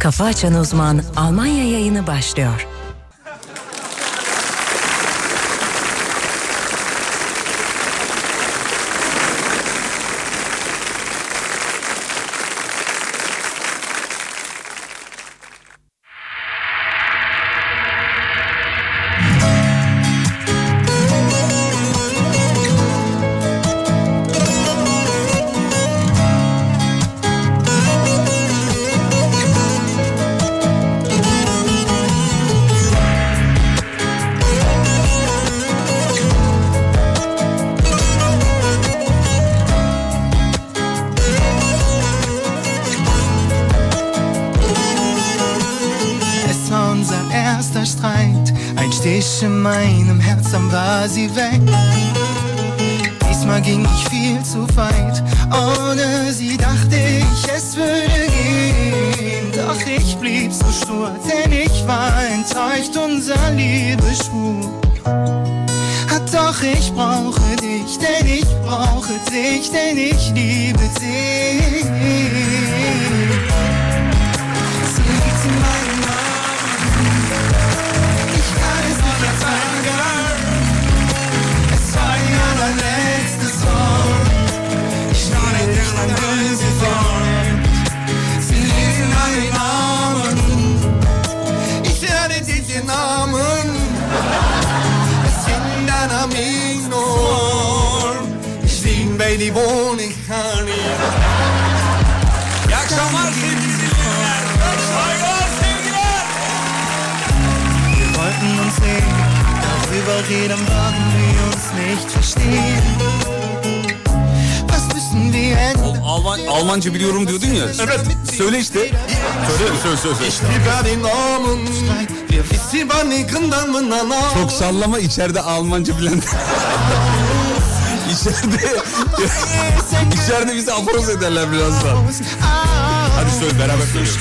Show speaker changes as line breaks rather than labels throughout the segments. Kafa Açan Uzman Almanya yayını başlıyor.
Es war unser erster Streit, ein Stich in meinem Herz, dann war sie weg. Diesmal ging ich viel zu weit, ohne sie dachte ich, es würde gehen. Doch ich blieb so stur, denn ich war enttäuscht, unser Liebesschwur. Hat doch ich brauche dich, denn ich brauche dich, denn ich liebe dich. Sie liegt in meinen Armen. Ich kann es nicht ertragen. Es war ihr allerletztes Wort. Ich schneide dich an böse Wort. Sie liegt in meinen Armen. Ich lerne dich den Namen. Es hing dann am Ignor. Ich liegen bei die Wohnung, Honey.
İyi akşamlar sevgili dinleyenler. Saygılar sevgiler.
Wir wollten uns sehen, darüber reden würden wir uns nicht verstehen. Was müssen wir ändern?
Oğlum Alman, Almanca biliyorum diyordun ya.
Evet.
Söyle işte.
Söyle söyle söyle. söyle.
Biber in Alman.
Wir wissen wann ich dann mit einer
Çok sallama içeride Almanca bilen. içeride, içeride bizi aforoz ederler birazdan.
Hadi
söyle, beraber söylüyoruz.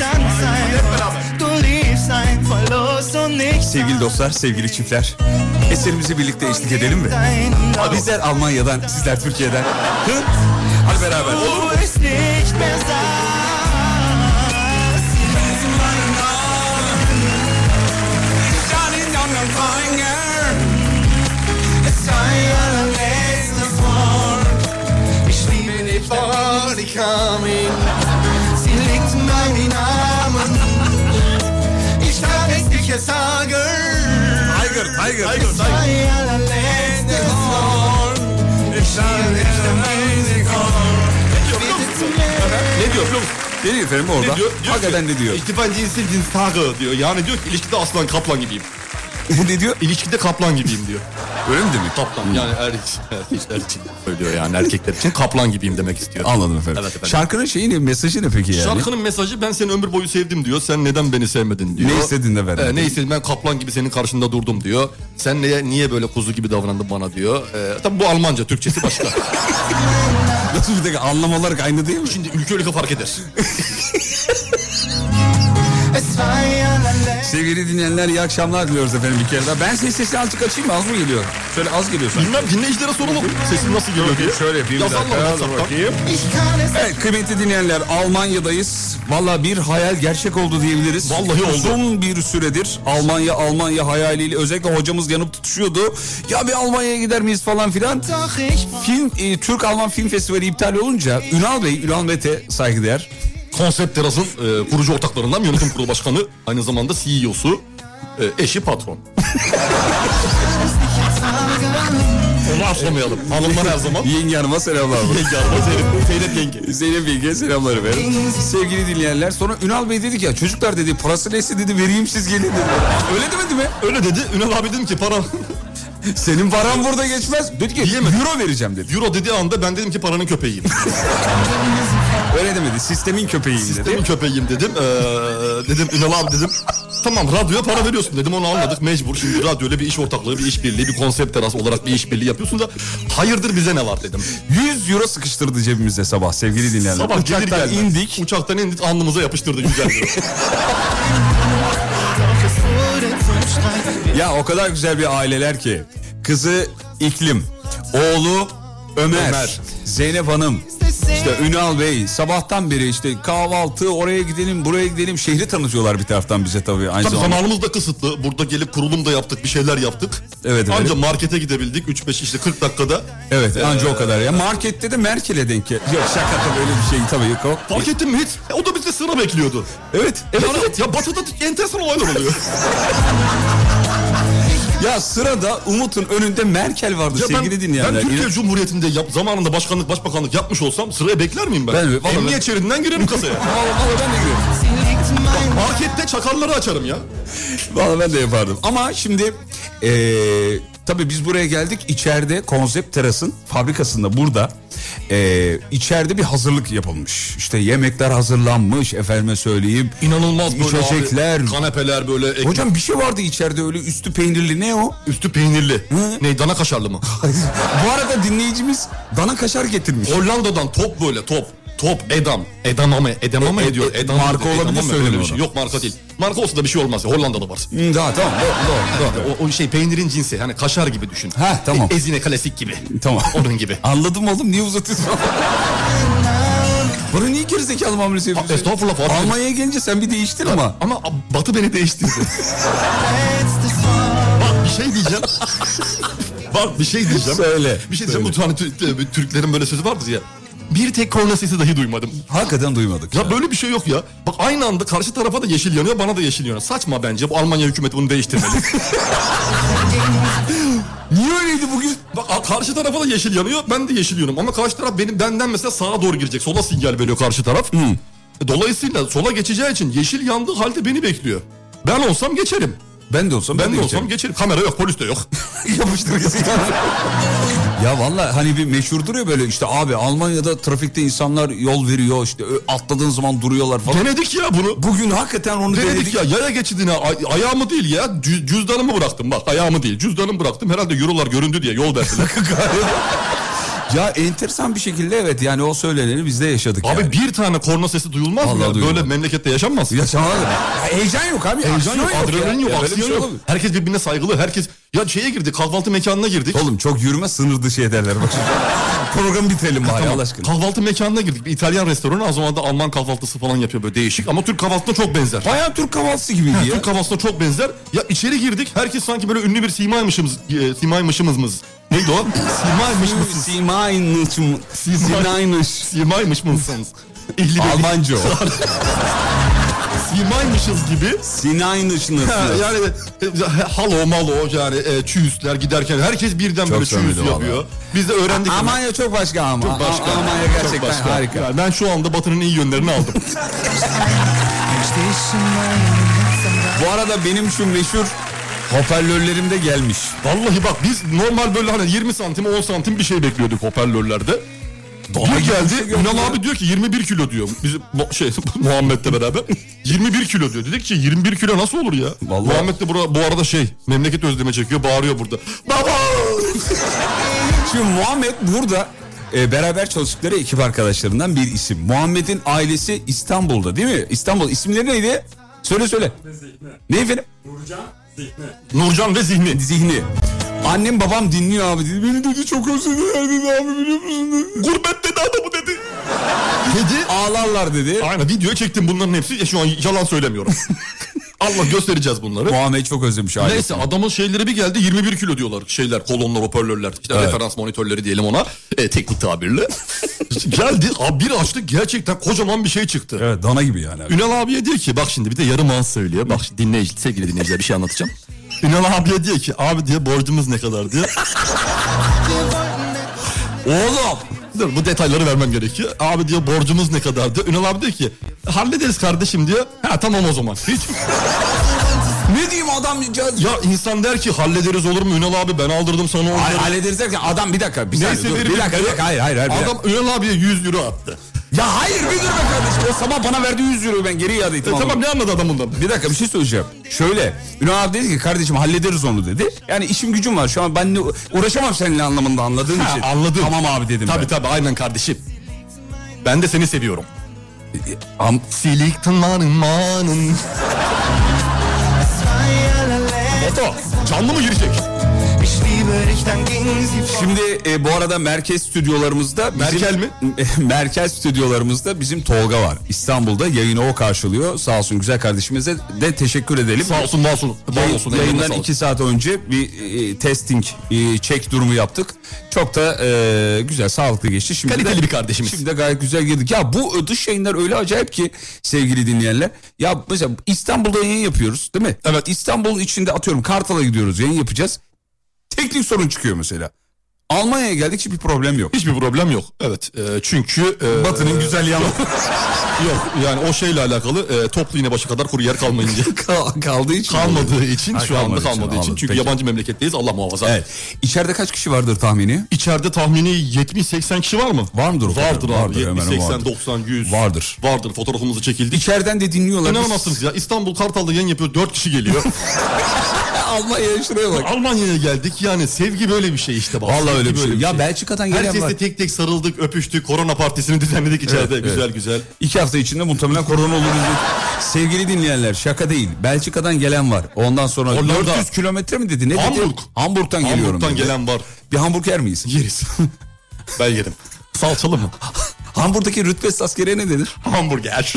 Du liebst ein Verlust und nicht
Sevgili dostlar, sevgili çiftler. Eserimizi birlikte eşlik edelim mi?
Abi
Bizler Almanya'dan, sizler Türkiye'den. Hı? Hadi beraber.
Du bist nicht mehr saß. Sie ließen meinen Es sei ein letztes Wort. Ich liebe dich, Wort, ich kam ihn. Sie liegt in meinen Armen. Ich kann es nicht sagen.
Tiger, Tiger.
Es sei ein letztes Wort. Ich liebe dich, Wort, ich kam ihn.
Ne diyor biliyor musun? Ne diyor efendim orada?
Ne diyor? diyor
Hakikaten
ki,
ne diyor?
İhtifal cinsi cins tarı diyor. Yani diyor ki ilişkide aslan kaplan gibiyim.
ne diyor?
İlişkide kaplan gibiyim diyor.
Öyle mi demek? Hmm.
Kaplan yani erkek, erkekler için söylüyor yani erkekler için kaplan gibiyim demek istiyor.
Anladım efendim.
Evet efendim.
Şarkının şeyi ne? Mesajı ne peki yani?
Şarkının mesajı ben seni ömür boyu sevdim diyor. Sen neden beni sevmedin diyor.
Ne istedin de verdin.
Ee, ne istedin ben kaplan gibi senin karşında durdum diyor. Sen niye, niye böyle kuzu gibi davrandın bana diyor. Ee, tabii bu Almanca Türkçesi başka.
Nasıl bir dakika anlam olarak aynı değil mi?
Şimdi ülke ülke fark eder.
Es war ihr allerletztes
Sevgili dinleyenler iyi akşamlar diliyoruz efendim bir kere daha. Ben ses sesini azıcık açayım mı? Az mı geliyor? Şöyle az geliyor sanki.
Bilmem dinleyicilere soralım. Sesim nasıl geliyor diye.
Şöyle yapayım bir
Yazanlar
dakika.
WhatsApp'tan.
Ich kann es
Evet kıymetli dinleyenler Almanya'dayız. Valla bir hayal gerçek oldu diyebiliriz.
Vallahi oldu.
Uzun bir süredir Almanya Almanya hayaliyle özellikle hocamız yanıp tutuşuyordu. Ya bir Almanya'ya gider miyiz falan filan.
doch, ich
Film e, Türk Alman Film Festivali iptal olunca Ünal Bey, Ünal Mete saygıdeğer.
Konsept Teras'ın e, kurucu ortaklarından yönetim kurulu başkanı aynı zamanda CEO'su e, eşi patron. Onu atlamayalım. Hanımlar her zaman.
Yenge Hanım'a selamlar.
Yenge araba Zeynep, Zeynep yenge.
Zeynep Bilge'ye selamlar efendim. Sevgili dinleyenler sonra Ünal Bey dedi ki ya çocuklar dedi parası neyse dedi vereyim siz gelin dedi. Öyle demedi mi?
Öyle dedi. Ünal abi dedim ki para.
Senin paran burada geçmez. Dedi ki
Diyemedi.
euro vereceğim dedi.
Euro dediği anda ben dedim ki paranın köpeğiyim.
Öyle demedi sistemin köpeğiyim dedi.
Dedim köpeğiyim dedim. E, dedim Ünal abi dedim. Tamam radyoya para veriyorsun dedim onu anladık mecbur. Şimdi radyoyla bir iş ortaklığı, bir iş birliği, bir konsept teras olarak bir iş birliği yapıyorsun da hayırdır bize ne var dedim.
100 euro sıkıştırdı cebimize sabah sevgili dinleyenler.
Sabah gelir
Uçaktan
gelmez.
indik.
Uçaktan indik alnımıza yapıştırdı güzel diyor.
wurde zum Streit.
Ya o kadar güzel bir aileler ki. Kızı iklim, oğlu Ömer,
Ömer.
Zeynep Hanım, işte Ünal Bey sabahtan beri işte kahvaltı oraya gidelim buraya gidelim şehri tanıtıyorlar bir taraftan bize tabii aynı
Tabii
zamanda.
zamanımız da kısıtlı. Burada gelip kurulum da yaptık, bir şeyler yaptık.
Evet, evet.
Anca markete gidebildik 3-5 işte 40 dakikada.
Ee, Evet anca o kadar ya. Markette de Merkel'e denk gel- Yok şaka tabii öyle bir şey tabii yok.
Fark ettin mi hiç? E, o da bizde sıra bekliyordu.
Evet.
Evet evet ya batıda enteresan olaylar oluyor.
Ya sırada Umut'un önünde Merkel vardı
ya ben,
sevgili dinleyenler.
ben Türkiye
İnan-
Cumhuriyeti'nde yap, zamanında başkanlık başbakanlık yapmış olsam sıraya bekler miyim ben?
Ben- vallahi
Emniyet
ben-
şeridinden girerim kasaya.
Vallahi- vallahi ben de giriyorum.
Markette çakarları açarım ya.
Vallahi ben de yapardım. Ama şimdi eee tabii biz buraya geldik. İçeride konsept terasın fabrikasında burada eee, içeride bir hazırlık yapılmış. İşte yemekler hazırlanmış efendime söyleyeyim.
İnanılmaz böyle abi.
İçecekler.
Kanepeler böyle. ekmek-
Hocam bir şey vardı içeride öyle üstü peynirli ne o?
Üstü peynirli. Ne dana kaşarlı mı?
Bu arada dinleyicimiz dana kaşar getirmiş.
Hollanda'dan top böyle top. Top Edam. Edamame. Edamame
E-
ediyor.
e-
Edamame
marka
dedi,
olabilir,
Edamame,
söyleme
öyle bir
onu.
şey. Yok marka değil. Marka olsa da bir şey olmaz. ya, Hollanda'da var.
Hı, Daha tamam doğru doğru. doğru.
O, o şey peynirin cinsi. Hani kaşar gibi düşün.
Ha, tamam.
E- Ezine klasik gibi.
Tamam.
Onun gibi.
Anladım oğlum niye uzatıyorsun? Bana niye gerizekalı muamelesi yapıyorsun?
Estağfurullah Fatih.
Almanya'ya gelince sen bir değiştin ama.
Ama Batı beni değiştirdi. Bak bir şey diyeceğim. Bak bir şey diyeceğim.
Söyle,
Bir şey diyeceğim. Bu tane Tü- e, Türklerin böyle sözü vardır ya. Bir tek korna sesi dahi duymadım.
Hakikaten duymadık.
Ya böyle bir şey yok ya. Bak aynı anda karşı tarafa da yeşil yanıyor, bana da yeşil yanıyor. Saçma bence. Bu Almanya hükümeti bunu değiştirmeli.
Niye öyleydi bugün?
Bak a- karşı tarafa da yeşil yanıyor, ben de yeşil yanıyorum. Ama karşı taraf benim benden mesela sağa doğru girecek. Sola sinyal veriyor karşı taraf. E, Dolayısıyla sola geçeceği için yeşil yandığı halde beni bekliyor. Ben olsam geçerim.
Ben de olsam
Ben, de olsam
geçerim.
geçerim. Kamera yok, polis de yok.
yapıştır gerizekalı. Ya valla hani bir meşhurdur ya böyle işte abi Almanya'da trafikte insanlar yol veriyor işte ö- atladığın zaman duruyorlar falan.
Denedik ya bunu.
Bugün hakikaten onu
Denedik,
denedik.
ya yaya geçidine ay- ayağımı değil ya cü- cüzdanımı bıraktım bak ayağımı değil cüzdanımı bıraktım herhalde eurolar göründü diye yol verdiler.
Ya enteresan bir şekilde evet yani o söyleneni biz de yaşadık
Abi
yani.
bir tane korna sesi duyulmaz mı?
Vallahi
ya?
duyulmaz.
Böyle memlekette yaşanmaz.
Ya sana da- Ya heyecan yok abi.
Heyecan
aksiyon
yok, adrenalin
ya.
yok,
Ya böyle bir
aksiyon
şey
yok.
olamaz.
Herkes birbirine saygılı. Herkes ya şeye girdik, kahvaltı mekanına girdik.
Oğlum çok yürüme sınır dışı ederler bak. Programı bitirelim bari
Tamam,
Allah aşkına.
Kahvaltı mekanına girdik. Bir İtalyan restoranı az zamanda Alman kahvaltısı falan yapıyor böyle değişik. Ama Türk kahvaltısına çok benzer.
Bayağı Türk kahvaltısı gibiydi ya.
Türk kahvaltısına çok benzer. Ya içeri girdik. Herkes sanki böyle ünlü bir simaymışımız, e, simaymışımız mız. Neydi o? Simaymış mısınız?
Simaynışım. Simaynış.
Simaymış mısınız? İhli belli.
Almanca o.
Simaymışız gibi.
Sinaynışınız.
Ha, yani e, halo malo yani e, çüğüsler giderken herkes birden böyle çüğüs
samimi
yapıyor. Biz de öğrendik. bunu.
Almanya çok başka ama.
Çok başka.
A- Almanya
Çok
gerçekten
başka.
harika.
Yani ben şu anda Batı'nın iyi yönlerini aldım.
Bu arada benim şu meşhur hoparlörlerim de gelmiş.
Vallahi bak biz normal böyle hani 20 santim 10 santim bir şey bekliyorduk hoparlörlerde. Bir geldi Ünal abi diyor ki 21 kilo diyor. Biz bu- şey Muhammed'le beraber 21 kilo diyor. Dedik ki 21 kilo nasıl olur ya?
Vallahi.
Muhammed de bura, bu arada şey memleket özleme çekiyor bağırıyor burada. Baba!
Şimdi Muhammed burada e, beraber çalıştıkları ekip arkadaşlarından bir isim. Muhammed'in ailesi İstanbul'da değil mi? İstanbul. İsimleri neydi? Söyle söyle. Ne efendim?
Nurcan ve Zihni.
Zihni. Annem babam dinliyor abi dedi. Beni dedi çok özlediler dedi abi biliyor musun? dedi.
Gurbet dedi adamı dedi. Dedi.
Ağlarlar dedi.
Aynen video çektim bunların hepsi. Ya şu an yalan söylemiyorum. Allah göstereceğiz bunları.
Muhammed çok özlemiş ailesini.
Neyse adamın şeyleri bir geldi 21 kilo diyorlar şeyler kolonlar hoparlörler işte
Evet.
referans monitörleri diyelim ona e, teknik tabirle. geldi abi bir açtı gerçekten kocaman bir şey çıktı.
Evet dana gibi yani. abi.
Ünal abiye diyor ki bak şimdi bir de yarım ağız söylüyor. Bak şimdi dinleyici, sevgili dinleyiciler bir şey anlatacağım. Ünal abiye diyor ki abi diyor borcumuz ne kadar diyor. Oğlum dur bu detayları vermem gerekiyor. Abi diyor borcumuz ne kadar diyor. Ünal abi diyor ki hallederiz kardeşim diyor. Ha tamam o zaman. Hiç
Ne diyeyim adam
ya insan der ki hallederiz olur mu Ünal abi ben aldırdım sana onu.
Ay, hallederiz derken adam bir dakika bir saniye
Neyse
dur,
verin
bir dakika,
bir-
bir dakika hayır hayır hayır. bir
Adam
dakika.
Ünal abiye 100 euro attı.
Ya hayır bir dur be kardeşim o sabah bana verdi 100 euro ben geri iade ettim.
E, tamam
Anladım.
ne anladı adam bundan?
Bir dakika bir şey söyleyeceğim. Şöyle Ünal abi dedi ki kardeşim hallederiz onu dedi. Yani işim gücüm var şu an ben uğraşamam seninle anlamında anladığın
Ha,
için.
anladım.
Tamam abi dedim
Tabii tabii aynen kardeşim. Ben de seni seviyorum.
ben. E, Am-
Silik tınlanın manın. Foto. Canlı mı girecek?
Ich liebe Liebig, dann ging sie fort.
Şimdi e, bu arada merkez stüdyolarımızda bizim,
Merkel mi?
merkez stüdyolarımızda bizim Tolga var. İstanbul'da yayını o karşılıyor. Sağ olsun güzel kardeşimize de teşekkür edelim.
Sağ olsun, var olsun. Var
Yayın-
olsun. eline
yayından
sağlık.
iki saat önce bir e, testing e, check durumu yaptık. Çok da e, güzel sağlıklı geçti. Şimdi
Kaliteli
de,
bir kardeşimiz.
Şimdi de gayet güzel girdik. Ya bu e, dış yayınlar öyle acayip ki sevgili dinleyenler. Ya mesela İstanbul'da yayın yapıyoruz değil mi? Evet. İstanbul içinde atıyorum Kartal'a gidiyoruz yayın yapacağız. Teknik sorun çıkıyor mesela. Almanya'ya geldik hiçbir problem yok.
Hiçbir problem yok. Evet. e, çünkü e,
Batı'nın güzel yanı
yok. Yani o şeyle alakalı e, toplu yine başı kadar kuru yer kalmayınca.
Kal- kaldığı için.
kalmadığı için
Ha,
şu anda
kalmadığı için,
kalmadığı için.
anladım,
Çünkü
peki.
yabancı memleketteyiz Allah muhafaza.
Evet. İçeride kaç kişi vardır tahmini?
İçeride tahmini 70-80 kişi var mı?
Var mıdır o kadar?
Vardır abi.
Vardır, hemen
70, 80,
vardır.
90, 100.
Vardır.
Vardır. Fotoğrafımızı çekildik.
İçeriden de dinliyorlar.
İnanamazsınız ya. İstanbul Kartal'da yayın yapıyor. 4 kişi geliyor.
Almanya'ya şuraya bak.
Almanya'ya geldik. Yani sevgi böyle bir şey işte. bak.
Vallahi öyle
Sevgi
bir şey.
böyle
Ya Belçika'dan gelen var.
Herkesle tek tek sarıldık, öpüştük. Korona partisini düzenledik içeride.
Evet,
güzel güzel.
İki hafta içinde muhtemelen korona oluruz. Sevgili dinleyenler şaka değil. Belçika'dan gelen var. Ondan sonra
Hollanda.
400 kilometre mi dedi? Ne dedi?
Hamburg.
Hamburg'dan geliyorum.
Hamburg'dan
dedi.
gelen var.
Bir hamburg yer miyiz?
Yeriz. ben yerim. Salçalı mı?
Hamburg'daki rütbes askeriye ne denir?
Hamburger.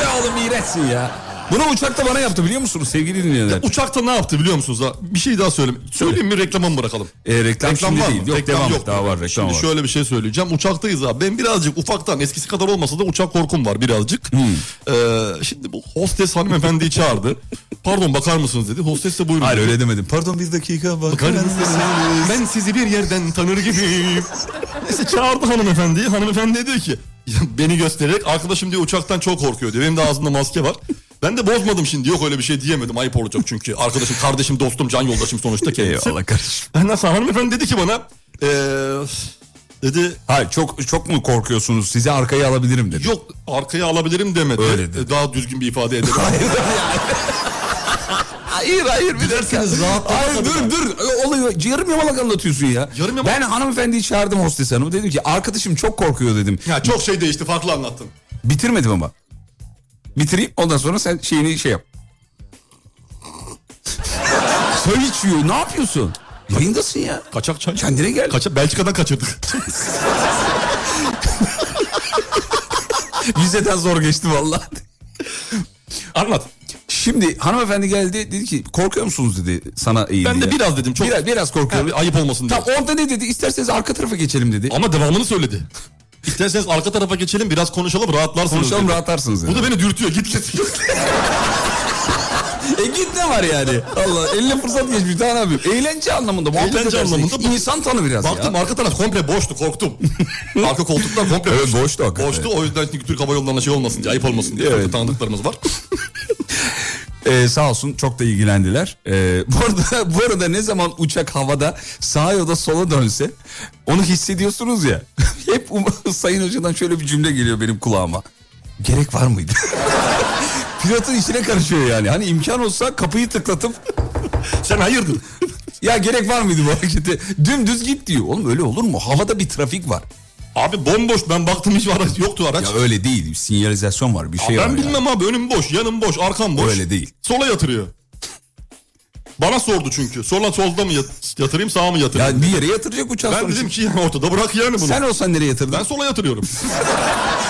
Be oğlum iğrençsin ya. Bunu uçakta bana yaptı biliyor musunuz sevgili dinleyenler?
Uçakta ne yaptı biliyor musunuz? Ha? Bir şey daha söyleyeyim. Söyleyeyim mi reklamı mı bırakalım?
E, reklam, şimdi
var
değil.
mı?
Yok
Reklam
devam.
yok.
Daha var reklam
Şimdi
var.
şöyle bir şey söyleyeceğim. Uçaktayız abi. Ben birazcık ufaktan eskisi kadar olmasa da uçak korkum var birazcık.
Hmm.
Ee, şimdi bu hostes hanımefendiyi çağırdı. Pardon bakar mısınız dedi. Hostes de buyurun.
Hayır
dedi.
öyle demedim. Pardon bir dakika bak.
Bakar mısınız? Ben sizi bir yerden tanır gibiyim. Neyse çağırdı hanımefendiyi. Hanımefendi diyor ki "Ya beni göstererek arkadaşım diyor uçaktan çok korkuyor diyor. Benim de ağzımda maske var. Ben de bozmadım şimdi yok öyle bir şey diyemedim ayıp olacak çünkü. Arkadaşım, kardeşim, dostum, can yoldaşım sonuçta kendisi.
Eyvallah kardeşim.
Ondan sonra hanımefendi dedi ki bana eee, dedi
Hayır çok çok mu korkuyorsunuz? Sizi arkaya alabilirim dedi.
yok arkaya alabilirim demedi.
Öyle dedi.
Daha düzgün bir ifade edemedi.
Hayır hayır bir dakika. Hayır dur dur. Oluyor. Yarım yamalak anlatıyorsun ya.
Yarım yamalak-
Ben hanımefendiyi çağırdım hostes hanımı. Dedim ki arkadaşım çok korkuyor dedim.
ya çok şey değişti farklı anlattın.
Bitirmedim ama. Bitireyim ondan sonra sen şeyini şey yap. Söyle içiyor. Ne yapıyorsun? Yayındasın ya.
Kaçak çay.
Kendine gel.
Kaça- Belçika'dan kaçırdık.
Vizeden zor geçti vallahi.
Anlat.
Şimdi hanımefendi geldi dedi ki korkuyor musunuz dedi sana eğildi.
Ben de
ya.
biraz dedim, çok-
Biraz, biraz korkuyorum.
Ayıp olmasın diye.
Tam orada ne dedi? İsterseniz arka tarafa geçelim dedi.
Ama devamını söyledi. İsterseniz arka tarafa geçelim biraz konuşalım rahatlarsınız.
Konuşalım
dedi.
rahatlarsınız.
Bu
dedi.
da beni dürtüyor git git.
E git ne var yani? Allah eline fırsat geçmiş daha ne yapayım? Eğlence anlamında muhabbet
Eğlence
edersin.
anlamında bu-
İnsan tanı biraz
Baktım
ya.
arka taraf komple boştu korktum. arka koltuklar komple
Evet,
boştu.
boştu hakikaten.
Boştu o yüzden çünkü Türk Hava Yolları'na şey olmasın diye ayıp olmasın diye.
Evet.
Çok da Tanıdıklarımız var.
Ee, sağ olsun çok da ilgilendiler. Ee, bu, arada, bu arada ne zaman uçak havada sağa ya da sola dönse onu hissediyorsunuz ya. Hep um- Sayın Hoca'dan şöyle bir cümle geliyor benim kulağıma. Gerek var mıydı? Pilotun işine karışıyor yani. Hani imkan olsa kapıyı tıklatıp
Sen hayırdır?
ya gerek var mıydı bu harekete? Dümdüz git diyor. Oğlum öyle olur mu? Havada bir trafik var.
Abi bomboş ben baktım hiç araç yoktu araç.
Ya öyle değil. Sinyalizasyon var. Bir şey var.
ben
ya.
bilmem abi önüm boş yanım boş arkam boş.
Öyle değil.
Sola yatırıyor. Bana sordu çünkü. Sola solda mı yat- yatırayım sağa mı yatırayım?
Ya bir yere yatıracak uçak
ben
sonuçta.
dedim ki yani ortada bırak yani bunu.
Sen olsan nereye yatırdın?
Ben sola yatırıyorum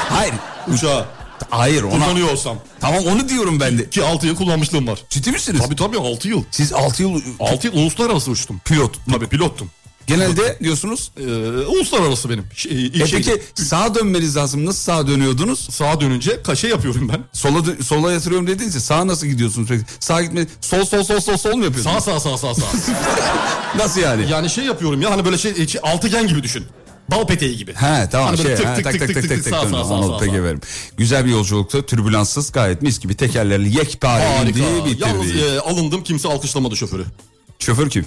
Hayır.
uçağa.
Hayır ona.
Kullanıyor olsam.
Tamam onu diyorum ben de.
Ki 6 yıl kullanmışlığım var.
Ciddi misiniz?
Tabii tabii 6 yıl.
Siz 6 yıl
6 yıl uluslararası uçtum.
pilot.
Tabii pilottum.
Genelde diyorsunuz.
Ee, uluslararası benim. Şey, ilk
E
şey-
peki sağa dönmeniz lazım. Nasıl sağa dönüyordunuz?
sağa dönünce kaşe yapıyorum ben.
Sola dö- sola yatırıyorum dediğinizde sağa nasıl gidiyorsunuz? Peki sağa gitme sol sol sol sol sol mu
Sağ
yapıyorsunuz?
sağ sağ sağ sağ.
Nasıl yani?
yani şey yapıyorum ya hani böyle şey içi- altıgen gibi düşün. Bal peteği gibi.
He tamam
Hani
şey
böyle
he, tak tak tak tak tak
sağ
tak
sağ sağ
Anladım,
sağ.
peki
sağ.
efendim. Güzel bir yolculukta türbülanssız gayet mis gibi tekerlerle yekpare
Harika.
indi bitirdi.
Yalnız e, alındım kimse alkışlamadı şoförü.
Şoför kim?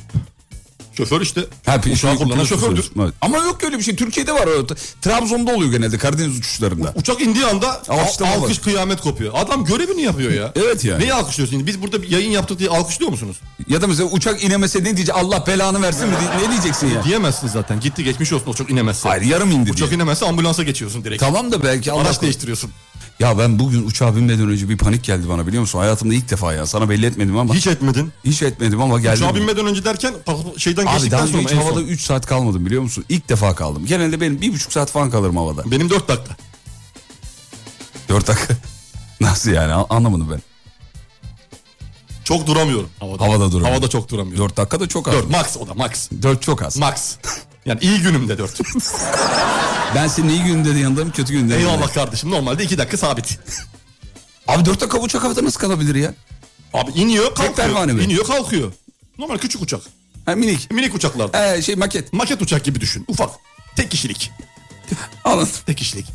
Şoför işte.
Ha, pi-
uçağı
şey,
kullanan
pilot
şofördür.
uçuyoruz. Evet. Ama yok öyle bir şey. Türkiye'de var. o. T- Trabzon'da oluyor genelde Karadeniz uçuşlarında.
Uçak indiği anda al-
Alkışlama
alkış
var.
kıyamet kopuyor. Adam görevini yapıyor ya.
Evet yani.
Neyi alkışlıyorsun şimdi? Biz burada bir yayın yaptık diye alkışlıyor musunuz?
Ya da mesela uçak inemese ne diyecek? Allah belanı versin mi? diye- Ne diyeceksin ya?
Diyemezsin zaten. Gitti geçmiş olsun uçak inemezse.
Hayır yarım indi
Uçak
diye.
inemezse ambulansa geçiyorsun direkt.
Tamam da belki Allah
Araç
korusun.
değiştiriyorsun.
Ya ben bugün uçağa binmeden önce bir panik geldi bana biliyor musun? Hayatımda ilk defa ya. Sana belli etmedim ama. Hiç,
Hiç etmedin.
etmedim ama geldi.
Uçağa binmeden önce derken pa- şeyden
Abi daha
geçtikten
önce
sonra
hiç
en son.
havada 3 saat kalmadım biliyor musun? İlk defa kaldım. Genelde benim bir buçuk saat falan kalırım havada.
Benim 4 dakika.
4 dakika. Nasıl yani An- anlamadım ben.
Çok duramıyorum havada.
Havada duramıyorum.
Havada çok duramıyorum.
4 dakika da çok az.
4 max o da max.
4 çok az.
Max. Yani iyi günümde 4.
Ben senin iyi gününde de yanındayım kötü gününde de
Eyvallah
yanındayım.
kardeşim normalde 2 dakika sabit.
Abi 4 dakika uçak havada nasıl kalabilir ya?
Abi iniyor kalkıyor.
pervane mi?
İniyor kalkıyor. Normal küçük uçak.
Ha, minik.
Minik uçaklarda.
Ee, şey maket.
Maket uçak gibi düşün. Ufak. Tek kişilik.
Anladım.
Tek kişilik.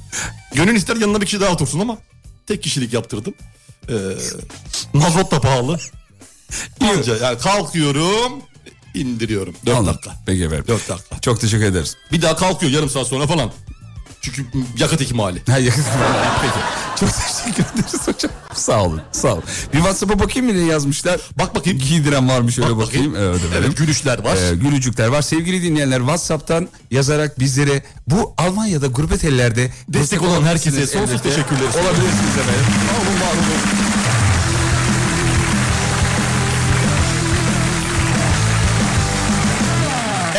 Gönül ister yanına bir kişi daha otursun ama tek kişilik yaptırdım. Ee, mazot da pahalı. Anca yani kalkıyorum indiriyorum. 4
Anladım.
dakika.
Peki efendim.
Dört dakika.
Çok teşekkür ederiz.
Bir daha kalkıyor yarım saat sonra falan. Çünkü yakıt ikmali.
Ha, yakın. Peki. Çok teşekkür ederiz hocam. Sağ olun. Sağ olun. Bir WhatsApp'a bakayım mı ne yazmışlar?
Bak bakayım.
Giydiren var mı şöyle
Bak
bakayım.
bakayım.
Evet, efendim.
Evet, gülüşler var.
Ee, gülücükler var. Sevgili dinleyenler WhatsApp'tan yazarak bizlere bu Almanya'da gurbet ellerde
Destek olan herkese sonsuz
elbette
teşekkürler.
Olabilirsiniz efendim.
Sağ olun, var olun.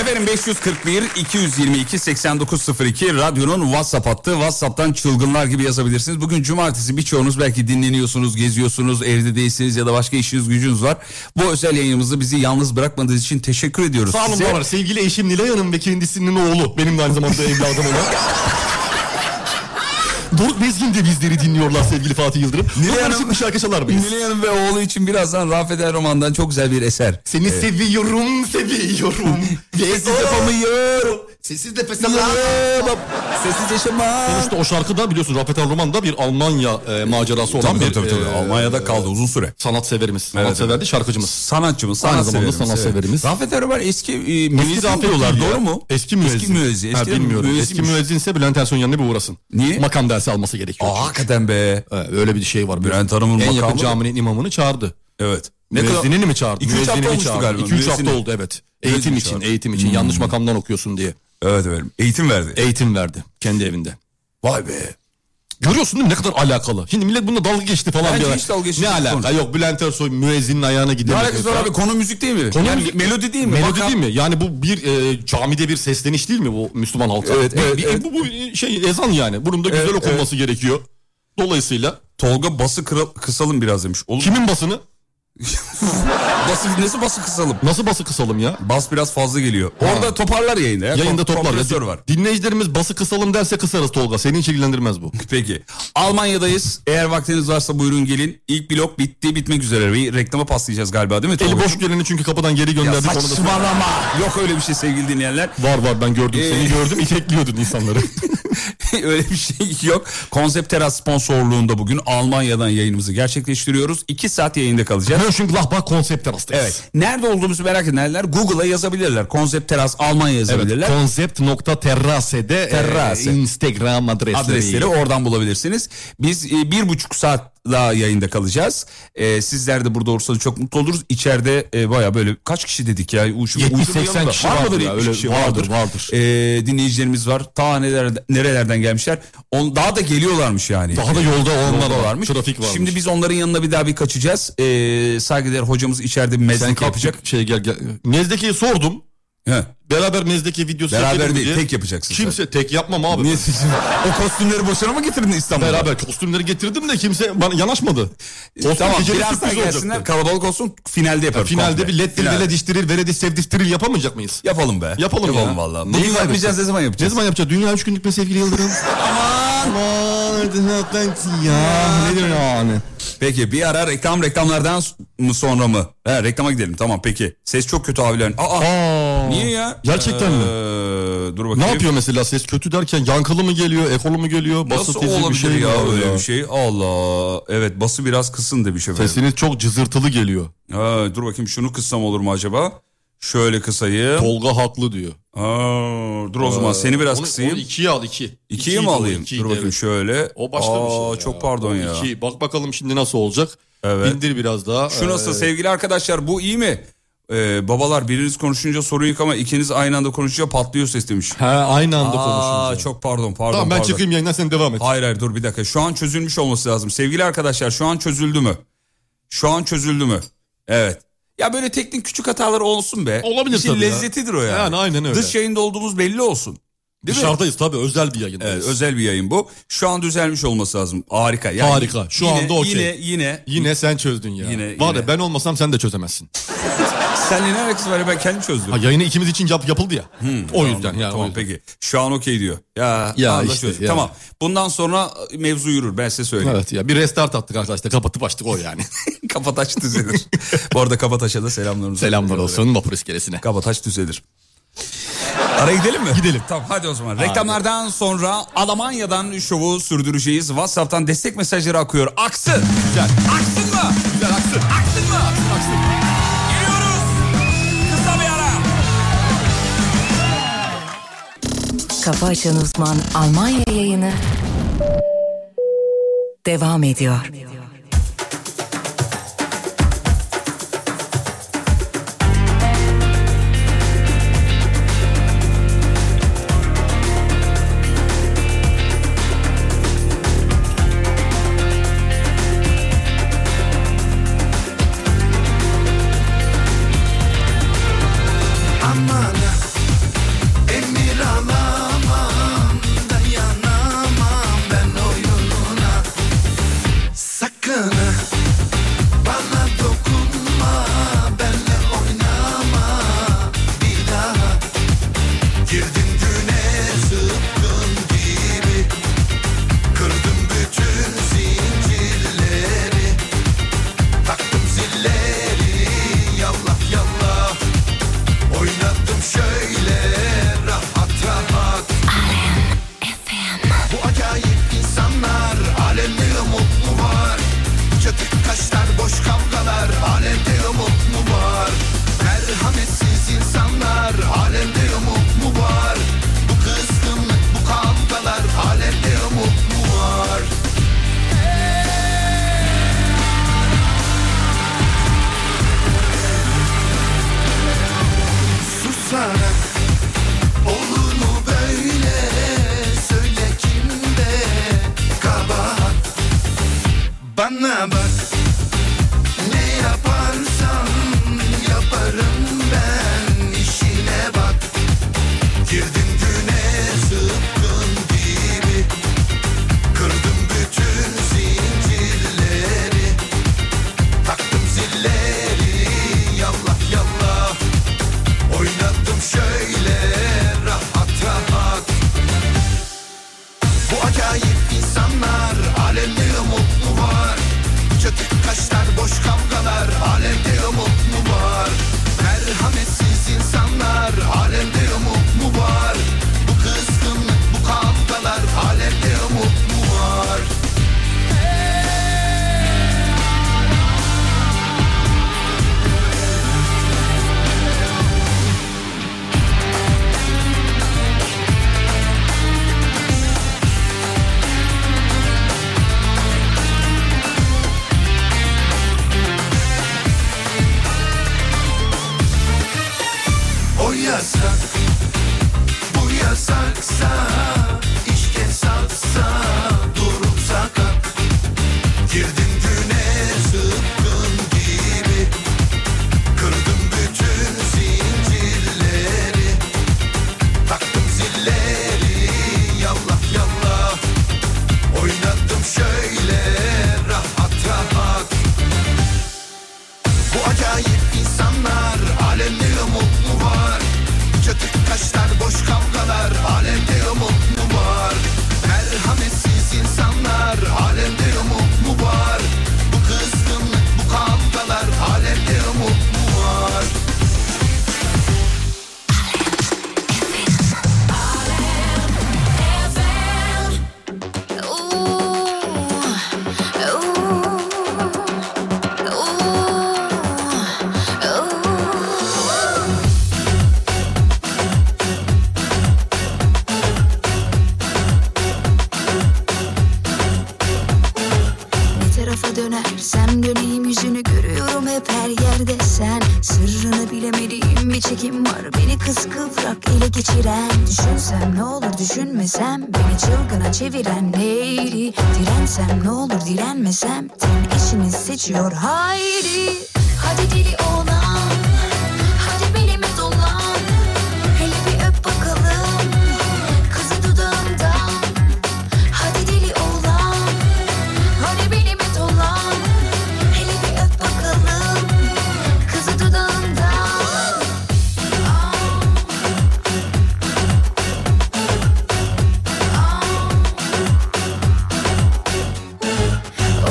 Efendim 541 222 8902 radyonun WhatsApp hattı. WhatsApp'tan çılgınlar gibi yazabilirsiniz. Bugün cumartesi birçoğunuz belki dinleniyorsunuz, geziyorsunuz, evde değilsiniz ya da başka işiniz gücünüz var. Bu özel yayınımızı bizi yalnız bırakmadığınız için teşekkür ediyoruz
Sağ olun
size.
var. Sevgili eşim Nilay Hanım ve kendisinin oğlu. Benim de aynı zamanda evladım olan. Doruk Bezgin de bizleri dinliyorlar sevgili Fatih Yıldırım. Nilay
Hanım-
Hanım. Şimdi şarkı çalar mıyız?
Nilay Hanım ve oğlu için birazdan Rafet El Roman'dan çok güzel bir eser.
Seni seviyorum, seviyorum. Oh! Ve
Sessiz yapamıyorum.
Sessiz nefes
Yalamam. Sessiz yaşamam.
İşte o şarkı da biliyorsun Rafet El Roman da bir Almanya e, macerası olan
Tabii
bir
tabii, tabii, tabii.
e,
Almanya'da kaldı uzun süre.
sanat severimiz. Sanat
Evet.
severdi şarkıcımız.
Sanatçımız, sanat
Aynı zamanda
severimiz,
sanatseverimiz.
Evet. Rafet Erbar eski e, müezzin
Rafet
diyorlar
değil ya.
doğru mu?
Eski müezzin.
Eski müezzin.
Ha,
Eski
bilmiyorum.
müezzin.
Eski müezzinse Bülent Ersoy'un yanına bir uğrasın.
Niye?
Makam dersi alması gerekiyor.
Aa, hakikaten be.
Ee, öyle bir şey var.
Bülent Hanım'ın
En yakın
makamı-
caminin imamını çağırdı.
Evet.
Müezzinini mi çağırdı?
2-3 hafta
Müezzinini
olmuştu
çağırdı.
galiba.
2-3
Müezzini.
hafta oldu evet. Eğitim
Müezzini
için,
çağırdı. Hmm.
eğitim için. Yanlış makamdan okuyorsun diye.
Evet efendim. Eğitim verdi.
Eğitim verdi kendi evinde.
Vay be.
Görüyorsun değil mi ne kadar alakalı. Şimdi millet bununla dalga geçti falan
Bence
diyorlar.
hiç dalga geçti.
ne alaka?
Sonra.
Yok Bülent Ersoy müezzinin ayağına
Ne
gidemedi.
alakası var abi? Konu müzik değil mi?
Konu
Yani
müzik-
melodi değil mi?
Melodi
Makam-
değil mi? Yani bu bir e, camide bir sesleniş değil mi bu Müslüman halka?
Evet,
Bir-
evet,
bir-
evet.
Bu, bu şey ezan yani. Bunun da güzel
Evet,
okunması gerekiyor. Dolayısıyla
Tolga bası kıra- kısalım biraz demiş. Oğlum
kimin basını?
bası nasıl bası kısalım?
Nasıl bası kısalım ya?
Bas biraz fazla geliyor. Orada toparlar yayında. Ya.
Yayında
Kom-
toplar.
Kompresör
Ya.
var.
Dinleyicilerimiz bası kısalım derse kısarız Tolga. Seni hiç ilgilendirmez bu.
Peki. Almanya'dayız. Eğer vaktiniz varsa buyurun gelin. İlk blok bitti bitmek üzere. Bir reklama paslayacağız galiba değil mi?
Eli
Tolga?
boş şey geleni çünkü kapıdan geri
Ya
gönderdik. onu da-
saçmalama. Yok öyle bir şey sevgili dinleyenler.
Var var ben gördüm.
Ee.
Seni gördüm itekliyordun insanları.
öyle bir şey yok. Konsept Teras sponsorluğunda bugün Almanya'dan yayınımızı gerçekleştiriyoruz. 2 saat yayında kalacağız.
Mönchengladbach konsept terastayız.
Evet. Nerede olduğumuzu merak edenler Google'a yazabilirler. Konsept Teras Almanya yazabilirler.
Evet, konsept.terrase'de e,
Terrase.
Instagram adresleri.
adresleri oradan bulabilirsiniz. Biz e, bir buçuk saat daha yayında kalacağız. E, sizler de burada olursanız çok mutlu oluruz. İçeride e, baya böyle kaç kişi dedik ya? Uy- şimdi uydurmayalım
70-80
da.
kişi
var
vardır
mıdır?
ya,
70
öyle
kişi
vardır, vardır.
E, dinleyicilerimiz var. Ta nelerden, nerelerden gelmişler. On, daha da geliyorlarmış yani.
Daha da yolda olanlar varmış. Trafik varmış.
Şimdi biz onların yanına bir daha bir kaçacağız. E, saygıdeğer hocamız içeride bir
Sen
mezlik yapacak.
kapacak şey gel gel. Nezdeki'yi sordum.
He.
Beraber Nezdeki videosu
Beraber
çekelim
değil
diye.
tek yapacaksın. sen.
Kimse tek yapmam abi.
Niye- o kostümleri boşuna mı getirdin İstanbul'a?
Beraber kostümleri getirdim de kimse bana yanaşmadı. Kostüm
E, tamam
geceli
biraz daha
sürpriz olacaktı.
gelsinler kalabalık olsun finalde yaparız.
Finalde
komple.
bir led dil
Finalde.
led iştirir, veredi sevdiftiril yapamayacak mıyız?
Yapalım be.
Yapalım
Yapalım
ya.
vallahi.
Neyi
Bugün yapmayacağız
kaybedeceğiz?
ne zaman
Ne
yapacağız?
zaman yapacağız? Dünya üç günlük be sevgili Yıldırım.
Aman.
ya nedir yani?
Peki bir ara reklam reklamlardan mı sonra mı? He, reklama gidelim tamam peki. Ses çok kötü abilerin. Aa,
Aa.
niye ya?
Gerçekten
Ee,
mi?
Dur bakayım.
Ne yapıyor mesela ses kötü derken yankılı mı geliyor, ekolu mu geliyor, basılı
Nasıl
tizi
olabilir
bir şey mi
ya
var
öyle bir şey? Allah. Evet bası biraz kısın demiş efendim.
Sesiniz çok cızırtılı geliyor.
Ha, dur bakayım şunu kıssam olur mu acaba? Şöyle kısayım.
Tolga haklı diyor.
Aa, dur o zaman seni biraz
Ee, Onu-
kısayım.
Onu ikiye al iki.
İkiye mi alayım? Dur bakayım şöyle.
O başka bir şey.
Aa,
ya.
Çok pardon
O
ya.
iki. Bak bakalım şimdi nasıl olacak.
Evet.
İndir biraz daha. Ee,
Şu nasıl sevgili arkadaşlar bu iyi mi? Ee, babalar biriniz konuşunca soru yıkama ikiniz aynı anda konuşunca patlıyor ses demiş.
He aynı anda
Aa,
konuşunca.
çok pardon pardon.
Tamam ben
pardon.
çıkayım yayından sen devam et.
Hayır hayır dur bir dakika. Şu an çözülmüş olması lazım. Sevgili arkadaşlar şu an çözüldü mü? Şu an çözüldü mü? Evet. Ya böyle teknik küçük hatalar olsun be.
Olabilir
İşin
tabii ya.
lezzetidir o yani.
Yani aynen öyle.
Dış yayında olduğumuz belli olsun. Değil mi?
Dışarıdayız tabii özel bir yayındayız.
Evet, özel bir yayın bu. Şu an düzelmiş olması lazım. Harika. Yani
Harika. Şu
yine,
anda okey.
Yine yine
Yine sen çözdün ya.
Yine-
Var
yine.
ya ben olmasam sen de çözemezsin.
seninle ne alakası var ya ben kendim çözdüm.
Ha, yayını ikimiz için yap, yapıldı ya. o yüzden
Tamam,
yani.
tamam
o yüzden.
peki. Şu an okey diyor. Ya,
Ya
anlaşıyoruz.
işte, ya.
Tamam. Bundan sonra mevzu yürür ben size söyleyeyim.
Evet ya bir restart attık arkadaşlar kapatıp açtık o yani.
Kapataş düzelir. Bu arada Kapataş'a da selamlarımızı.
Selamlar
gönderiyoruz.
olsun vapur iskelesine.
Kabataş düzelir. Ara gidelim mi?
Gidelim.
Tamam hadi o zaman. Reklamlardan sonra Almanya'dan şovu sürdüreceğiz. WhatsApp'tan destek mesajları akıyor. Aksın.
Güzel.
Aksın mı?
Güzel aksın.
Aksın mı? Geliyoruz. Kısa bir ara.
Kafa Açan Uzman Almanya yayını devam ediyor.
Aman Emir alamam Dayanamam ben oyununa Sakın bana dokunma Benle oynama bir daha Girdim güne zıpkın gibi Kırdım bütün zincirleri Taktım zilleri yallah yallah Oynadım şöyle rahat rahat Bu acayip insanlar alemde umut mu var? Çatık kaşlar boş kavgalar alemde umut mu var? Merhametsiz insanlar alemde umut mu var? Bu kızgınlık bu kavgalar alemde umut mu var? Susarak olur mu böyle söyle kimde kabahat Bana bak ne yaparsam yaparım ben işine bak Girdim güne zıpkın gibi Kırdım bütün zincirleri Taktım zilleri yallah yallah Oynadım şöyle rahat rahat Bu acayip insanlar alemde umut mu var? Çatı
tarafa dönersem döneyim yüzünü görüyorum hep her yerde sen Sırrını bilemediğim bir çekim var beni kıskıvrak ele geçiren Düşünsem ne olur düşünmesem beni çılgına çeviren neydi Dirensem ne olur direnmesem ten işini seçiyor haydi Hadi deli oğlan hadi belime dolan Hele bir öp bakalım kızı dudağından Hadi deli oğlan Hani benime dolan Hele bir öp bakalım Kızı dudağından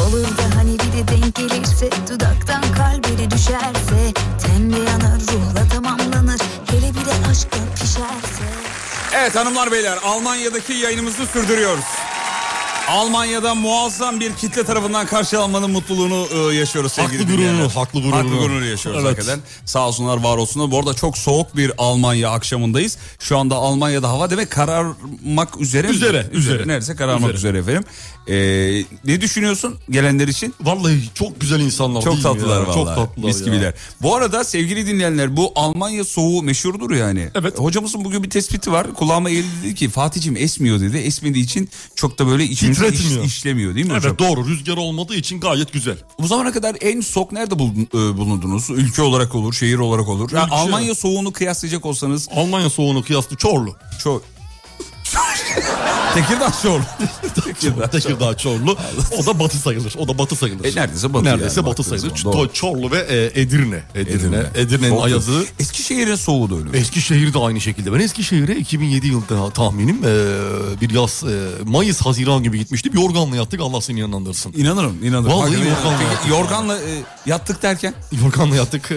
Olur da hani bir de denk gelirse Dudaktan kalbine düşerse Tenle yanar ruhla tamamlanır Hele bir de aşkla pişerse
Evet hanımlar beyler Almanya'daki yayınımızı sürdürüyoruz. Almanya'da muazzam bir kitle tarafından karşılanmanın mutluluğunu e, yaşıyoruz sevgili
Haklı gururunu,
dinleyenler.
haklı gururunu.
Haklı gururunu yaşıyoruz
Evet.
hakikaten. Sağ olsunlar, var olsunlar. Bu arada çok soğuk bir Almanya akşamındayız. Şu anda Almanya'da hava demek kararmak üzere mi?
Üzere, üzere.
Neredeyse kararmak üzere,
Üzere.
efendim. Ee, ne düşünüyorsun gelenler için?
Vallahi çok güzel insanlar
Çok
değil mi
tatlılar
ya?
vallahi.
Çok tatlılar
Mis
ya.
gibiler. Bu arada sevgili dinleyenler bu Almanya soğuğu meşhurdur yani.
Evet.
Hocamızın bugün bir tespiti var. Kulağıma eğildi dedi ki Fatih'cim esmiyor dedi. Esmediği için çok da böyle içimize iş-
Titretmiyor.
işlemiyor değil mi
Evet
hocam?
doğru rüzgar olmadığı için gayet güzel.
Bu zamana kadar en soğuk nerede buldun- e, bulundunuz? Ülke olarak olur, şehir olarak olur. Yani
Ülke.
Almanya soğuğunu kıyaslayacak olsanız
Almanya soğuğunu kıyaslı Çorlu.
çok... Tekirdağ soğuğu. Tekirdağ.
Tekirdağ Çorlu. O da batı sayılır. O da batı sayılır.
E, neredeyse batı
Neredeyse
yani,
batı
baktığınız
sayılır.
zaman, doğru.
Ç- Çorlu ve e, Edirne. Edirne.
Edirne.
Edirne'nin
Soğuk.
ayazı. E,
Eskişehir'in soğuğu da öyle.
Eskişehir de aynı şekilde. Ben Eskişehir'e 2007 yılında tahminim e, bir yaz e, Mayıs Haziran gibi gitmiştim. Yorganla yattık Allah seni yanlandırsın.
İnanırım, inanırım.
Vallahi
Hakikaten
yorganla
inanırım. Peki,
yattık.
yorganla e, yattık derken?
Yorganla yattık e,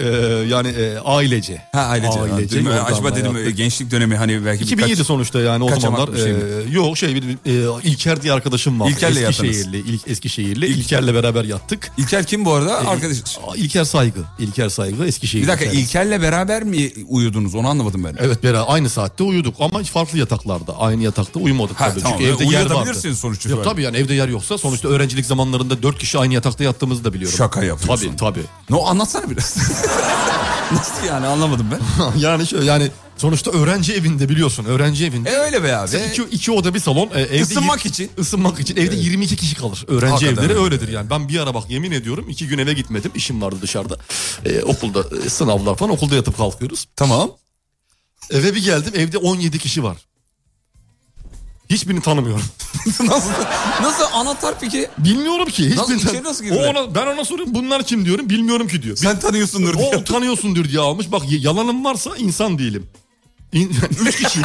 yani e, ailece.
Ha ailece.
Ailece
Dedim,
yorganla
acaba dedim
yattık.
gençlik dönemi hani belki
2007
birkaç...
sonuçta yani o
kaç
zamanlar.
amak bir şey mi?
e, yok şey bir, bir, e, İlker diye arkadaşım vardı.
İlker'le yattınız.
Eskişehirli, İl- Eskişehirli. İlker'le beraber yattık.
İlker kim bu arada? Arkadaş.
Aa, E, İlker Saygı. İlker Saygı Eskişehir.
Bir dakika
İlker.
İlker'le beraber mi uyudunuz? Onu anlamadım ben.
Evet beraber aynı saatte uyuduk ama farklı yataklarda. Aynı yatakta uyumadık
Ha,
tabii.
tamam.
Çünkü evde yer vardı.
Uyuyabilirsiniz sonuç
Ya,
itibariyle.
tabii yani evde yer yoksa sonuçta öğrencilik zamanlarında dört kişi aynı yatakta yattığımızı da biliyorum.
Şaka yapıyorsun.
Tabii tabii.
No anlatsana biraz. Nasıl yani anlamadım ben.
yani şöyle, yani sonuçta öğrenci evinde biliyorsun öğrenci evinde.
E öyle be abi.
Sen iki, iki oda bir salon. e, evde
Isınmak için.
Isınmak için. Evde 22 kişi kalır. Öğrenci
Hakikaten
evleri
öyle.
öyledir yani. Ben bir ara bak yemin ediyorum iki gün eve gitmedim. İşim vardı dışarıda. E, okulda e, sınavlar falan okulda yatıp kalkıyoruz.
Tamam.
Eve bir geldim evde 17 kişi var. Hiçbirini tanımıyorum.
nasıl, nasıl anahtar peki?
Bilmiyorum ki. Hiçbirini
Nasıl,
tan-
içeri nasıl
o
girdiler?
ona, ben ona soruyorum bunlar kim diyorum bilmiyorum ki diyor.
Sen tanıyorsundur diye.
O utanıyorsundur diye almış. Bak y- yalanım varsa insan değilim. İn, üç kişi.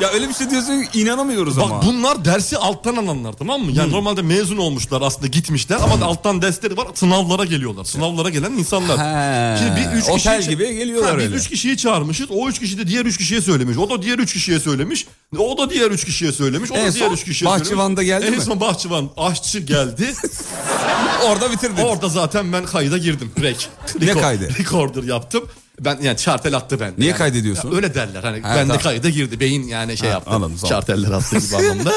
Ya öyle bir şey diyorsun ki inanamıyoruz ama.
Bak bunlar dersi alttan alanlar tamam mı?
Hmm.
Yani normalde mezun olmuşlar aslında gitmişler ama alttan dersleri var sınavlara geliyorlar. Sınavlara gelen insanlar.
He, otel
kişiyi-
gibi geliyorlar
Ha, biz
öyle.
üç kişiyi çağırmışız. O üç kişi de diğer üç kişiye söylemiş. O da diğer üç kişiye söylemiş. O da diğer üç kişiye söylemiş. O da
En
diğer
son
üç kişiye söylemiş.
Bahçıvan'da geldi
en
mi?
son Bahçıvan aşçı geldi.
Orada bitirdin.
Orada zaten ben kayda girdim. Rek.
Ne kaydı?
Recorder yaptım. Ben yani çartel attı ben.
Niye
yani.
kaydediyorsun?
Ya öyle derler hani ben
tamam.
de kayda girdi. Beyin yani şey yaptı.
anladım, tamam.
Çarteller attı gibi anlamda.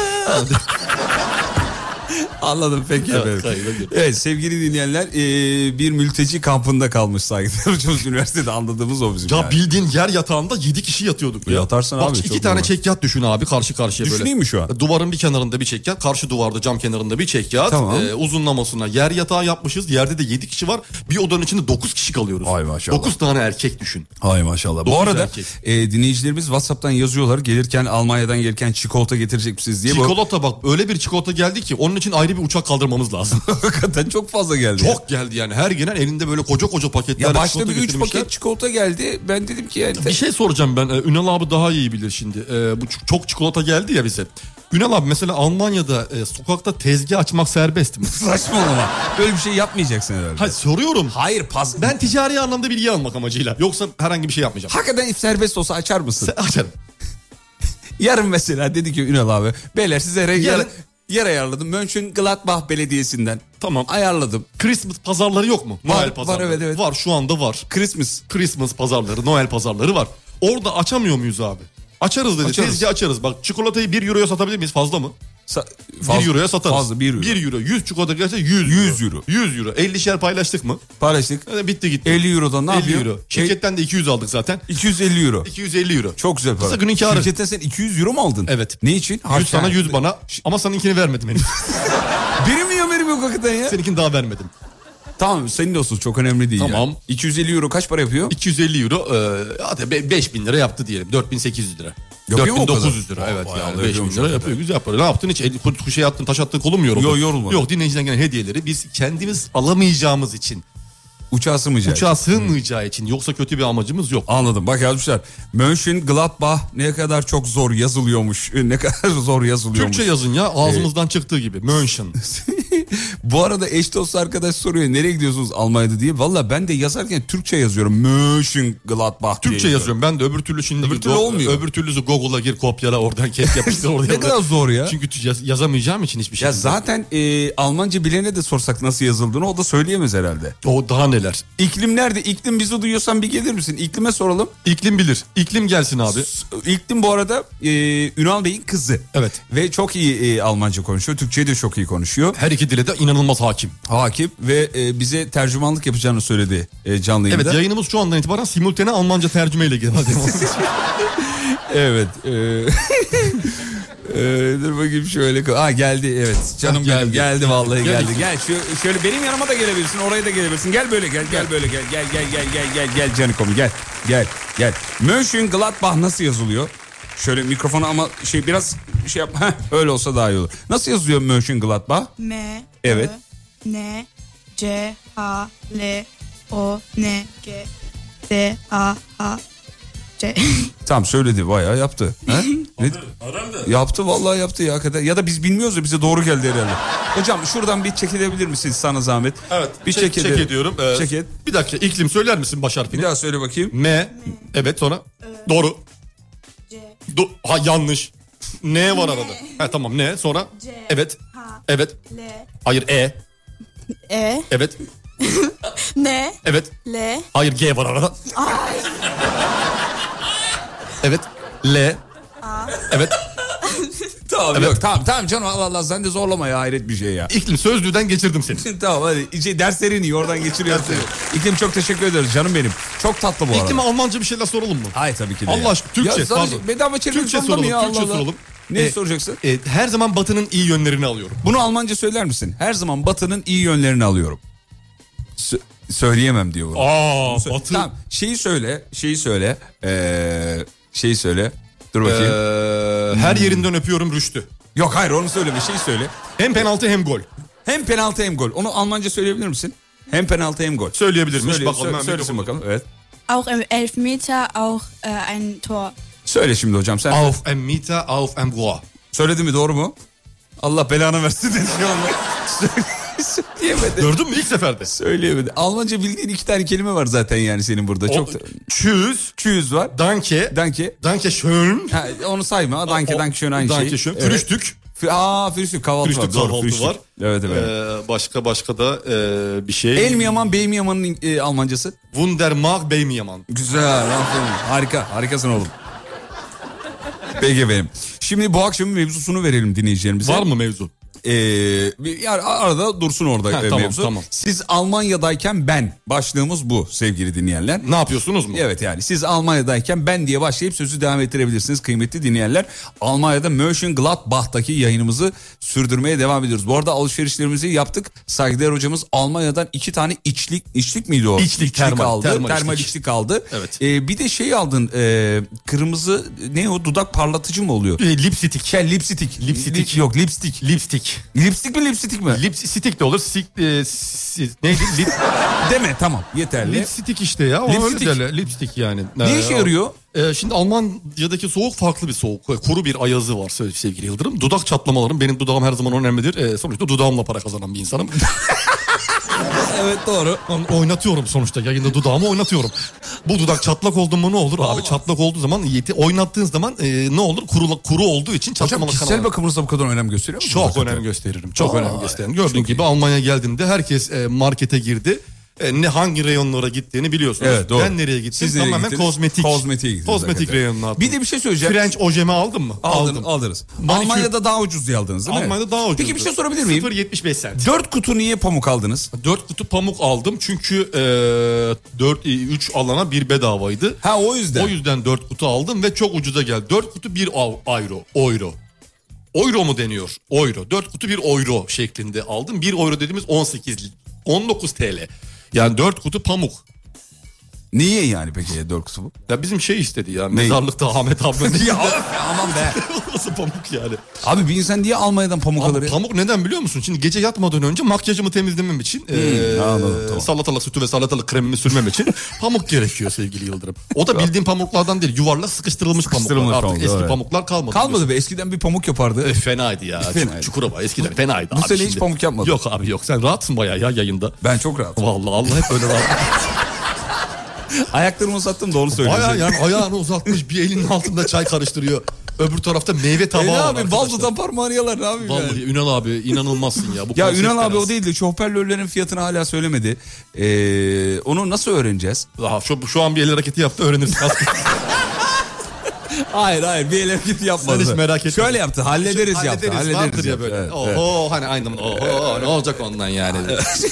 Anladım peki
Evet,
efendim.
kayda girdim.
Evet sevgili dinleyenler eee, bir mülteci kampında kalmış saygıdeğer hocamız üniversitede anladığımız o bizim.
ya
yani.
bildiğin yer yatağında 7 kişi yatıyorduk ya.
Yatarsın
Bak
abi,
iki
çok
tane
normal.
çekyat düşün abi karşı karşıya böyle.
Düşüneyim mi şu an?
Duvarın bir kenarında bir çekyat, karşı duvarda cam kenarında bir çekyat.
Tamam.
Ee, uzunlamasına yer yatağı yapmışız. Yerde de 7 kişi var. Bir odanın içinde 9 kişi kalıyoruz.
Vay maşallah.
9 tane erkek düşün.
Hay maşallah. Bu
Dokuz
arada
erkek.
e, dinleyicilerimiz WhatsApp'tan yazıyorlar. Gelirken Almanya'dan gelirken çikolata getirecek misiniz diye. Bu
Çikolata bak öyle bir çikolata geldi ki onun için ayrı bir uçak kaldırmamız lazım.
hakikaten çok fazla geldi.
Çok geldi yani her gelen elinde böyle koca koca paketler.
Ya başta
çikolata
bir 3
getirmişler.
paket çikolata geldi. Ben dedim ki yani
Bir şey soracağım ben. Ee, Ünal abi daha iyi bilir şimdi. Ee, bu ç- çok çikolata geldi ya bize. Ünal abi mesela Almanya'da e, sokakta tezgah açmak serbest mi?
saçmalama. Böyle bir şey yapmayacaksın herhalde.
Hayır soruyorum.
Hayır paz.
Ben ticari anlamda bilgi almak amacıyla. Yoksa herhangi bir şey yapmayacağım.
Hakikaten serbest olsa açar mısın?
Sen- Açarım.
Yarın mesela dedi ki Ünal abi. Beyler size re-
Yarın-
yer, yer ayarladım. Mönchengladbach Belediyesi'nden.
Tamam.
Ayarladım.
Christmas pazarları yok mu?
Var,
Noel
var,
pazarları.
evet, evet.
Var şu anda var.
Christmas.
Christmas pazarları, Noel pazarları var. Orada açamıyor muyuz abi? Açarız dedi.
Açarız.
Tezgah açarız. Bak çikolatayı 1 euroya satabilir miyiz? Fazla mı?
Sa-
1 euroya satarız.
Fazla 1 euro.
1 euro. 100 çikolata gelse 100
100 euro.
100 euro. 50'şer paylaştık mı?
Paylaştık.
Zaten bitti gitti.
50 eurodan ne
50
yapıyor?
euro.
E,
Şirketten de 200 aldık zaten.
250 euro.
250 euro.
Çok güzel para.
Kısa günün kârı.
Şirketten sen 200 euro mu aldın?
Evet.
Ne için?
100 sana 100 bana ama seninkini vermedim henüz.
Benim niye haberim yok hakikaten ya?
Seninkini daha vermedim.
Tamam senin de olsun çok önemli değil.
Tamam.
ya. 250 euro kaç para yapıyor?
250 euro e, hadi be- 5000 lira yaptı diyelim. 4800 lira.
Yapıyor mu o
4900
kadar?
lira
Aa,
evet
bayağı
yani
da
5000
yapıyormuş
lira
hakikaten.
yapıyor güzel para. Ne yaptın hiç el, kurt- şey attın taş attın kolun mu yoruldu?
Yok, yorulmadım.
Yok dinleyiciden gelen hediyeleri biz kendimiz alamayacağımız için
Uçağı sığmayacak.
uçağa sığmayacağı için yoksa kötü bir amacımız yok.
Anladım. Bak yazmışlar. Mönchengladbach ne kadar çok zor yazılıyormuş. Ne kadar zor yazılıyormuş.
Türkçe yazın ya ağzımızdan
Ee,
çıktığı gibi. München.
Bu arada eş dost arkadaş soruyor nereye gidiyorsunuz Almanya'da diye. Valla ben de yazarken Türkçe yazıyorum. Mönchengladbach diye
Türkçe yazıyorum ben de öbür türlü şimdi.
Öbür türlü olmuyor.
Öbür türlüsü Google'a gir kopyala oradan kes yapıştır oraya.
Ne kadar zor ya.
Çünkü tü- yaz- yazamayacağım için hiçbir şey.
Ya zaten e, Almanca bilene de sorsak nasıl yazıldığını o da söyleyemez herhalde.
O daha neler.
İklim nerede? İklim bizi duyuyorsan bir gelir misin? İklime soralım.
İklim bilir. İklim gelsin abi.
İklim bu arada e, Ünal Bey'in kızı.
Evet.
Ve çok iyi e, Almanca konuşuyor. Türkçeyi de çok iyi konuşuyor.
Her iki dile de inanılmaz hakim.
Hakim ve e, bize tercümanlık yapacağını söyledi e, canlı
Evet
yayında.
yayınımız şu andan itibaren simultane Almanca tercümeyle gelmez.
Evet. E, e, dur bakayım şöyle. ko- Ha geldi evet. Canım
Geldi.
geldi. Geldi vallahi
Gel
geldi.
işte.
Gel şu şöyle benim yanıma da gelebilirsin. Oraya da gelebilirsin. Gel böyle gel. Gel böyle gel. Gel gel gel gel gel gel Canikom gel. Gel gel. Mönchengladbach nasıl yazılıyor? Şöyle mikrofonu ama şey biraz şey yap. Heh, öyle olsa daha iyi olur. Nasıl yazılıyor Mönchengladbach?
M
Evet.
Ö, N C H L O N G D A H C
Tamam söyledi bayağı yaptı. He? Ne- Yaptı vallahi yaptı ya hakikaten. Ya da biz bilmiyoruz da bize doğru geldi herhalde. Hocam şuradan bir çekilebilir misiniz sana zahmet? Bir
çek,
çek,
çek ediyorum. Ee,
Çek et.
Bir dakika iklim söyler misin baş harfini?
Bir daha söyle bakayım.
M. Evet sonra. Doğru.
C
Do- ha yanlış. N var arada. Ha tamam N sonra.
C.
Evet.
H
Evet.
L
Hayır E.
E
Evet.
N
Evet.
L
Hayır G var arada. evet. L. Evet.
Tamam
Evet.
yok tamam tamam canım Allah Allah sen de zorlama ya hayret bir şey ya.
İklim sözlüğünden geçirdim seni.
tamam hadi şey, derslerin iyi oradan geçiriyorsun. İklim çok teşekkür ederiz canım benim. Çok tatlı bu
İklime
arada.
Almanca bir şeyler soralım mı?
Hayır tabii ki de.
Allah
ya.
aşkına Türkçe
Ya sadece
pardon.
bedava çevirmek
Türkçe
zorunda mı
soralım.
ya?
Türkçe
Allah Allah.
soralım.
Neyi
Ee,
soracaksın?
e, her zaman Batı'nın iyi yönlerini alıyorum.
Bunu Almanca söyler misin? Her zaman Batı'nın iyi yönlerini alıyorum. Sö- söyleyemem diyor bunu.
Aa
Sö- Tamam şeyi söyle, şeyi söyle. Ee, şeyi söyle. Dur bakayım.
Ee, her yerinden öpüyorum Rüştü.
Yok hayır onu söyleme şeyi söyle.
Hem penaltı hem gol.
Hem penaltı hem gol. Onu Almanca söyleyebilir misin? Hem penaltı hem gol.
Söyleyebilirmiş.
Söyle,
bakalım.
sö-
hemen
söylesin
mikrofonu.
bakalım. Evet.
Auch im Elfmeter auch äh, ein Tor.
Söyle şimdi hocam sen.
Auf en Mita, auf en Goa.
Söyledi mi doğru mu? Allah belanı versin dedi onu. Söyle- Söyleyemedi.
Gördün mü ilk seferde?
Söyleyemedi. Almanca bildiğin iki tane kelime var zaten yani senin burada. Çok da...
Tschüss,
Çüyüz var.
danke,
Danke.
danke schön.
Ha, onu sayma. Danke danke şöyle aynı şey.
Danke schön.
Evet.
Frühstück.
Fü- Aa Frühstük kahvaltı
Frühstück
var. Doğru,
kahvaltı
frühstück.
var.
Evet evet.
Ee, başka başka da e, bir şey.
El mi yaman, bey mi yamanın e, Almancası?
Wundermag Bey mi yaman?
Güzel. aferin. Harika. Harikasın oğlum. Peki efendim. Şimdi bu akşamın mevzusunu verelim dinleyicilerimize.
Var mı mevzu?
Ee, bir- yani arada dursun orada
Ha,
e,
tamam,
mevzu.
tamam.
Siz Almanya'dayken ben. Başlığımız bu sevgili dinleyenler.
Ne yapıyorsunuz mu?
Evet yani siz Almanya'dayken ben diye başlayıp sözü devam ettirebilirsiniz kıymetli dinleyenler. Almanya'da Mönchengladbach'taki yayınımızı sürdürmeye devam ediyoruz. Bu arada alışverişlerimizi yaptık. Saygıdeğer hocamız Almanya'dan iki tane içlik, içlik miydi o?
İçlik, termal,
aldı.
termal
Termal,
içlik.
içlik. aldı.
Evet.
Ee, bir de şey aldın e, kırmızı ne o dudak parlatıcı mı oluyor?
E, lipstick.
Şey lipstik.
Lipstick.
Lip- yok lipstik.
Lipstick.
Lipstik mi lipstik mi?
Lipstick de olur. Sik, e, si- neydi? Lip,
Deme tamam yeterli.
lipstick işte ya. O
Lipstick.
öyle derler. Lipstick yani.
ne
Ee,
işe yarıyor?
Ee, şimdi Almanya'daki soğuk farklı bir soğuk. Ee, Kuru bir ayazı var söyle- sevgili Yıldırım. Dudak çatlamalarım. Benim dudağım her zaman önemlidir. Ee, sonuçta dudağımla para kazanan bir insanım.
Evet doğru.
Lan oynatıyorum sonuçta. Yayında dudağımı oynatıyorum. Bu dudak çatlak oldu mu ne olur abi? Çatlak olduğu zaman yeti oynattığın zaman e, ne olur? Kuru, kuru olduğu için
Hocam
çatlamalı
kişisel bakımınıza bu kadar önem gösteriyor musunuz?
Çok
hakikaten?
önem gösteririm. Çok
Aa,
önem gösteririm. Gördüğün gibi Almanya geldiğimde herkes e, markete girdi. e, ne hangi reyonlara gittiğini biliyorsunuz.
Evet, doğru.
Ben nereye gittim?
Siz nereye
tamamen
gittiniz?
kozmetik.
Kozmetiğe gittiniz
Kozmetik
hakikaten.
reyonuna attım.
Bir de bir şey söyleyeceğim.
French ojemi aldın mı?
Aldın, Alırız.
Manikür.
Almanya'da daha ucuz diye aldınız değil mi?
Almanya'da daha ucuz.
Peki bir şey sorabilir miyim?
0.75 sent.
Dört kutu niye pamuk aldınız?
4 kutu pamuk aldım çünkü 4 3 alana bir bedavaydı.
Ha o yüzden.
O yüzden 4 kutu aldım ve çok ucuza geldi. 4 kutu 1 euro. Euro. Euro mu deniyor? Euro. 4 kutu 1 euro şeklinde aldım. 1 euro dediğimiz 18 19 TL. Yani 4 kutu pamuk.
Niye yani peki dört kutu?
Ya bizim şey istedi ya mezarlıkta Ahmet abla.
ya aman be.
Nasıl pamuk yani?
Abi bir insan niye Almanya'dan pamuk
Abi
alır ya?
pamuk neden biliyor musun? Şimdi gece yatmadan önce makyajımı temizlemem için eee,
Hmm, anladım, tamam.
salatalık sütü ve salatalık kremimi sürmem için pamuk gerekiyor sevgili Yıldırım. O da bildiğim pamuklardan değil yuvarlak sıkıştırılmış,
Sıkıştırılmış
pamuklar. Artık
pamuk,
eski
evet.
pamuklar kalmadı.
Kalmadı be eskiden bir pamuk yapardı.
E, fenaydı ya.
Fenaydı.
Fenaydı. Çukurova eskiden fenaydı.
bu
abi
sene hiç
şimdi.
pamuk yapmadın.
Yok abi yok. Sen rahatsın bayağı ya yayında.
Ben çok rahatım.
Vallahi Allah hep öyle rahat.
Ayaklarımı uzattım doğru söylüyorsun.
bayağı yani ayağını uzatmış bir elinin altında çay karıştırıyor. Öbür tarafta meyve tabağı
E ne
var
abi
arkadaşlar.
baltadan parmağını yalar ne yapayım yani?
Vallahi Ünal abi inanılmazsın ya. Bu
Ya
konsept
Ünal abi
fenası.
o değil de şoförlörlerin fiyatını hala söylemedi. Ee, onu nasıl öğreneceğiz?
Daha şu, şu an bir el hareketi yaptı öğrenirsin. Az-
Hayır hayır bir elef git yapmadı.
Sen hiç merak etme.
Şöyle yaptı hallederiz, yaptı.
Hallederiz, vardır ya
yaptı,
böyle.
evet, evet.
oho hani aynı oho ne olacak ondan yani.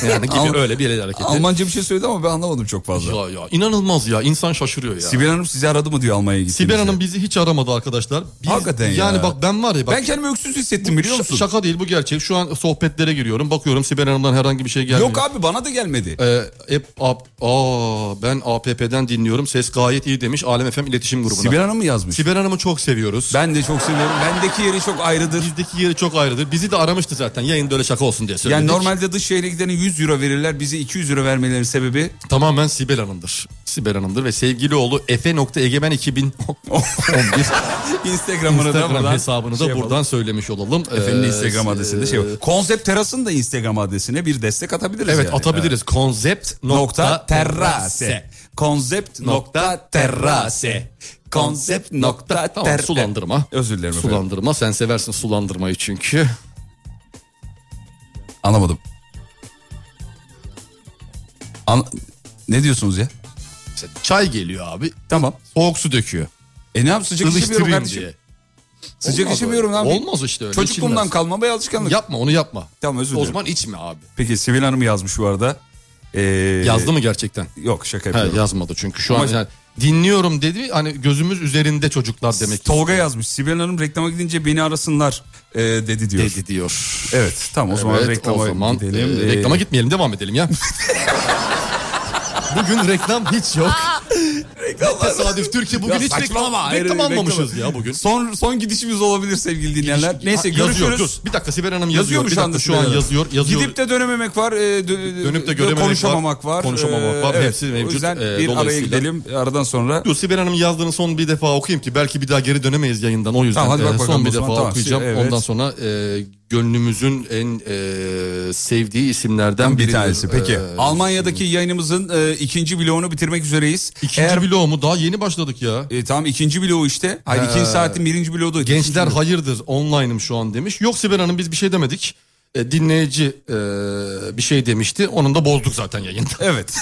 yani
Al-
gibi öyle bir el hareketi.
Almanca bir şey söyledi ama ben anlamadım çok fazla.
Ya ya inanılmaz ya insan şaşırıyor ya. Sibel,
Sibel Hanım sizi aradı mı diyor Almanya'ya gittiğinizde.
Hanım bizi hiç aramadı arkadaşlar. Biz,
Hakikaten ya.
Yani bak ben var ya bak.
Ben kendimi öksüz hissettim biliyor
ş-
musun?
Şaka değil bu gerçek. Şu an sohbetlere giriyorum. Bakıyorum Sibel Hanım'dan herhangi bir şey gelmiyor.
Yok abi bana da gelmedi.
Ee, hep ap- aa, ben APP'den dinliyorum. Ses gayet iyi demiş Alem FM iletişim grubuna.
Sibel Hanım mı yazmış?
Sibel Hanım'ı çok seviyoruz.
Ben de çok seviyorum. Bendeki yeri çok ayrıdır.
Bizdeki yeri çok ayrıdır. Bizi de aramıştı zaten. Yayında öyle şaka olsun diye söyledik.
Yani normalde dış şehre gidene 100 euro verirler. Bize 200 euro vermelerinin sebebi
Tamamen Sibel Hanım'dır. Sibel Hanım'dır ve sevgili oğlu Efe.Egemen 2011
Instagram'ını da
Instagram
buradan
hesabını da
şey yapalım.
buradan söylemiş olalım.
Efendim
Ee,
Instagram
e,
adresinde şey var. Konsept Teras'ın da Instagram adresine bir destek atabiliriz
Evet
yani.
atabiliriz. Konsept
Nokta terrase. Konsept nokta
Nokta
terrase. Konsept nokta
Tamam
terrase.
sulandırma.
Özür dilerim efendim.
Sulandırma. Sen seversin sulandırmayı çünkü.
Anlamadım. An- ne diyorsunuz ya?
İşte çay geliyor abi.
Tamam.
Soğuk su döküyor.
E ne yap sıcak içemiyorum
Ilıştırayım
kardeşim.
diye.
Sıcak
Olmaz
içemiyorum
öyle.
abi.
Olmaz işte öyle.
Çocukluğumdan
içilmez.
kalma bir alışkanlık.
Yapma onu yapma.
Tamam özür
O
dilerim.
zaman içme abi.
Peki Sibel Hanım yazmış bu arada. Ee,
Yazdı mı gerçekten?
Yok şaka
He,
yapıyorum.
yazmadı çünkü şu
Ama-
an yani dinliyorum dedi hani gözümüz üzerinde çocuklar demek ki
Tolga yazmış. Sibel Hanım reklama gidince beni arasınlar e, dedi diyor.
dedi diyor.
Evet tamam o zaman
Evet,
reklama
o zaman,
gidelim.
e,
Ee,
reklama gitmeyelim devam edelim ya. bugün reklam hiç yok. Tesadüf Türkiye bugün
Ya
hiç
saçmalama,
reklam,
hayır,
reklam
hayır,
almamışız
reklam.
ya bugün.
Son son gidişimiz olabilir sevgili dinleyenler.
Ha,
Neyse
yazıyor,
görüşürüz.
dur. Bir dakika Sibel Hanım yazıyor.
Yazıyor mu
Bir
şu anda
dakika, şu an
Sibel Hanım?
yazıyor. yazıyor.
Gidip de dönememek var, e, dö-
Dönüp de görememek
konuşamamak var,
var, konuşamamak var.
Ee,
Hepsi mevcut.
O yüzden
Ee,
bir araya
dolayısıyla-
gidelim. Aradan sonra
Dur Sibel Hanım yazdığını son bir defa okuyayım ki belki bir daha geri dönemeyiz yayından. O yüzden
Tamam, hadi bak
e,
bakalım
son
o
bir
zaman.
defa
Tamam,
okuyacağım.
evet.
Ondan sonra e, gönlümüzün en e, sevdiği isimlerden
bir
biridir.
tanesi. Peki
E,
Almanya'daki yayınımızın e, ikinci bloğunu bitirmek üzereyiz.
ikinci
Eğer-
bloğu mu? Daha yeni başladık ya.
E, tamam ikinci bloğu işte. Hayır ikinci saatin birinci bloğu da.
E, Gençler hayırdır online'ım şu an demiş. Yok Sibel Hanım biz bir şey demedik. E, dinleyici e, bir şey demişti. Onun da bozduk zaten yayında.
Evet.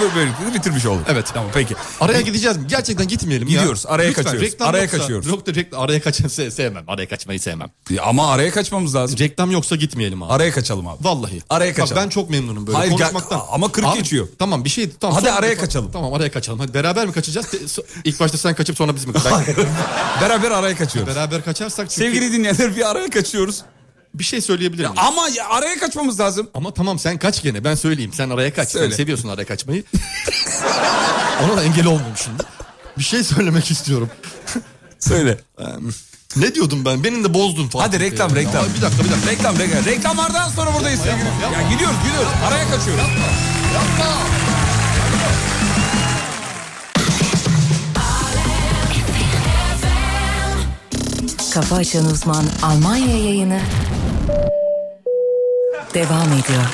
Böyle- Böylelikle de bitirmiş olduk.
Evet.
Tamam peki.
Araya gideceğiz mi? Gerçekten gitmeyelim ya.
Gidiyoruz, araya kaçıyoruz,
Reklam
araya
yoksa,
kaçıyoruz.
Yok da rekl- araya kaçan se- sevmem. Araya kaçmayı sevmem.
Ya Ama araya kaçmamız lazım.
Reklam yoksa gitmeyelim abi.
Araya kaçalım abi.
Vallahi.
Araya
Bak
kaçalım.
ben çok memnunum böyle
Hayır, gel-
konuşmaktan.
ama kırk
Abi,
geçiyor.
Tamam bir şey. Tamam,
Hadi
sonra-
araya kaçalım.
Tamam araya kaçalım. Hadi beraber mi kaçacağız? Te- so- İlk başta sen kaçıp sonra biz mi kaçacağız?
Beraber araya kaçıyoruz.
beraber kaçarsak çünkü
Sevgili dinleyenler bir araya kaçıyoruz.
bir şey söyleyebilir miyim?
Ama ya araya kaçmamız lazım.
Ama tamam sen kaç gene ben söyleyeyim. Sen araya kaç.
Söyle.
Sen seviyorsun araya kaçmayı. Ona da engel olmam şimdi. Bir şey söylemek istiyorum.
Söyle.
Ne diyordum ben? Benim de bozdun falan.
Hadi reklam reklam.
bir dakika bir dakika.
Reklam reklam. Reklamlardan sonra buradayız sevgili.
yapma.
Ya gidiyoruz gidiyoruz. Araya kaçıyoruz.
Kafa Açan Uzman Almanya yayını devam ediyor.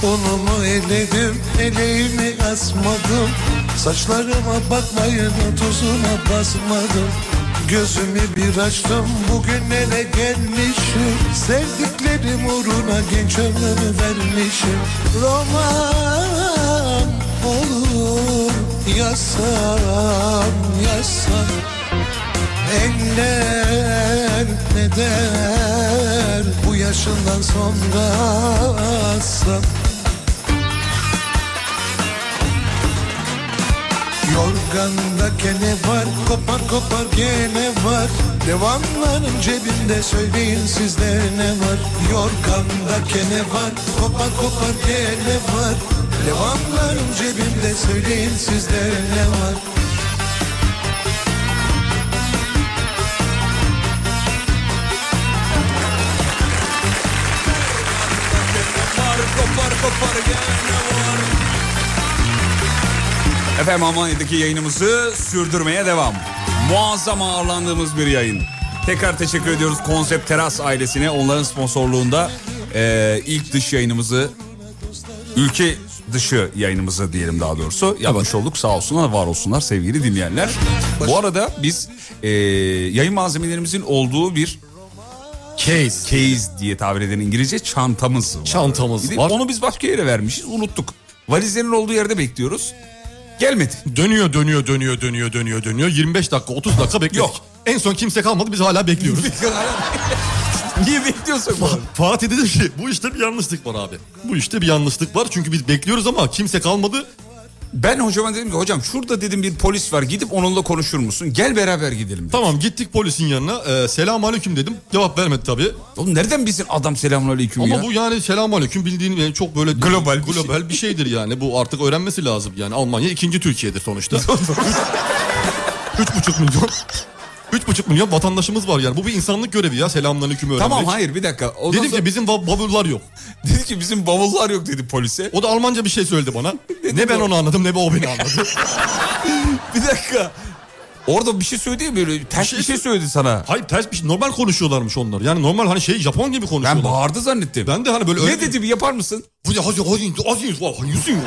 Torunumu eledim, eleğimi asmadım Saçlarıma bakmayın, tozuna basmadım Gözümü bir açtım, bugün ele gelmişim Sevdiklerim uğruna genç ömrümü vermişim Roman olur, yazsam, yazsam Eller ne der bu yaşından sonra aslan Yorganda kene var kopar kopar gene var Devamların cebinde söyleyin sizde ne var Yorganda kene var kopar kopar gene var Devamların cebinde söyleyin sizde ne var
Efendim Almanya'daki yayınımızı sürdürmeye devam. Muazzam ağırlandığımız bir yayın. Tekrar teşekkür ediyoruz Konsept Teras ailesine. Onların sponsorluğunda eee, ilk dış yayınımızı, ülke dışı yayınımızı diyelim daha doğrusu yapmış olduk. Sağ olsunlar, var olsunlar sevgili dinleyenler. Bu arada biz eee, yayın malzemelerimizin olduğu bir
Case.
case diye tabir eden İngilizce çantamız var. Bir
Çantamız
de
var.
Onu biz başka yere vermişiz, unuttuk. Valizlerin olduğu yerde bekliyoruz. Gelmedi.
Dönüyor dönüyor dönüyor dönüyor dönüyor dönüyor. 25 dakika 30 dakika bekledik.
Yok.
En son kimse kalmadı biz hala bekliyoruz.
Niye bekliyorsun bunu?
Fatih dedim ki bu işte bir yanlışlık var abi. Bu işte bir yanlışlık var çünkü biz bekliyoruz ama kimse kalmadı.
Ben hocama dedim ki hocam şurada dedim bir polis var gidip onunla konuşur musun? Gel beraber gidelim. dedi.
Tamam gittik polisin yanına. Ee, selam aleyküm dedim. Cevap vermedi tabii.
Oğlum nereden bilsin adam selamünaleyküm
Ama
ya?
bu yani selam aleyküm bildiğin yani çok böyle
Global bir
global bir şeydir yani. Bu artık öğrenmesi lazım yani. Almanya ikinci Türkiye'dir sonuçta. Üç buçuk milyon. Üç buçuk milyon vatandaşımız var yani. Bu bir insanlık görevi ya selamünaleyküm öğrenmek.
Tamam hayır bir dakika. Ondan
Dedim
sonra-
ki bizim va- bavullar yok.
dedi ki bizim bavullar yok dedi polise.
O da Almanca bir şey söyledi bana. ne ben onu anladım ne o beni anladı.
Bir dakika. Orada bir şey söyledi ya böyle ters
şey
bir şey söyledi sana.
Hayır ters bir şey. Normal konuşuyorlarmış onlar. Yani normal hani şey Japon gibi
Ben
konuşuyorlar.
bağırdı zannettim.
Ben de hani böyle
Ne dedi bir yapar mısın?
Bu ya hadi hadi hadi hadi yüzün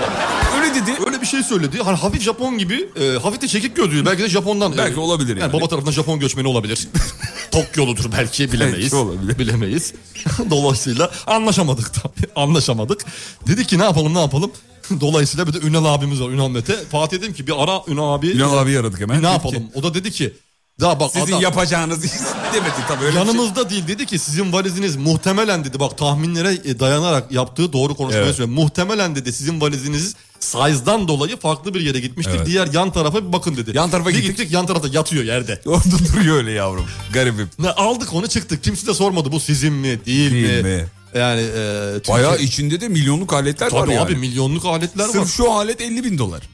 Öyle dedi.
Öyle bir şey söyledi. Hani hafif Japon gibi, e, hafif de çekik gözlüydü. Belki de Japon'dan. e,
Belki olabilir yani.
Baba tarafından Japon göçmeni olabilir. Tokyoludur belki bilemeyiz.
Belki olabilir.
Bilemeyiz. Dolayısıyla anlaşamadık tabii. Anlaşamadık. Dedi ki ne yapalım ne yapalım. Dolayısıyla bir de Ünal abimiz var Ünal Mete. Fatih dedim ki bir ara Ünal abi
Ünal abi aradık hemen.
ne
Dedi
yapalım.
ki,
O da dedi ki daha bak
Sizin
adam-
yapacağınız demedi tabii öyle bir şey.
Yanımızda değil dedi ki sizin valiziniz muhtemelen dedi bak tahminlere e, dayanarak yaptığı doğru konuşmayı
Evet.
söylüyor. Muhtemelen dedi sizin valiziniz size'dan dolayı farklı bir yere gitmiştir.
Evet.
Diğer yan tarafa bir bakın dedi.
Yan tarafa
Bir
gittik.
gittik yan tarafta yatıyor yerde.
şey. Orada duruyor öyle yavrum. Garibim.
Ne, aldık onu çıktık. Kimse de sormadı bu sizin mi değil,
Değil
mi?
mi?
Yani e, Türkiye-
Bayağı içinde de milyonluk aletler var
Tabii
yani.
abi milyonluk aletler
Sırf
var.
şu alet 50 bin dolar.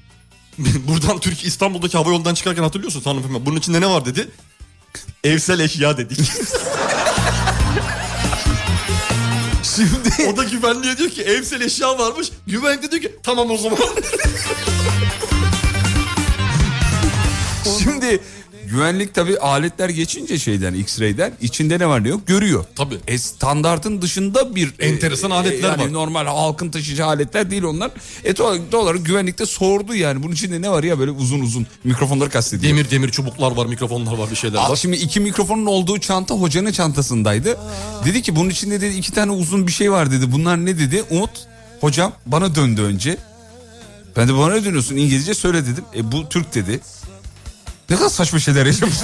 Buradan Türk İstanbul'daki hava yolundan çıkarken hatırlıyorsun hanımefendi. Bunun içinde ne var dedi? Evsel eşya dedik.
Şimdi
O da güvenliğe diyor ki evsel eşya varmış. Güvenlik de diyor ki tamam o zaman.
şimdi güvenlik tabii aletler geçince şeyden X-ray'den içinde ne var ne yok görüyor.
Tabii.
E, standartın dışında bir e,
Enteresan aletler
yani
var.
normal halkın taşıyacağı aletler değil onlar. E doğal doğal olarak güvenlikte sordu yani bunun içinde ne var ya böyle uzun uzun mikrofonları kastediyor.
Demir demir çubuklar var, mikrofonlar var, bir şeyler
Al
var.
şimdi iki mikrofonun olduğu çanta hocanın çantasındaydı. Dedi ki bunun içinde dedi iki tane uzun bir şey var dedi. Bunlar ne dedi? Umut hocam bana döndü önce. Ben de bana ne dönüyorsun İngilizce söyle dedim. E bu Türk dedi. Ne kadar saçma şeyler yaşamışız.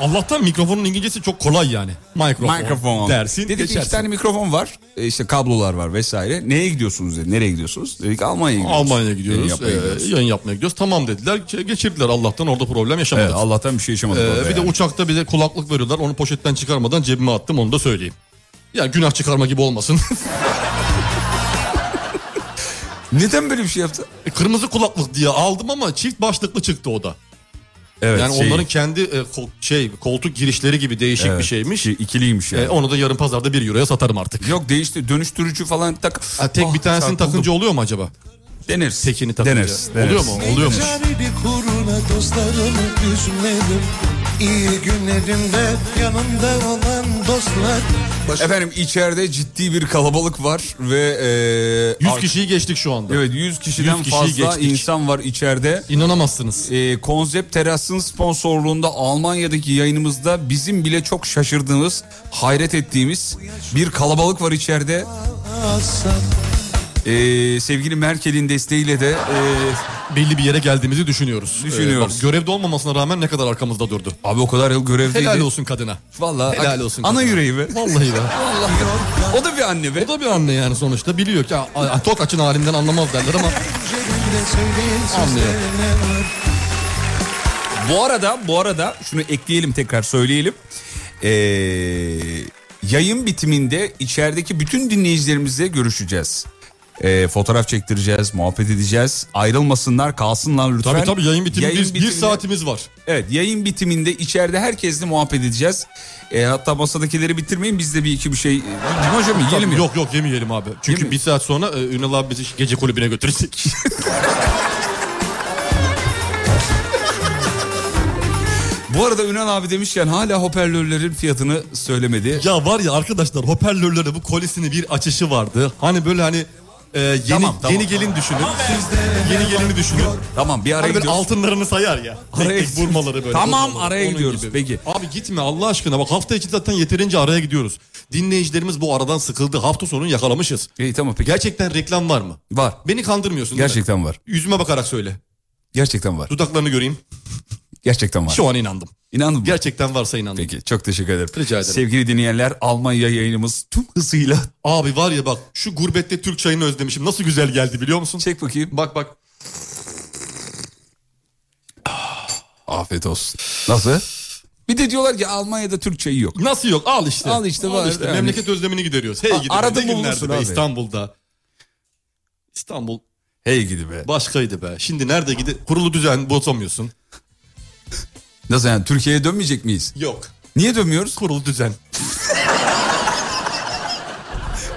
Allah'tan mikrofonun İngilizcesi çok kolay yani. Mikrofon,
mikrofon.
dersin
Dedi ki
geçersin.
iki tane mikrofon var. E, işte kablolar var vesaire. Neye gidiyorsunuz dedi. Nereye gidiyorsunuz? Dedik Almanya'ya gidiyoruz.
Almanya'ya
Yayın
gidiyoruz,
yapmaya
ee,
gidiyoruz.
yayın yapmaya gidiyoruz. Tamam dediler, Ge- geçirdiler Allah'tan orada problem
Evet,
yaşamadık.
Allah'tan bir şey yaşamadık.
Ee,
orada
bir de
yani.
uçakta bize kulaklık veriyorlar, onu poşetten çıkarmadan cebime attım onu da söyleyeyim. Ya günah çıkarma gibi olmasın.
Neden böyle bir şey yaptı?
Kırmızı kulaklık diye aldım ama çift başlıklı çıktı o da.
Evet,
yani
şey-
onların kendi e, kol- şey koltuk girişleri gibi değişik
Evet,
bir şeymiş.
şey, İkiliymiş yani.
E, onu da yarın pazarda 1 euroya satarım artık.
Yok değişti. Dönüştürücü falan tak.
Ha, tek
Ah,
bir tanesini
çarpıldım.
takınca oluyor mu acaba?
Deneriz.
Tekini takınca.
Deneriz, deneriz.
Oluyor mu? Oluyormuş.
Çareli kuruna dostlarımı üzmedim İyi günlerimde yanımda olan dostlar
Efendim içeride ciddi bir kalabalık var ve... E,
100
ar-
kişiyi geçtik şu anda.
Evet 100 kişiden
100 kişiyi
fazla
geçtik.
insan var içeride.
İnanamazsınız.
E, konsept terasın sponsorluğunda Almanya'daki yayınımızda bizim bile çok şaşırdığımız, hayret ettiğimiz bir kalabalık var içeride. E, sevgili Merkel'in desteğiyle de e,
Belli bir yere geldiğimizi düşünüyoruz.
Düşünüyoruz.
Ee, bak, görevde olmamasına rağmen ne kadar arkamızda durdu.
abi o kadar yıl görevdeydi.
Helal olsun kadına.
Vallahi
Helal
ak-
olsun.
Ana
kadına.
yüreği be.
Vallahi be.
O da bir anne be.
O da bir E anne yani sonuçta biliyor ki "Aa, aa, tok açın halinden anlamaz derler ama
Cebimde söyleyin
Anlıyorum.
sizde ne var
Bu arada bu arada şunu ekleyelim tekrar söyleyelim. Ee, yayın bitiminde içerideki bütün dinleyicilerimizle görüşeceğiz. Ee, fotoğraf çektireceğiz, muhabbet edeceğiz. Ayrılmasınlar, kalsınlar lütfen.
tabii tabii yayın bitimi bir, bir
bitiminde-
saatimiz var.
Evet, yayın bitiminde içeride herkesle muhabbet edeceğiz. Ee, hatta masadakileri bitirmeyin, biz de bir iki bir şey... Dimaj mı yiyelim
Tabii,
ya?
Yok yok yemeyelim abi. Çünkü
Yemeyelim.
bir saat sonra e, Ünal abi bizi gece kulübüne götürecek.
Bu arada Ünal abi demişken hala hoparlörlerin fiyatını söylemedi.
ya var ya arkadaşlar hoparlörlerde bu kolisini bir açışı vardı. Hani böyle hani e, yeni
Tamam, tamam.
yeni gelin düşünün. Siz de yeni gelini düşünün.
Tamam, bir araya
Hani böyle
gidiyoruz.
altınlarını sayar ya. Tek
Araya-
tek vurmaları böyle.
Tamam,
vurmaları.
araya
Onun
gidiyoruz. Peki.
Abi gitme Allah aşkına bak hafta içi zaten yeterince araya gidiyoruz. Dinleyicilerimiz bu aradan sıkıldı. Hafta sonu yakalamışız.
İyi tamam peki.
Gerçekten reklam var mı?
var.
Beni kandırmıyorsun değil mi?
Gerçekten var.
Yüzüme bakarak söyle.
Gerçekten var.
Dudaklarını göreyim.
Gerçekten var.
Şu an inandım.
İnandın mı?
Gerçekten varsa inandım.
Peki çok teşekkür ederim.
Rica ederim.
Sevgili dinleyenler Almanya yayınımız tüm hızıyla
Abi var ya bak şu gurbette Türk çayını özlemişim. Nasıl güzel geldi biliyor musun?
çek bakayım.
Bak bak.
Afiyet olsun. Nasıl? Bir de diyorlar ki Almanya'da Türkçe'yi yok.
Nasıl yok? Al işte.
Al işte, var yani.
Memleket özlemini gideriyoruz. Hey
A-
gidi.
aradın
Aradım
mı bulursun abi?
İstanbul'da. İstanbul
Hey gidi be.
başkaydı be. Şimdi nerede gidi? Kurulu düzen bozamıyorsun.
Nasıl yani Türkiye'ye dönmeyecek miyiz?
Yok.
Niye dönmüyoruz?
Kurulu düzen.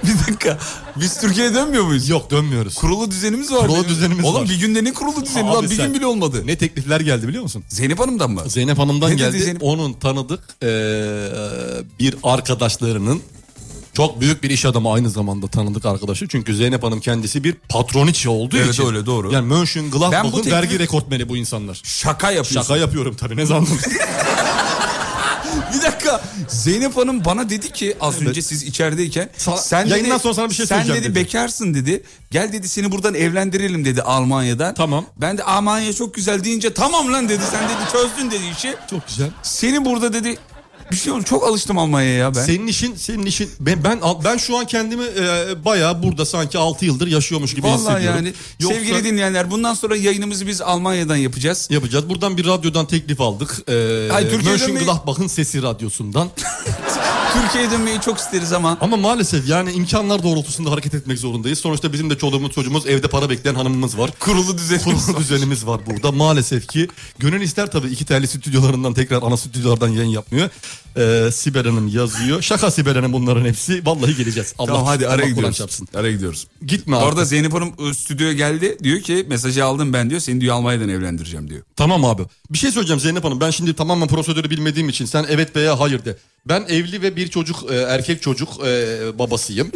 bir dakika. Biz Türkiye'ye dönmüyor muyuz?
Yok dönmüyoruz.
Kurulu düzenimiz var.
Kurulu
benim.
düzenimiz
Oğlum
var.
bir günde ne kurulu düzeni
Abi
lan? Bir
sen-
gün bile olmadı.
Ne teklifler geldi biliyor musun?
Zeynep Hanım'dan mı?
Zeynep Hanım'dan
Ne dedi
geldi.
Zeynep?
Onun tanıdık eee, bir arkadaşlarının çok büyük bir iş adamı aynı zamanda tanıdık arkadaşı. Çünkü Zeynep Hanım kendisi bir patroniçe olduğu
Evet,
için.
öyle, doğru.
Yani
Ben bu
Mönchengladbach'ın
teklifi-
vergi rekortmeni bu insanlar.
Şaka yapıyorsun.
Şaka yapıyorum tabii ne zaman.
Bir dakika. Zeynep Hanım bana dedi ki az önce siz içerideyken
Sana- yayından sonra sana bir şey
sen
söyleyeceğim
dedi,
dedi.
bekarsın dedi. Gel dedi seni buradan evlendirelim dedi Almanya'dan.
Tamam.
Ben de Almanya çok güzel deyince tamam lan dedi. Sen dedi çözdün dedi işi.
çok güzel.
Seni burada dedi bir şey oldu çok alıştım Almanya'ya ya ben.
Senin işin senin işin ben ben ben şu an kendimi eee bayağı burada sanki 6 yıldır yaşıyormuş gibi
Vallahi
hissediyorum.
yani
Yoksa-
sevgili dinleyenler bundan sonra yayınımızı biz Almanya'dan yapacağız.
Yapacağız. Buradan bir radyodan teklif aldık. Ee,
Hayır, Türkiye'den mi-
Mönchengladbach'ın sesi radyosundan.
Türkiye'ye dönmeyi çok isteriz ama
Ama maalesef yani imkanlar doğrultusunda hareket etmek zorundayız. Sonuçta bizim de çoluğumuz çocuğumuz evde para bekleyen hanımımız var.
kurulu düzenimiz
Kurulu düzenimiz var burada maalesef ki. Gönül ister tabii iki telli stüdyolarından tekrar ana stüdyolardan yayın yapmıyor. Ee, Sibel Hanım yazıyor. Şaka Sibel Hanım bunların hepsi. Vallahi geleceğiz. Allah,
Tamam hadi
Allah
araya
kulak
gidiyoruz.
çarpsın.
Araya gidiyoruz.
Gitme
Bu
artık.
arada Zeynep Hanım e, stüdyoya geldi. Diyor ki mesajı aldım ben diyor. Seni diyor Almanya'dan evlendireceğim diyor.
Tamam abi. Bir şey söyleyeceğim Zeynep Hanım. Ben şimdi tamamen prosedürü bilmediğim için sen evet veya hayır de. Ben evli ve bir çocuk e, erkek çocuk e, babasıyım.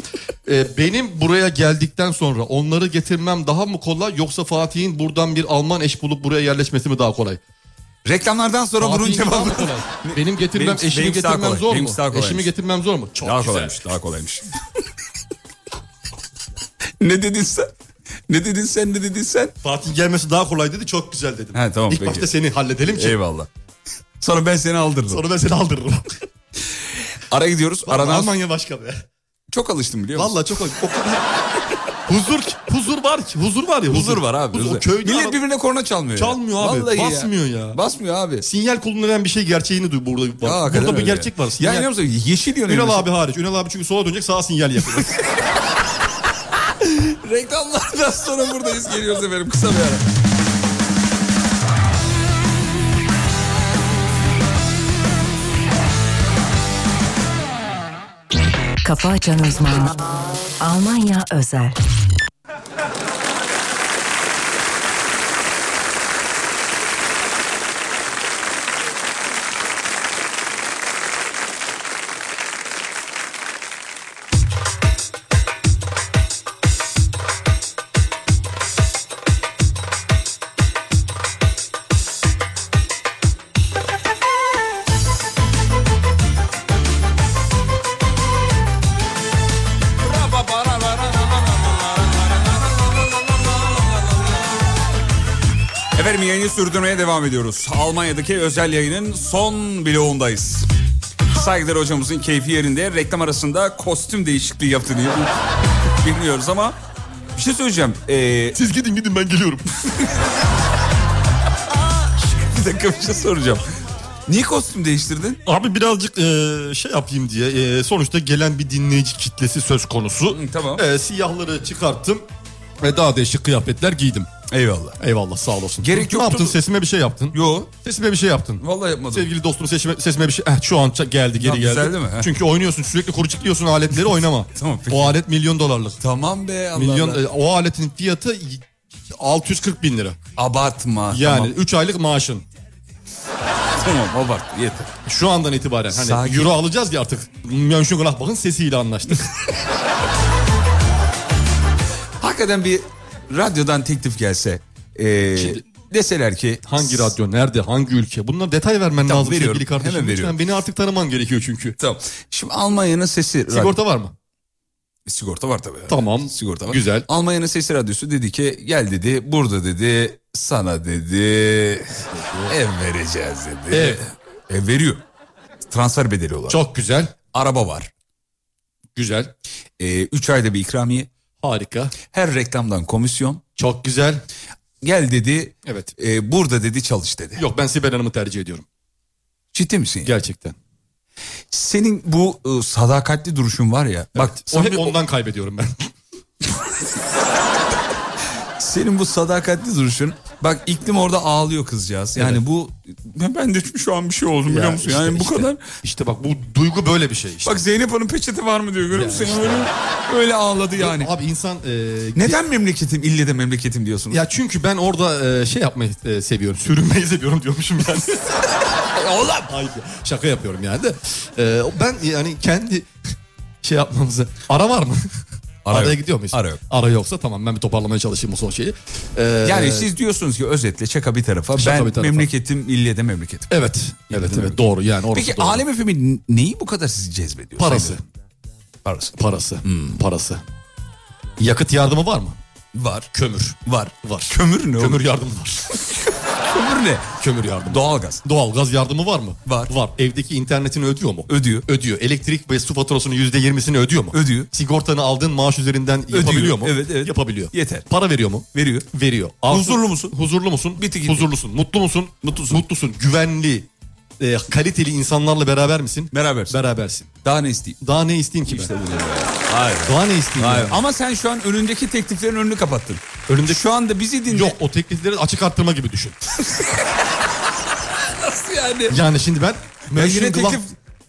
E, benim buraya geldikten sonra onları getirmem daha mı kolay yoksa Fatih'in buradan bir Alman eş bulup buraya yerleşmesi mi daha kolay?
Reklamlardan sonra bunun
Fatih'in daha
cevabı.
mı kolay? Benim getirmem
Benimkisi-
eşimi
benimkisi daha
getirmem
kolay.
zor mu?
Benimkisi daha kolaymış.
Eşimi getirmem zor mu? Çok
Daha
güzel.
kolaymış, daha kolaymış. ne dedin sen? Ne dedin sen, ne dedin sen?
Fatih gelmesi daha kolay dedi çok güzel dedim.
He, tamam,
İlk
peki.
başta seni halledelim ki
Eyvallah. Sonra ben seni aldırdım.
sonra ben seni aldırırım.
Ara gidiyoruz. Aradan
Almanya başka be.
çok alıştım biliyor musun?
Vallahi çok o kadar huzur huzur var ki huzur var ya
Huzur var abi.
Huzur,
huzur.
o köyde
Millet
ara-
birbirine korna çalmıyor. ya.
Çalmıyor abi,
Vallahi
basmıyor ya.
Basmıyor abi.
sinyal kullanılan bir şey gerçeğini duy burada
Ya,
var.
hakikaten
burada bir
öyle.
gerçek var.
Ya
Sinyal.
inanıyor musun? Yeşil yönüyor.
Ünal abi hariç. Ünal abi çünkü sola dönecek sağa sinyal yapıyor.
Reklamlardan sonra buradayız. Geliyoruz efendim kısa bir ara.
Kafa Açan Uzman Almanya Özel
Efendim yayını sürdürmeye devam ediyoruz. Almanya'daki özel yayının son bloğundayız. Saygılar hocamızın keyfi yerinde reklam arasında kostüm değişikliği yaptığını bilmiyoruz ama bir şey söyleyeceğim. Ee,
Siz gidin gidin ben geliyorum.
bir dakika bir şey soracağım. Niye kostüm değiştirdin?
Abi birazcık e, şey yapayım diye e, sonuçta gelen bir dinleyici kitlesi söz konusu.
Hı, tamam.
E, siyahları çıkarttım ve daha değişik kıyafetler giydim.
Eyvallah.
Eyvallah sağ olasın.
Gerek
Ne
yoktu.
yaptın sesime bir şey yaptın.
Yo
Sesime bir şey yaptın.
vallahi yapmadım.
Sevgili dostum sesime, sesime bir şey... Eh, şu an ça- geldi geri
Tamam,
geldi.
güzel değil mi? Heh.
Çünkü oynuyorsun sürekli kurcukluyorsun aletleri oynama.
Tamam, peki.
O alet milyon dolarlık.
Tamam be Allah
Milyon,
Allah.
e, o aletin fiyatı y- 640 bin lira.
Abartma.
Yani 3 aylık maaşın.
Tamam, tamam abart yeter.
Şu andan itibaren hani
Sakin.
euro alacağız ya artık. Mönchengladbach'ın sesiyle anlaştık.
Hakikaten bir radyodan teklif gelse. ee, deseler ki
hangi radyo, nerede, hangi ülke? Bunlara detay vermen
Tamam,
lazım
veriyorum.
sevgili kardeşim.
Hemen
Lütfen
veriyorum.
beni artık tanıman gerekiyor çünkü.
Tamam. Şimdi Almanya'nın sesi radyo-
Sigorta var mı?
Sigorta var tabii.
Tamam.
Sigorta var.
Güzel.
Almanya'nın sesi radyosu dedi ki gel dedi burada dedi sana dedi ev vereceğiz dedi.
Ev.
Ev veriyor. Transfer bedeli olarak.
Çok güzel.
Araba var.
Güzel.
3 ayda bir ikramiye.
Harika.
Her reklamdan komisyon.
Çok güzel.
Gel dedi
Evet.
e, burada dedi çalış dedi.
Yok ben Sibel Hanım'ı tercih ediyorum.
Ciddi misin? ya?
Gerçekten.
Senin bu e, sadakatli duruşun var ya. Bak
O
sen
hep ondan kaybediyorum ben.
Senin bu sadakatli duruşun. Bak iklim orada ağlıyor kızcağız. Yani bu ben de şu an bir şey oldum biliyor musun?
işte,
yani bu
işte.
kadar.
İşte bak bu duygu böyle bir şey işte.
Bak Zeynep Hanım peçete var mı diyor görüyor musun? Öyle, öyle ağladı yani.
Abi insan... e,
Neden memleketim ille de memleketim diyorsunuz?
Ya çünkü ben orada e, şey yapmayı e, seviyorum. Sürünmeyi seviyorum diyormuşum yani.
oğlum.
Hayır şaka yapıyorum yani de. E, ben yani kendi şey yapmamızı... Ara var mı?
Ara
Araya
yok.
gidiyor muyuz?
Ara yok.
Ara yoksa tamam ben bir toparlamaya çalışayım bu son şeyi. E,
Yani siz diyorsunuz ki özetle şaka bir tarafa
Şaka
ben
bir tarafa.
memleketim ille de memleketim.
Evet. Evet evet doğru yani orası
Peki
doğru.
Alem Efem'in neyi bu kadar sizi cezbediyor?
Parası.
Sayın- Parası.
Parası.
Hmm.
Parası. Yakıt yardımı var mı?
Var.
Kömür.
Var.
Var.
Kömür ne?
Kömür
oğlum?
yardımı var.
Kömür ne?
Kömür yardımı.
Doğalgaz.
Doğalgaz yardımı var mı?
Var.
Var. Evdeki internetini ödüyor mu?
Ödüyor.
Ödüyor. Elektrik ve su faturasının yüzde yirmisini ödüyor mu?
Ödüyor.
Sigortanı aldığın maaş üzerinden yapabiliyor mu?
Evet, evet.
Yapabiliyor.
Yeter.
Para veriyor mu?
Veriyor.
Veriyor.
Huzurlu musun?
Huzurlu musun?
Bitti gitti.
Huzurlusun. Mutlu musun? Mutlusun. Mutlusun. Güvenli, e, kaliteli insanlarla beraber misin?
Berabersin.
Berabersin.
Daha ne isteyeyim?
Daha ne isteyeyim ki ben?
Hayır.
Daha ne isteyeyim?
Hayır.
yani?
Ama sen şu an önündeki tekliflerin önünü kapattın.
Önümde-
Şu anda bizi dinle.
Yok o teklifleri açık arttırma gibi düşün.
Nasıl yani?
Yani şimdi ben
Ya yine
Mönchengladbach-
teklif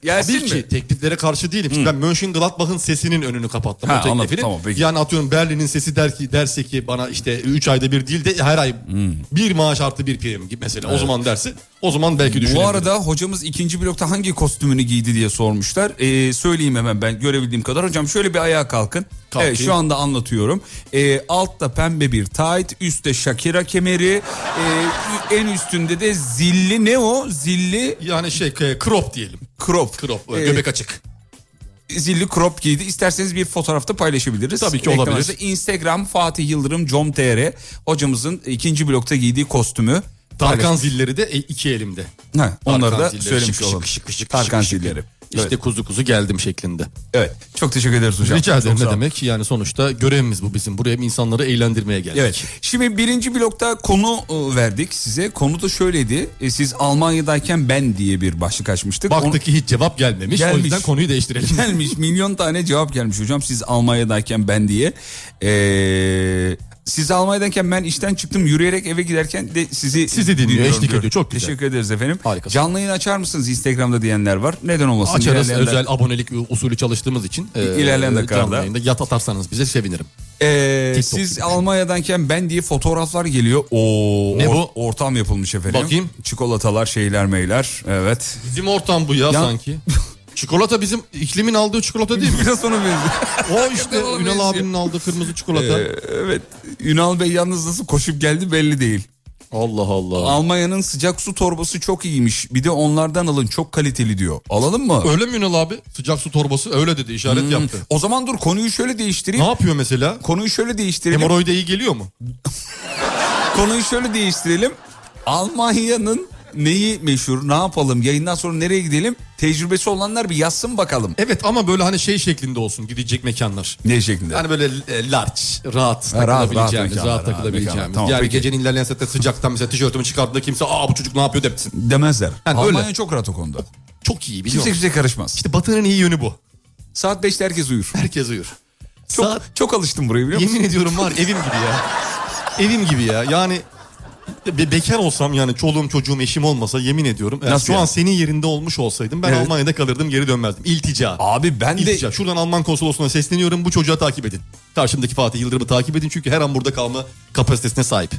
gelsin
Tabii ki
mi?
tekliflere karşı değilim. Şimdi ben Mönchengladbach'ın sesinin önünü kapattım
Ha,
o teklifini.
anladım. Tamam, peki.
yani atıyorum Berlin'in sesi der ki derse ki bana işte 3 ayda bir değil de her ay bir maaş artı bir prim gibi mesela. O zaman dersi o zaman belki düşünebilirim.
Bu arada hocamız ikinci blokta hangi kostümünü giydi diye sormuşlar. Ee, söyleyeyim hemen ben görebildiğim kadar. Hocam şöyle bir ayağa kalkın.
Kalkayım.
Evet şu anda anlatıyorum. Ee, altta pembe bir tayt, üstte Shakira kemeri, ee, en üstünde de zilli ne o? Zilli
yani şey e, crop diyelim.
crop.
Crop e,
Ee,
göbek açık.
zilli crop giydi. İsterseniz bir fotoğrafta paylaşabiliriz.
Tabii ki
Reklam
olabilir.
arası. Instagram Fatih Yıldırım com.tr hocamızın ikinci blokta giydiği kostümü.
Tarkan zilleri de e, iki elimde.
Ha, onları
Tarkan
da
zilleri,
söylemiş
şık, şık,
olalım.
şık, şık,
Tarkan
şık, şık.
zilleri.
İşte
Evet.
kuzu kuzu geldim şeklinde.
evet. Çok teşekkür ederiz hocam.
Rica ederim
Çok sağ
ne
olun.
demek yani sonuçta görevimiz bu bizim. Buraya insanları eğlendirmeye geldik.
Evet. Şimdi birinci blokta konu e, verdik size. Konu da şöyleydi. E, siz Almanya'dayken ben diye bir başlık açmıştık. Onu-
Baktık ki hiç cevap gelmemiş. O
Gelmiş.
yüzden konuyu değiştirelim.
gelmiş milyon tane cevap gelmiş hocam siz Almanya'dayken ben diye. Ee, siz Almanya'dayken ben işten çıktım yürüyerek eve giderken de sizi
Sizi dinliyor,
dinliyorum
eşlik
diyor.
ediyor. Çok güzel.
Teşekkür ederiz efendim.
Harikasın.
Canlı yayın açar mısınız Instagram'da diyenler var. Neden olmasın?
Açarız
İlerleyen-
özel abonelik usulü çalıştığımız için. e,
İlerleyen dakikalarda.
canlı yayında Yat atarsanız bize sevinirim.
Ee,
TikTok
siz
gibi.
Almanya'dayken ben diye fotoğraflar geliyor. Oo,
Ne
or-
bu?
Ortam yapılmış efendim.
Bakayım.
Çikolatalar şeyler meyler. Evet.
Bizim ortam bu ya, sanki. Çikolata bizim iklimin aldığı çikolata değil mi?
Biraz ona benziyor.
O işte
ona
Ünal
benziyor.
abinin aldığı kırmızı çikolata.
Ee, evet. Ünal Bey yalnız nasıl koşup geldi belli değil.
Allah Allah.
Almanya'nın sıcak su torbası çok iyiymiş. Bir de onlardan alın çok kaliteli diyor. Alalım mı?
Öyle mi Ünal abi? Sıcak su torbası öyle dedi işaret
Hmm.
yaptı.
O zaman dur konuyu şöyle değiştireyim.
Ne yapıyor mesela?
Konuyu şöyle değiştirelim.
Hemoroide iyi geliyor mu?
Konuyu şöyle değiştirelim. Almanya'nın neyi meşhur? Ne yapalım? Yayından sonra nereye gidelim? Tecrübesi olanlar bir yazsın bakalım.
Evet ama böyle hani şey şeklinde olsun gidecek mekanlar.
Ne şeklinde?
Yani böyle e, large,
Ha, rahat,
rahat
rahat
takılabileceğimiz, rahat,
mekanlar, rahat mekanlar.
takılabileceğimiz.
Tamam,
yani
peki.
gecenin ilerleyen saatte sıcaktan mesela tişörtümü çıkarttığında kimse aa bu çocuk ne yapıyor demesin.
Demezler.
Yani
Almanya
öyle.
çok rahat o konuda.
Çok iyi biliyorum.
Kimse kimse karışmaz.
İşte Batı'nın iyi yönü bu.
Saat 5'te herkes uyur.
Herkes uyur.
Çok,
Saat
çok alıştım buraya biliyor musun?
Yemin ediyorum var evim gibi ya. Evim gibi ya. Yani be- bekar olsam yani çoluğum çocuğum eşim olmasa yemin ediyorum. eğer
Nasıl
şu an
yani?
senin yerinde olmuş olsaydım ben
Evet.
Almanya'da kalırdım geri dönmezdim. İltica.
Abi ben de
İltica. Şuradan Alman konsolosluğuna sesleniyorum bu çocuğa takip edin. Karşımdaki Fatih Yıldırım'ı takip edin çünkü her an burada kalma kapasitesine sahip.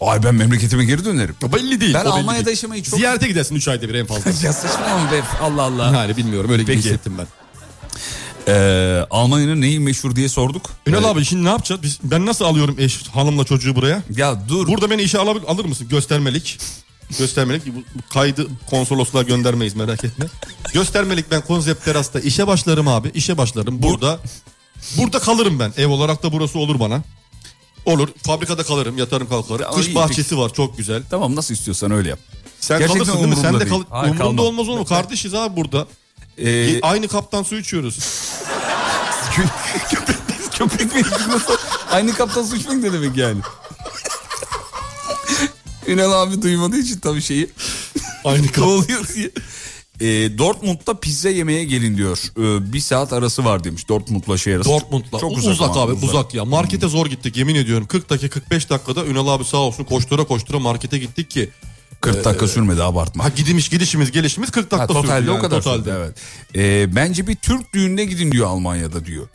ay ben memleketime geri dönerim.
Ya Belli değil.
Ben
o belli
Almanya'da
değil.
yaşamayı çok-
Ziyarete gidersin 3 ayda bir en fazla.
ya saçmalama be Allah Allah.
yani bilmiyorum öyle gibi
Peki.
hissettim ben.
Ee, Almanya'nın neyi meşhur diye sorduk. Ee,
Ünal abi şimdi ne yapacağız? Biz, ben nasıl alıyorum eş, hanımla çocuğu buraya?
Ya dur.
Burada beni işe alır, alır mısın? Göstermelik. Göstermelik. Bu, bu kaydı konsolosluğa göndermeyiz merak etme. Göstermelik ben konsept terasta işe başlarım abi. İşe başlarım. Burada burada kalırım ben. Ev olarak da burası olur bana. Olur. Fabrikada kalırım. Yatarım kalkarım.
Ya, iyi,
Kış bahçesi var. Çok güzel.
Tamam nasıl istiyorsan öyle yap.
Sen
Gerçekten
kalırsın değil mi? Sen
umurumda
de kal
değil. Hayır,
umurumda
kalmam.
olmaz olur mu? Kardeşiz abi burada.
Ee,
Aynı kaptan su içiyoruz.
Köpek mi? Nasıl? Aynı kaptan suçmak ne demek yani? Ünal abi duymadığı için tabii şeyi.
Aynı
Ne
kaptan.
oluyor diye. Ee, Dortmund'da pizza yemeye gelin diyor. Ee, bir saat arası var demiş Dortmund'la şey arası.
Dortmund'la.
Çok
uzak,
uzak, ama,
abi uzak. ya. Markete zor gittik yemin ediyorum. 40 dakika 45 dakikada Ünal abi sağ olsun koştura koştura markete gittik ki
40
Ee,
dakika sürmedi abartma.
Ha gidimiş gidişimiz gelişimiz 40 dakika
Ha,
sürdü.
totalde
yani,
o kadar.
totalde.
sürdü, evet. Ee, bence bir Türk düğününe gidin diyor Almanya'da diyor.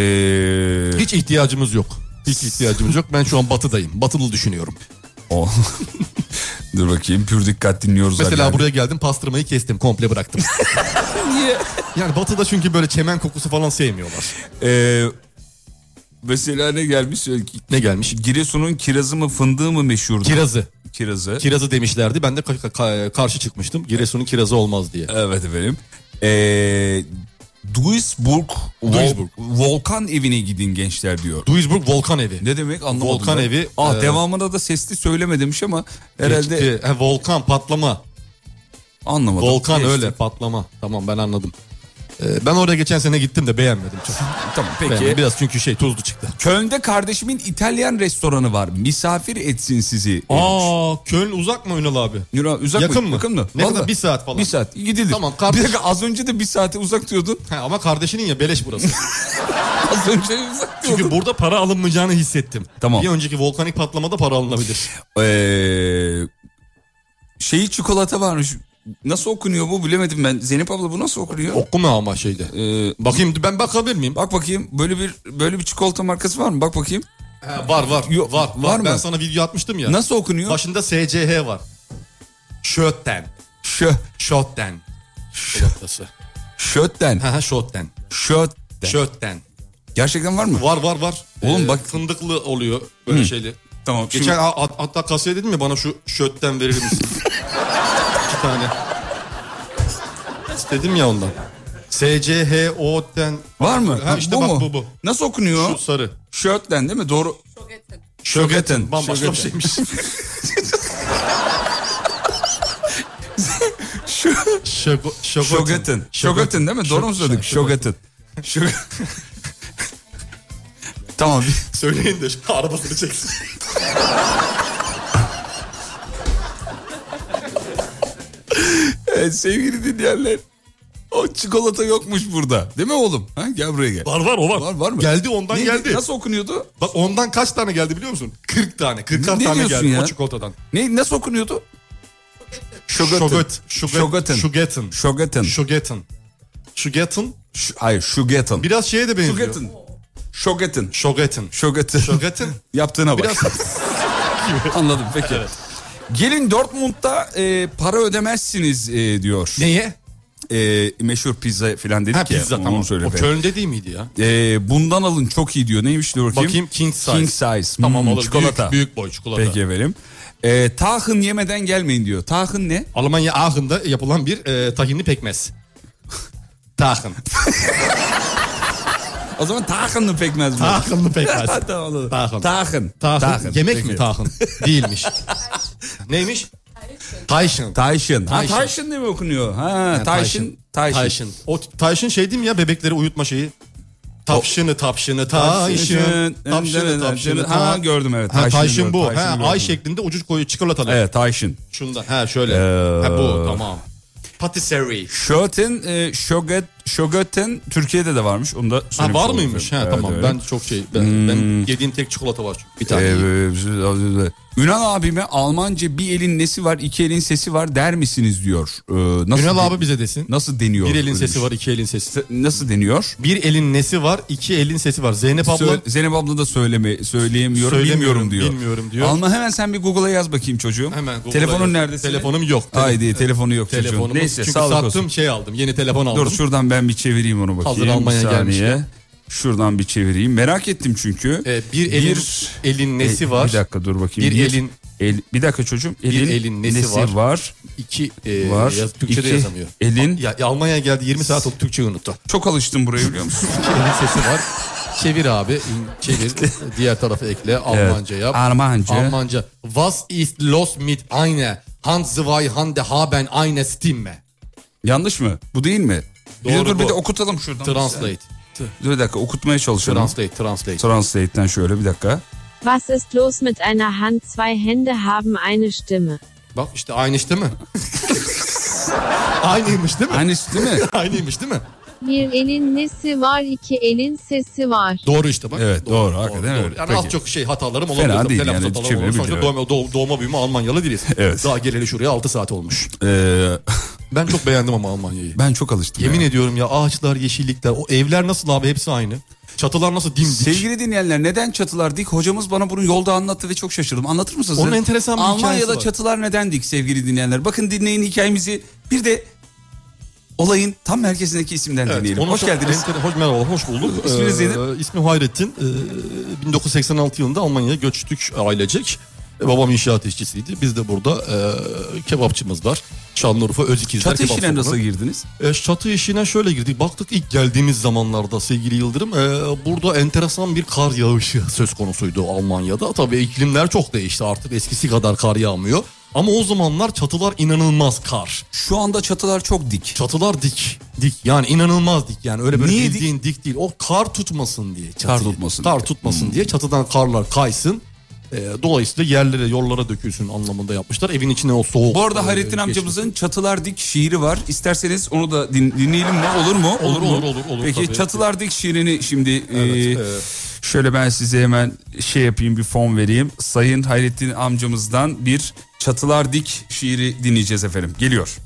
Ee,
Hiç ihtiyacımız yok. Hiç ihtiyacımız yok. Ben şu an batıdayım. Batılı düşünüyorum.
o- Dur bakayım pür dikkat dinliyoruz.
Mesela
Ali abi.
buraya geldim pastırmayı kestim komple bıraktım.
Niye?
yani batıda çünkü böyle çemen kokusu falan sevmiyorlar.
Ee, mesela ne gelmiş? Ee,
Ne gelmiş?
Giresun'un kirazı mı fındığı mı meşhurdu?
Kirazı.
Kirazı.
Kirazı demişlerdi. Ben de ka- ka- karşı çıkmıştım. Giresun'un kirazı olmaz diye.
evet efendim. Ee, Duisburg, Vol-
Duisburg.
volkan evine gidin gençler diyor.
Duisburg Volkan Evi.
Ne demek anlamadım.
Volkan
ben.
evi,
Ah
e,
devamında da sesli söyleme demiş ama herhalde
Geçti. Ha, volkan patlama.
anlamadım.
Volkan
Geçti.
öyle patlama. Tamam ben anladım. Ee, ben oraya geçen sene gittim de beğenmedim. Çok.
Tamam peki.
Beğenmedim. Biraz çünkü şey tuzlu çıktı.
Köln'de kardeşimin İtalyan restoranı var. Misafir etsin sizi.
Aa Köln uzak mı Ünal abi?
Nura, uzak
Yakın mı?
Yakın mı?
Ne kadar?
Vallahi.
Bir saat falan.
Bir saat. Gidilir.
Tamam, kardeş-
Bir dakika az önce de bir saate uzak diyordun.
He, ama kardeşinin ya beleş burası.
Az önce de uzak diyordun.
Çünkü burada para alınmayacağını hissettim.
Tamam.
Bir önceki volkanik patlamada para alınabilir.
Ee, şeyi çikolata varmış. Nasıl okunuyor bu bilemedim ben. Zeynep abla bu nasıl okunuyor?
Okuma ama şeyde.
Ee,
Bakayım ben bakabilir miyim?
bak bakayım böyle bir böyle bir çikolata markası var mı? Bak bakayım.
He, var var.
Yo-
var var.
var mı?
ben sana video atmıştım ya.
Nasıl okunuyor?
Başında SCH var. Şötten.
Şö
Şötten. Şöttası.
şötten.
Ha ha şötten.
Şötten.
Şötten.
Gerçekten var mı?
Var var var. Ee,
Oğlum bak-
Fındıklı oluyor böyle şeyli.
Tamam.
Geçen
şimdi-
ha- hat- hatta kasaya dedim ya bana şu şötten verir misin? İki tane. İstedim ya ondan. SCHO'den
var mı?
Ha, işte
bu
bak
mu?
bu, bu.
Nasıl okunuyor?
şu sarı.
Şötten değil mi? Doğru.
Şögeten. Bambaşka bir şey.
Şögeten.
şeymiş. Şögo, şögoten.
Şögetin. Şögetin değil mi? Doğru mu söyledik? Şögetin. Şö- tamam.
Söyleyin de şu arabasını çeksin.
Evet, sevgili dinleyenler. O çikolata yokmuş burada. Değil mi oğlum? Ha, gel buraya gel.
Var var o var.
Var, var mı?
Geldi ondan
Ne-
geldi.
Nasıl okunuyordu?
Bak ondan kaç tane geldi biliyor musun? 40 tane. 40
Ne
tane
diyorsun
geldi
ya?
o çikolatadan.
Ne nasıl okunuyordu?
Şöget.
Şögetin.
Şögetin.
Şögetin.
Şögetin. Şögetin.
Ş- Hayır, Şögetin.
Biraz şeye de benziyor.
Şögetin. Şögetin.
Şögetin.
Şögetin.
Şögetin.
Yaptığına bak.
Biraz
Anladım peki. Gelin Dortmund'da e, para ödemezsiniz e, diyor.
neye?
E, meşhur pizza falan dedik
Ha
ya.
pizza
onu
tamam.
söyle
O
falan.
Köln'de değil miydi ya?
E, bundan alın çok iyi diyor. Neymiş diyor bakayım.
Bakayım king size.
King size.
Tamam
Hmm,
olur.
Çikolata.
Büyük, büyük boy çikolata.
Peki efendim. E, tahın yemeden gelmeyin diyor. Tahın ne?
Almanya Aachen'da yapılan bir e, tahinli pekmez. Tahin.
O zaman tahınlı pekmez bu.
Tahinli pekmez.
Tamam, anladım.
Tahın.
Tahın.
Tahin.
Peki.
Yemek mi tahin? Değilmiş. Neymiş?
Tayşın. Tayşın. Ha
Tayşın.
Tayşın diye mi okunuyor? Ha, Tayşın. Tayşın.
Tayşın. O Tayşın şey değil mi ya bebekleri uyutma şeyi? Tapşını tapşını Tayşın. Tapşını tapşını.
Ha gördüm evet.
Ha,
Tayşin'i
Tayşın bu.
gördüm,
Ha,
Tayşin'i
ay
gördüm.
şeklinde ucuz koyu çikolatalı.
Evet Ee, Tayşın.
Şunda. Ha şöyle. ha bu tamam. Patisserie.
Şöten, e, Şöget, Şögöten Türkiye'de de varmış. Onu da
Ha
söylemiş
var
olayım.
mıymış? Ha
Evet,
tamam.
evet. Hmm.
Ben çok şey ben, ben yediğim tek çikolata var çünkü. Bir tane.
Ee,
yiyeyim.
e, Ünal abime Almanca bir elin nesi var iki elin sesi var der misiniz diyor. Ee, nasıl
Ünal abi bize desin.
Nasıl deniyor?
Bir elin
Öyle
sesi
şey.
var, iki elin sesi.
Nasıl deniyor?
Bir elin nesi var, iki elin sesi var. Zeynep abla
Sö- Zeynep abla da söyleme, söyleyemiyorum, bilmiyorum
Söylemiyorum,
diyor.
bilmiyorum diyor.
Alma hemen sen bir Google'a yaz bakayım çocuğum.
hemen Google'a
Telefonun
yazıyor.
nerede? senin?
Telefonum yok.
Haydi telefonu yok
Telefonumuz.
çocuğum. Neyse
Çünkü
sağlık
sattım
olsun.
şey aldım. Yeni telefon aldım.
Dur şuradan ben bir çevireyim onu bakayım.
Hazır Almanya
Bir saniye.
gelmişken.
Şuradan bir çevireyim. Merak ettim çünkü.
Ee, bir elin elin nesi
e,
var?
Bir dakika dur bakayım.
Bir elin-
el- bir dakika çocuğum.
Bir elin nesi var? İki e,
Var.
yaz- Türkçe'de
İki
yazamıyor.
elin-
Ya, ya Almanya'ya geldi 20 saat oldu Türkçe'yi unuttu.
Çok alıştım buraya biliyor musun?
İki elin sesi var. Çevir abi. in- Çevir. Diğer tarafı ekle. Almanca yap.
Almanca.
Almanca. Was ist los mit eine? Hans zwei Hande haben eine Stimme.
Yanlış mı? Bu değil mi? Bir de
Doğru
dur bir
bu.
de okutalım şuradan.
Translate.
Dur bir dakika okutmaya çalışalım.
Translate. Translate.
Translate'den şöyle bir dakika.
Was ist los mit einer Hand? Zwei Hände haben eine Stimme.
Bak işte aynı işte mi? Aynıymış değil mi?
Aynısı değil mi?
Aynıymış değil mi?
Bir elin nesi var, iki elin sesi var.
Doğru işte bak.
Evet, doğru, hakikaten öyle.
Yani
Peki.
az çok şey hatalarım olabilir.
Fena
Tabii
değil
telaffuz
yani,
hatalarım
çevirebilir,
olabilir. Sonuçta
evet.
doğma, doğ- doğma büyüme Almanyalı değiliz.
Evet.
Daha geleli şuraya 6 saat olmuş.
Ee,
Ben çok beğendim ama Almanya'yı.
ben çok alıştım.
Yemin
ya.
ediyorum ya ağaçlar, yeşillikler, o evler nasıl abi hepsi aynı. Çatılar nasıl dimdik.
Sevgili dinleyenler neden çatılar dik? Hocamız bana bunu yolda anlattı ve çok şaşırdım. Anlatır mısınız?
Onun enteresan bir hikayesi
Almanya'da
var.
çatılar neden dik sevgili dinleyenler? Bakın dinleyin hikayemizi. Bir de olayın tam merkezindeki isimden
Evet,
dinleyelim.
onun
Hoş
çok
geldiniz.
enter- hoş, merhaba, hoş bulduk.
İsminiz
Ee,
nedir?
ismim Hayrettin. Ee, 1986 yılında Almanya'ya göçtük ailecek. Ee, Babam inşaat işçisiydi. Biz de burada e, kebapçımız var. Şanlıurfa Özikizler
Çatı
Kebap
işine
Salonu.
nasıl girdiniz?
E, çatı işine şöyle girdik. Baktık ilk geldiğimiz zamanlarda sevgili Yıldırım e, burada enteresan bir kar yağışı söz konusuydu Almanya'da. Tabii iklimler çok değişti artık eskisi kadar kar yağmıyor. Ama o zamanlar çatılar inanılmaz kar.
Şu anda çatılar çok dik.
Çatılar dik. Dik yani inanılmaz dik yani öyle böyle
Niye
bildiğin dik? değil. O kar tutmasın diye.
Kar
çatıyı.
tutmasın
Kar
diye. Hmm.
tutmasın diye çatıdan karlar kaysın. E, dolayısıyla yerlere yollara dökülsün anlamında yapmışlar. Evin içine o soğuk.
Bu arada
e,
Hayrettin
geçmesin.
amcamızın Çatılar Dik şiiri var. İsterseniz onu da din- dinleyelim mi? Olur mu?
Olur,
mu?
olur, olur, olur
Peki
tabii.
Çatılar Dik şiirini şimdi e, şöyle ben size hemen şey yapayım bir fon vereyim. Sayın Hayrettin amcamızdan bir Çatılar Dik şiiri dinleyeceğiz efendim. Geliyor.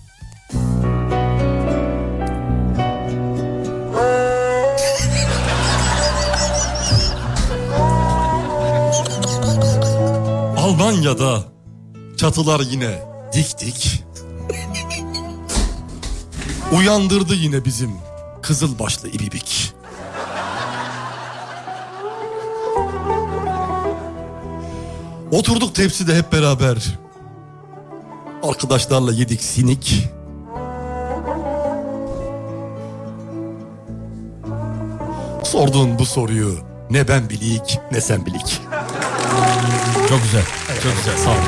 Almanya'da çatılar yine dik dik. Uyandırdı yine bizim kızılbaşlı ibibik. Oturduk tepside hep beraber. Arkadaşlarla yedik sinik. Sorduğun bu soruyu ne ben bilik ne sen bilik.
Çok güzel.
Çok güzel. Sağ olun.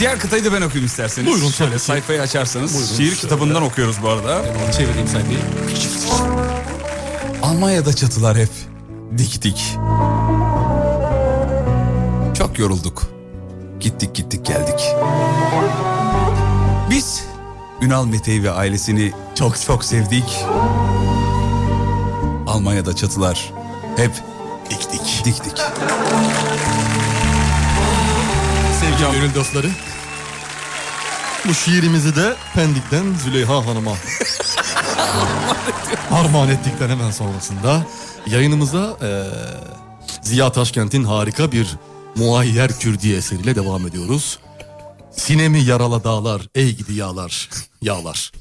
Diğer kıtayı da ben okuyayım isterseniz.
Buyurun, tabii
Şöyle
ki.
sayfayı açarsanız.
Buyurun,
şiir
şöyle.
kitabından okuyoruz bu arada.
Çevireyim sayfayı.
Almanya'da çatılar hep dik dik. Çok yorulduk. Gittik gittik geldik. Biz Ünal Mete'yi ve ailesini çok çok sevdik. Almanya'da çatılar hep dik dik. Dik dik.
Sevgili gönül dostları. Bu şiirimizi de Pendik'ten Züleyha Hanım'a armağan ettikten hemen sonrasında yayınımıza eee, Ziya Taşkent'in harika bir Muayyer Kürdi eseriyle devam ediyoruz. Sinemi yarala dağlar, ey gidi yağlar, yağlar.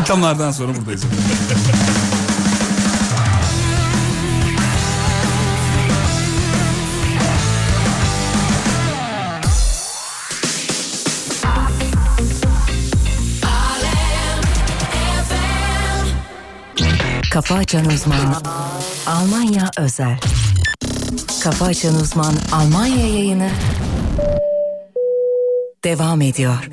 Reklamlardan sonra buradayız.
Kafa Açan Uzman Almanya Özel Kafa Açan Uzman Almanya yayını devam ediyor.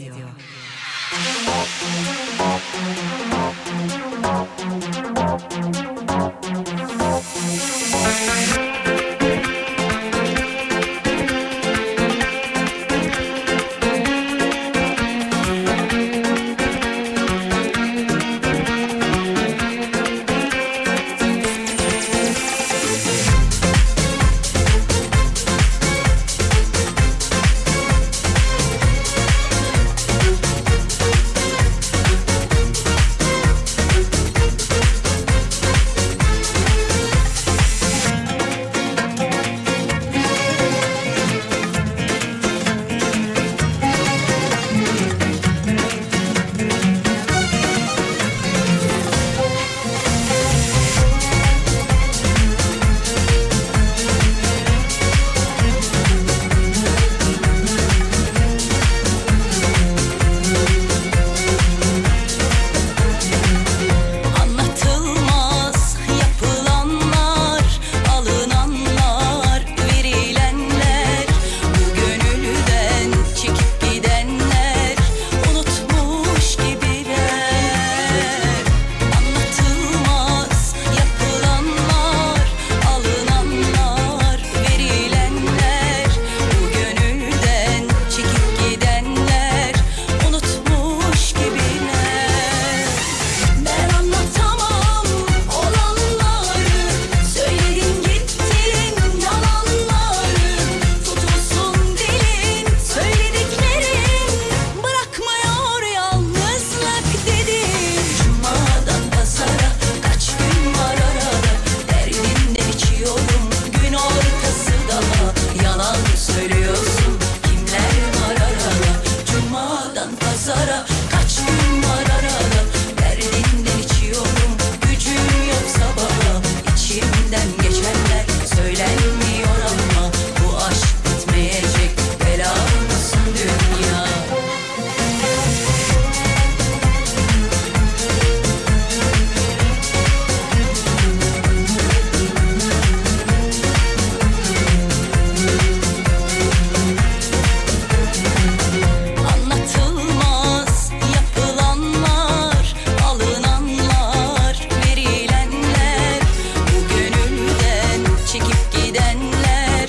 Anlatılmaz yapılanlar, alınanlar, verilenler Bu gönülden çekip gidenler, unutmuş gibiler Anlatılmaz yapılanlar, alınanlar, verilenler Bu gönülden çekip gidenler, unutmuş gibiler ben anlatamam olanları Söyledin gittin yalanları Tutulsun dilin söylediklerin Bırakmıyor yalnızlık dedin Cumadan pazara kaç gün var arada Derdinden içiyorum gün ortası daha Yalan söylüyorsun kimler var arada Cumadan pazara kaç gün var arada Derdinden içiyorum gücüm yok sabaha İçimden geçenler söylenmiyor ama Bu aşk bitmeyecek bela mısın dünya Anlatılmaz yapılanlar, alınanlar, verilenler Bu gönülden çekip gidenler,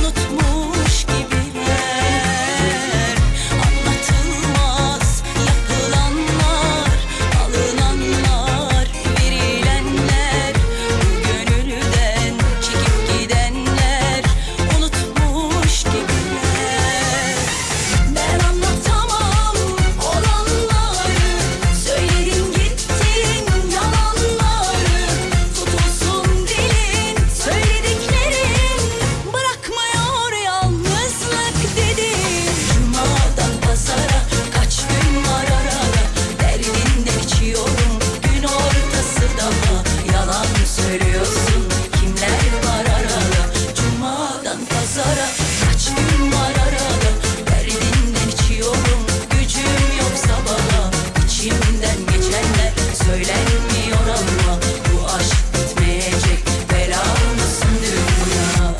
unutmuş gibiler Anlatılmaz yapılanlar, alınanlar, verilenler Bu gönülden çekip gidenler, unutmuş gibiler ben anlatamam olanları Söyledin gittin yalanları Tutulsun dilin söylediklerin Bırakmıyor yalnızlık dedin Cumadan pazara kaç gün var arada Derdinden içiyorum gün ortası daha Yalan söylüyorsun kimler var arada Cumadan pazara kaç gün var arada Derdinden içiyorum gücüm yok sabaha İçimden geçenler söylenmiyor ama Bu aşk bitmeyecek bela mısın dünya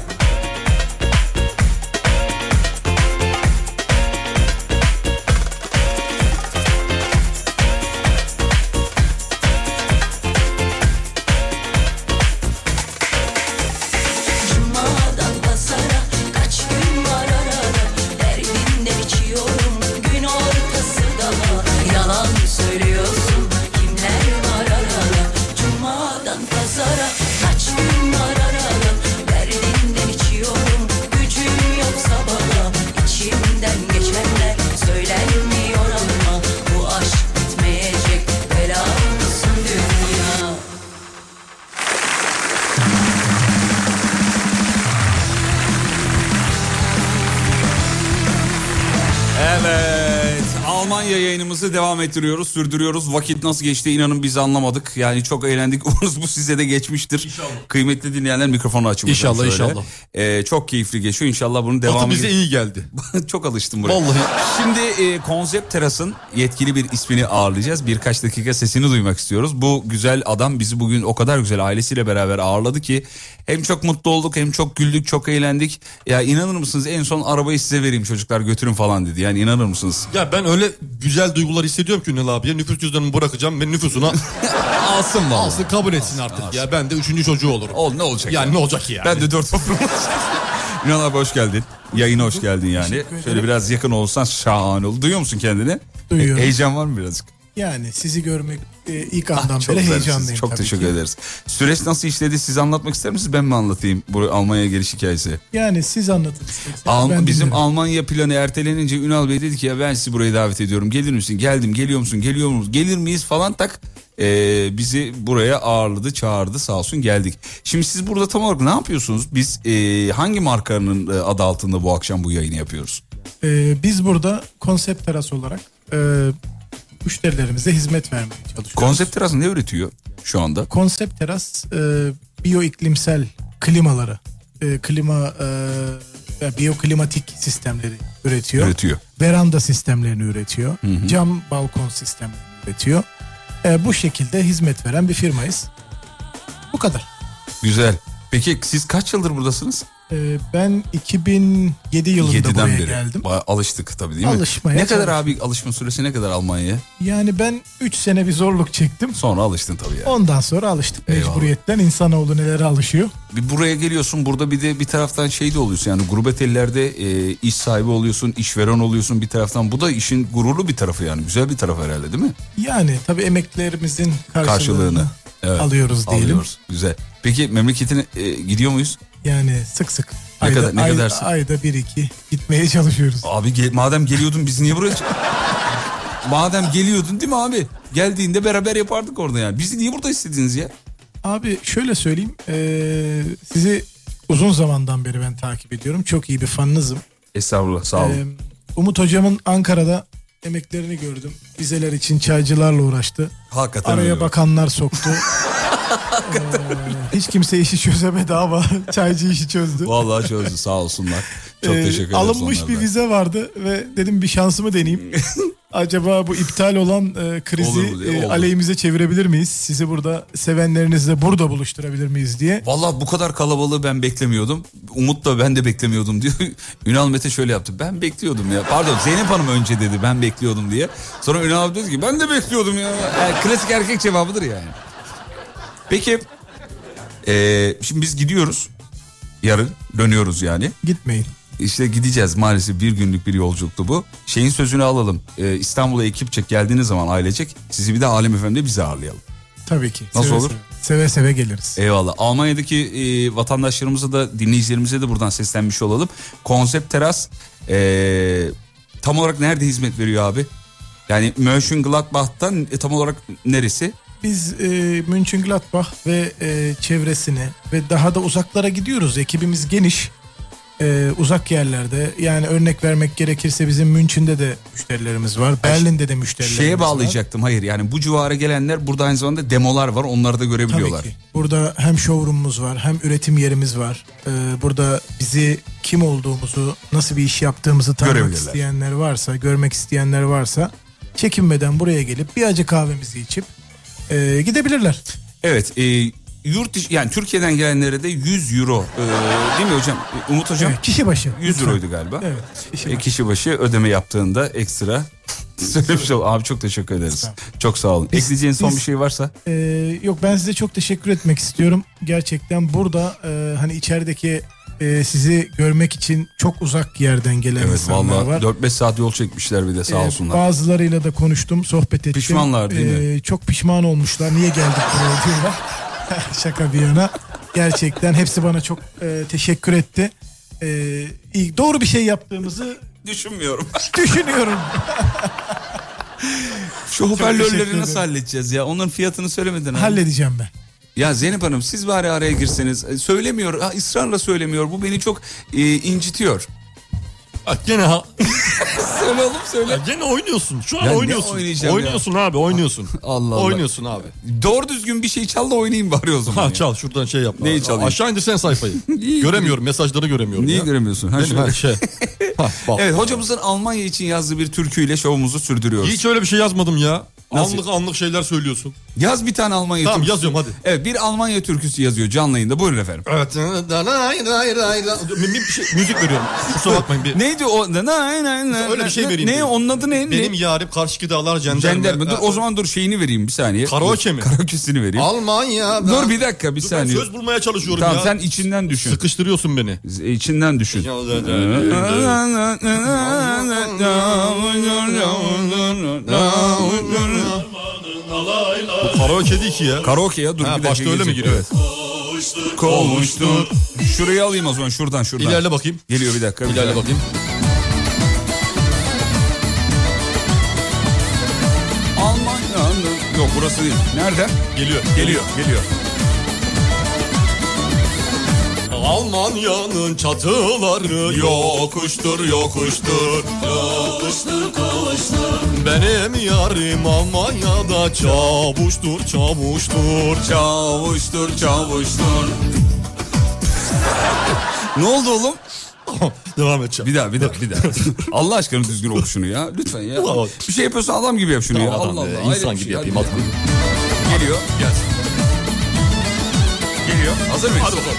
Cumadan pazara kaç gün var arada Derdinden içiyorum gün ortası daha Yalan söylüyorsun kimler var arada Cumadan pazara kaç gün var arada Derdinden içiyorum gücüm yok sabaha İçimden geçenler söylenmiyor ama Bu aşk bitmeyecek bela mısın dünya
Evet
Almanya yayınımızı devam ettiriyoruz, sürdürüyoruz. Vakit nasıl geçti inanın biz anlamadık. Yani çok eğlendik. Umarız bu size de geçmiştir. Kıymetli dinleyenler mikrofonu açın. hocam
İnşallah,
şöyle.
inşallah.
Ee, çok keyifli geçiyor. İnşallah bunun devamı...
Batı bize iyi geldi.
çok alıştım buraya. Vallahi. Şimdi e, konsept terasın yetkili bir ismini ağırlayacağız. Birkaç dakika sesini duymak istiyoruz. Bu güzel adam bizi bugün o kadar güzel ailesiyle beraber ağırladı ki hem çok mutlu olduk hem çok güldük çok eğlendik. Ya inanır mısınız en son arabayı size vereyim çocuklar götürün falan dedi. Yani inanır mısınız?
Ya ben öyle güzel duygular hissediyorum ki Ünal abiye. Nüfus cüzdanımı bırakacağım ve nüfusuna
alsın vallahi.
Alsın kabul etsin artık ya. Ben de üçüncü çocuğu olurum.
Ol ne olacak?
Yani ne olacak yani?
Ben de dört olurum. Ünal abi hoş geldin. Yayına hoş geldin yani.
Teşekkür ederim.
Şöyle biraz yakın olsan şahane olur. Duyuyor musun kendini?
Duyuyorum.
E, heyecan var mı birazcık?
Yani sizi görmek e, ilk andan
Ah, Çok
beri
güzel,
heyecanlıyım.
siz- Çok
tabii
teşekkür
ki.
ederiz. Süreç nasıl işledi siz anlatmak ister misiniz? Ben mi anlatayım bu Almanya'ya geliş hikayesi?
Yani siz anlatın isterseniz.
Al-
ben
bizim
dinliyorum.
Almanya planı ertelenince Ünal Bey dedi ki ya ben sizi buraya davet ediyorum. Gelir misin? Geldim. Geliyor musun? Geliyor musun? Gelir miyiz falan tak. Ee, bizi buraya ağırladı, çağırdı sağ olsun geldik. Şimdi siz burada tam olarak ne yapıyorsunuz? Biz e, hangi markanın e, adı altında bu akşam bu yayını yapıyoruz?
E, biz burada konsept teras olarak e, müşterilerimize hizmet vermeye çalışıyoruz.
Konsept Teras ne üretiyor şu anda?
Konsept teras e, biyo iklimsel klimaları, e, klima e, ya, biyoklimatik sistemleri üretiyor.
Üretiyor.
Veranda sistemlerini üretiyor.
Hı hı.
Cam balkon sistemlerini üretiyor. E, bu şekilde hizmet veren bir firmayız. Bu kadar.
Güzel. Peki siz kaç yıldır buradasınız?
E, ben 2007 yılında
7'den
buraya
beri.
geldim.
Ba- alıştık tabii değil mi?
Alışmaya
ne kadar
çalıştık.
abi alışma süresi ne kadar Almanya'ya?
Yani ben 3 sene bir zorluk çektim.
Sonra alıştın tabii yani.
Ondan sonra alıştık mecburiyetten. İnsanoğlu nelere alışıyor.
Bir buraya geliyorsun burada bir de bir taraftan şey de oluyorsun yani gurbet ellerde e, iş sahibi oluyorsun, işveren oluyorsun bir taraftan. Bu da işin gururlu bir tarafı yani güzel bir taraf herhalde değil mi?
Yani tabii emeklerimizin karşılığını,
Karşılığını. Evet,
alıyoruz diyelim.
alıyoruz. Güzel. Peki memleketine e, gidiyor muyuz?
yani sık sık
Ne
ayda,
kadar- ne
ay-
kadarsın?
ayda bir iki gitmeye çalışıyoruz.
Abi gel- madem geliyordun biz niye buraya çık- Madem geliyordun değil mi abi? Geldiğinde beraber yapardık orada yani. Bizi niye burada istediniz ya?
Abi şöyle söyleyeyim eee, sizi uzun zamandan beri ben takip ediyorum. Çok iyi bir fanınızım.
Estağfurullah sağ olun.
Eee, Umut hocamın Ankara'da emeklerini gördüm. Vizeler için çaycılarla uğraştı.
Hakikaten
Araya
öyle.
bakanlar soktu. Eee, hiç kimse işi çözemedi ama çaycı işi çözdü.
Vallahi çözdü sağ olsunlar. Çok
Ee,
teşekkür ederiz.
Alınmış
onlara
bir
da.
vize vardı ve dedim bir şansımı deneyeyim. Acaba bu iptal olan e,
Olur
krizi
mu diye,
e,
oldu.
aleyhimize çevirebilir miyiz? Sizi burada sevenlerinizle burada buluşturabilir miyiz diye.
Vallahi bu kadar kalabalığı ben beklemiyordum. Umut da ben de beklemiyordum diyor. Ünal Mete şöyle yaptı. Ben bekliyordum ya. Pardon Zeynep Hanım önce dedi ben bekliyordum diye. Sonra Ünal abi dedi ki ben de bekliyordum ya. Yani klasik erkek cevabıdır yani. Peki eee, şimdi biz gidiyoruz. Yarın dönüyoruz yani.
Gitmeyin.
İşte gideceğiz maalesef bir günlük bir yolculuktu bu. Şeyin sözünü alalım. Eee, İstanbul'a ekipçe geldiğiniz zaman ailecek sizi bir de Alem Efendi bize ağırlayalım.
Tabii ki.
Nasıl
Seve
olur?
Seve, seve seve geliriz.
Eyvallah. Almanya'daki e, vatandaşlarımıza da dinleyicilerimize de buradan seslenmiş olalım. Konsept Teras e, tam olarak nerede hizmet veriyor abi? Yani Mönchengladbach'tan e, tam olarak neresi?
Biz e, Mönchengladbach ve e, çevresine ve daha da uzaklara gidiyoruz. Ekibimiz geniş. E, uzak yerlerde yani örnek vermek gerekirse bizim Münch'ünde de müşterilerimiz var. Berlin'de de müşterilerimiz
Şeye
var.
bağlayacaktım. Hayır yani bu civara gelenler burada aynı zamanda demolar var. Onları da görebiliyorlar.
Tabii ki. Burada hem showroom'umuz var hem üretim yerimiz var. Ee, burada bizi kim olduğumuzu, nasıl bir iş yaptığımızı tanımak
Görebilirler.
isteyenler varsa, görmek isteyenler varsa çekinmeden buraya gelip bir acı kahvemizi içip e, gidebilirler.
Evet. e, yurt dışı- yani Türkiye'den gelenlere de 100 euro. e, değil mi hocam? E, Umut hocam?
Evet, kişi başı.
100
Lütfen.
euroydu galiba.
Evet. Kişi
E, kişi başı ödeme yaptığında ekstra söylemiş ol. Abi çok teşekkür ederiz. Çok sağ olun.
Biz-
Ekleyeceğin son
biz-
bir şey varsa?
Ee, yok ben size çok teşekkür etmek istiyorum. Gerçekten burada e, hani içerideki e, sizi görmek için çok uzak yerden gelen
Evet
insanlar
valla
var.
4-5 saat yol çekmişler bir de sağ
Ee,
olsunlar.
Bazılarıyla da konuştum, sohbet ettim.
Pişmanlar değil mi?
Ee, Çok pişman olmuşlar. Niye geldik buraya diyorlar. Şaka bir yana. Gerçekten hepsi bana çok e, teşekkür etti. Ee, iyi- doğru bir şey yaptığımızı
Düşünmüyorum.
düşünüyorum.
Şu
Çok teşekkür
hoparlörleri
ederim.
nasıl halledeceğiz ya? Onların fiyatını söylemedin abi.
Halledeceğim ben.
Ya Zeynep Hanım siz bari araya girseniz. E, Söylemiyor, ha, ısrarla söylemiyor. Bu beni çok e, incitiyor.
Ah, Gene ha.
söyle oğlum söyle.
gene oynuyorsun. Şu an
Ya ne
oynuyorsun.
oynayacağım
Oynuyorsun abi oynuyorsun.
Allah Allah.
Oynuyorsun abi.
Doğru düzgün bir şey çal da oynayayım bari o zaman.
Ha, çal şuradan şey yap.
Neyi çalayım?
Aşağı indir sen sayfayı. göremiyorum mesajları göremiyorum.
Neyi
ya.
göremiyorsun? Ha,
Değil mi?
şöyle.
Ha, şey. Ha, bak.
Evet hocamızın Almanya için yazdığı bir türküyle şovumuzu sürdürüyoruz.
Hiç öyle bir şey yazmadım ya.
Nasıl? E,
Anlık anlık şeyler söylüyorsun.
Yaz bir tane Almanya
Tamam,
türküsü.
yazıyorum, hadi.
Evet bir Almanya türküsü yazıyor canlı yayında buyurun efendim.
Evet. Hayır hayır hayır. Bir şey, müzik veriyorum. Kusura bakmayın bir.
Neydi o? Ne, ne, ne, ne,
Öyle bir şey
ne-
vereyim.
Ne
dedim.
onun adı ne?
Benim
ne?
yarim karşı dağlar cenderme.
Jenderme. Dur o zaman dur şeyini vereyim bir saniye.
Karaoke
Dur,
mi?
Karaoke'sini vereyim.
Almanya. ben-
Dur bir dakika bir
Dur, ben
saniye.
Söz bulmaya çalışıyorum
Tamam
ya.
sen içinden düşün.
Sıkıştırıyorsun beni.
İçinden düşün.
Bu karaoke değil ki ya.
Karaoke ya dur
Ha,
bir dakika.
başta öyle mi
gelecek.
giriyor?
Evet. Kovuştur. Şurayı alayım o zaman şuradan şuradan.
İlerle bakayım.
Geliyor bir dakika. bir
İlerle
dakika.
bakayım.
Almanya. Yok burası değil. Nereden?
Geliyor.
Geliyor. Geliyor.
Almanya'nın çatıları yokuştur yokuştur Yokuştur kovuştur Benim yarim Almanya'da çavuştur çavuştur
Çavuştur çavuştur. ne oldu oğlum?
Devam edeceğim
Bir daha bir daha bir daha. Allah aşkına düzgün oku şunu ya. Lütfen ya.
Ulan.
Bir şey yapıyorsa adam gibi yap şunu ya.
Tamam,
Allah
adam
Allah.
be,
hayret
insan
bir
gibi
şey.
yapayım
Hadi.
adam.
Geliyor. Gel. Geliyor. Hazır mıyız?
Hadi bakalım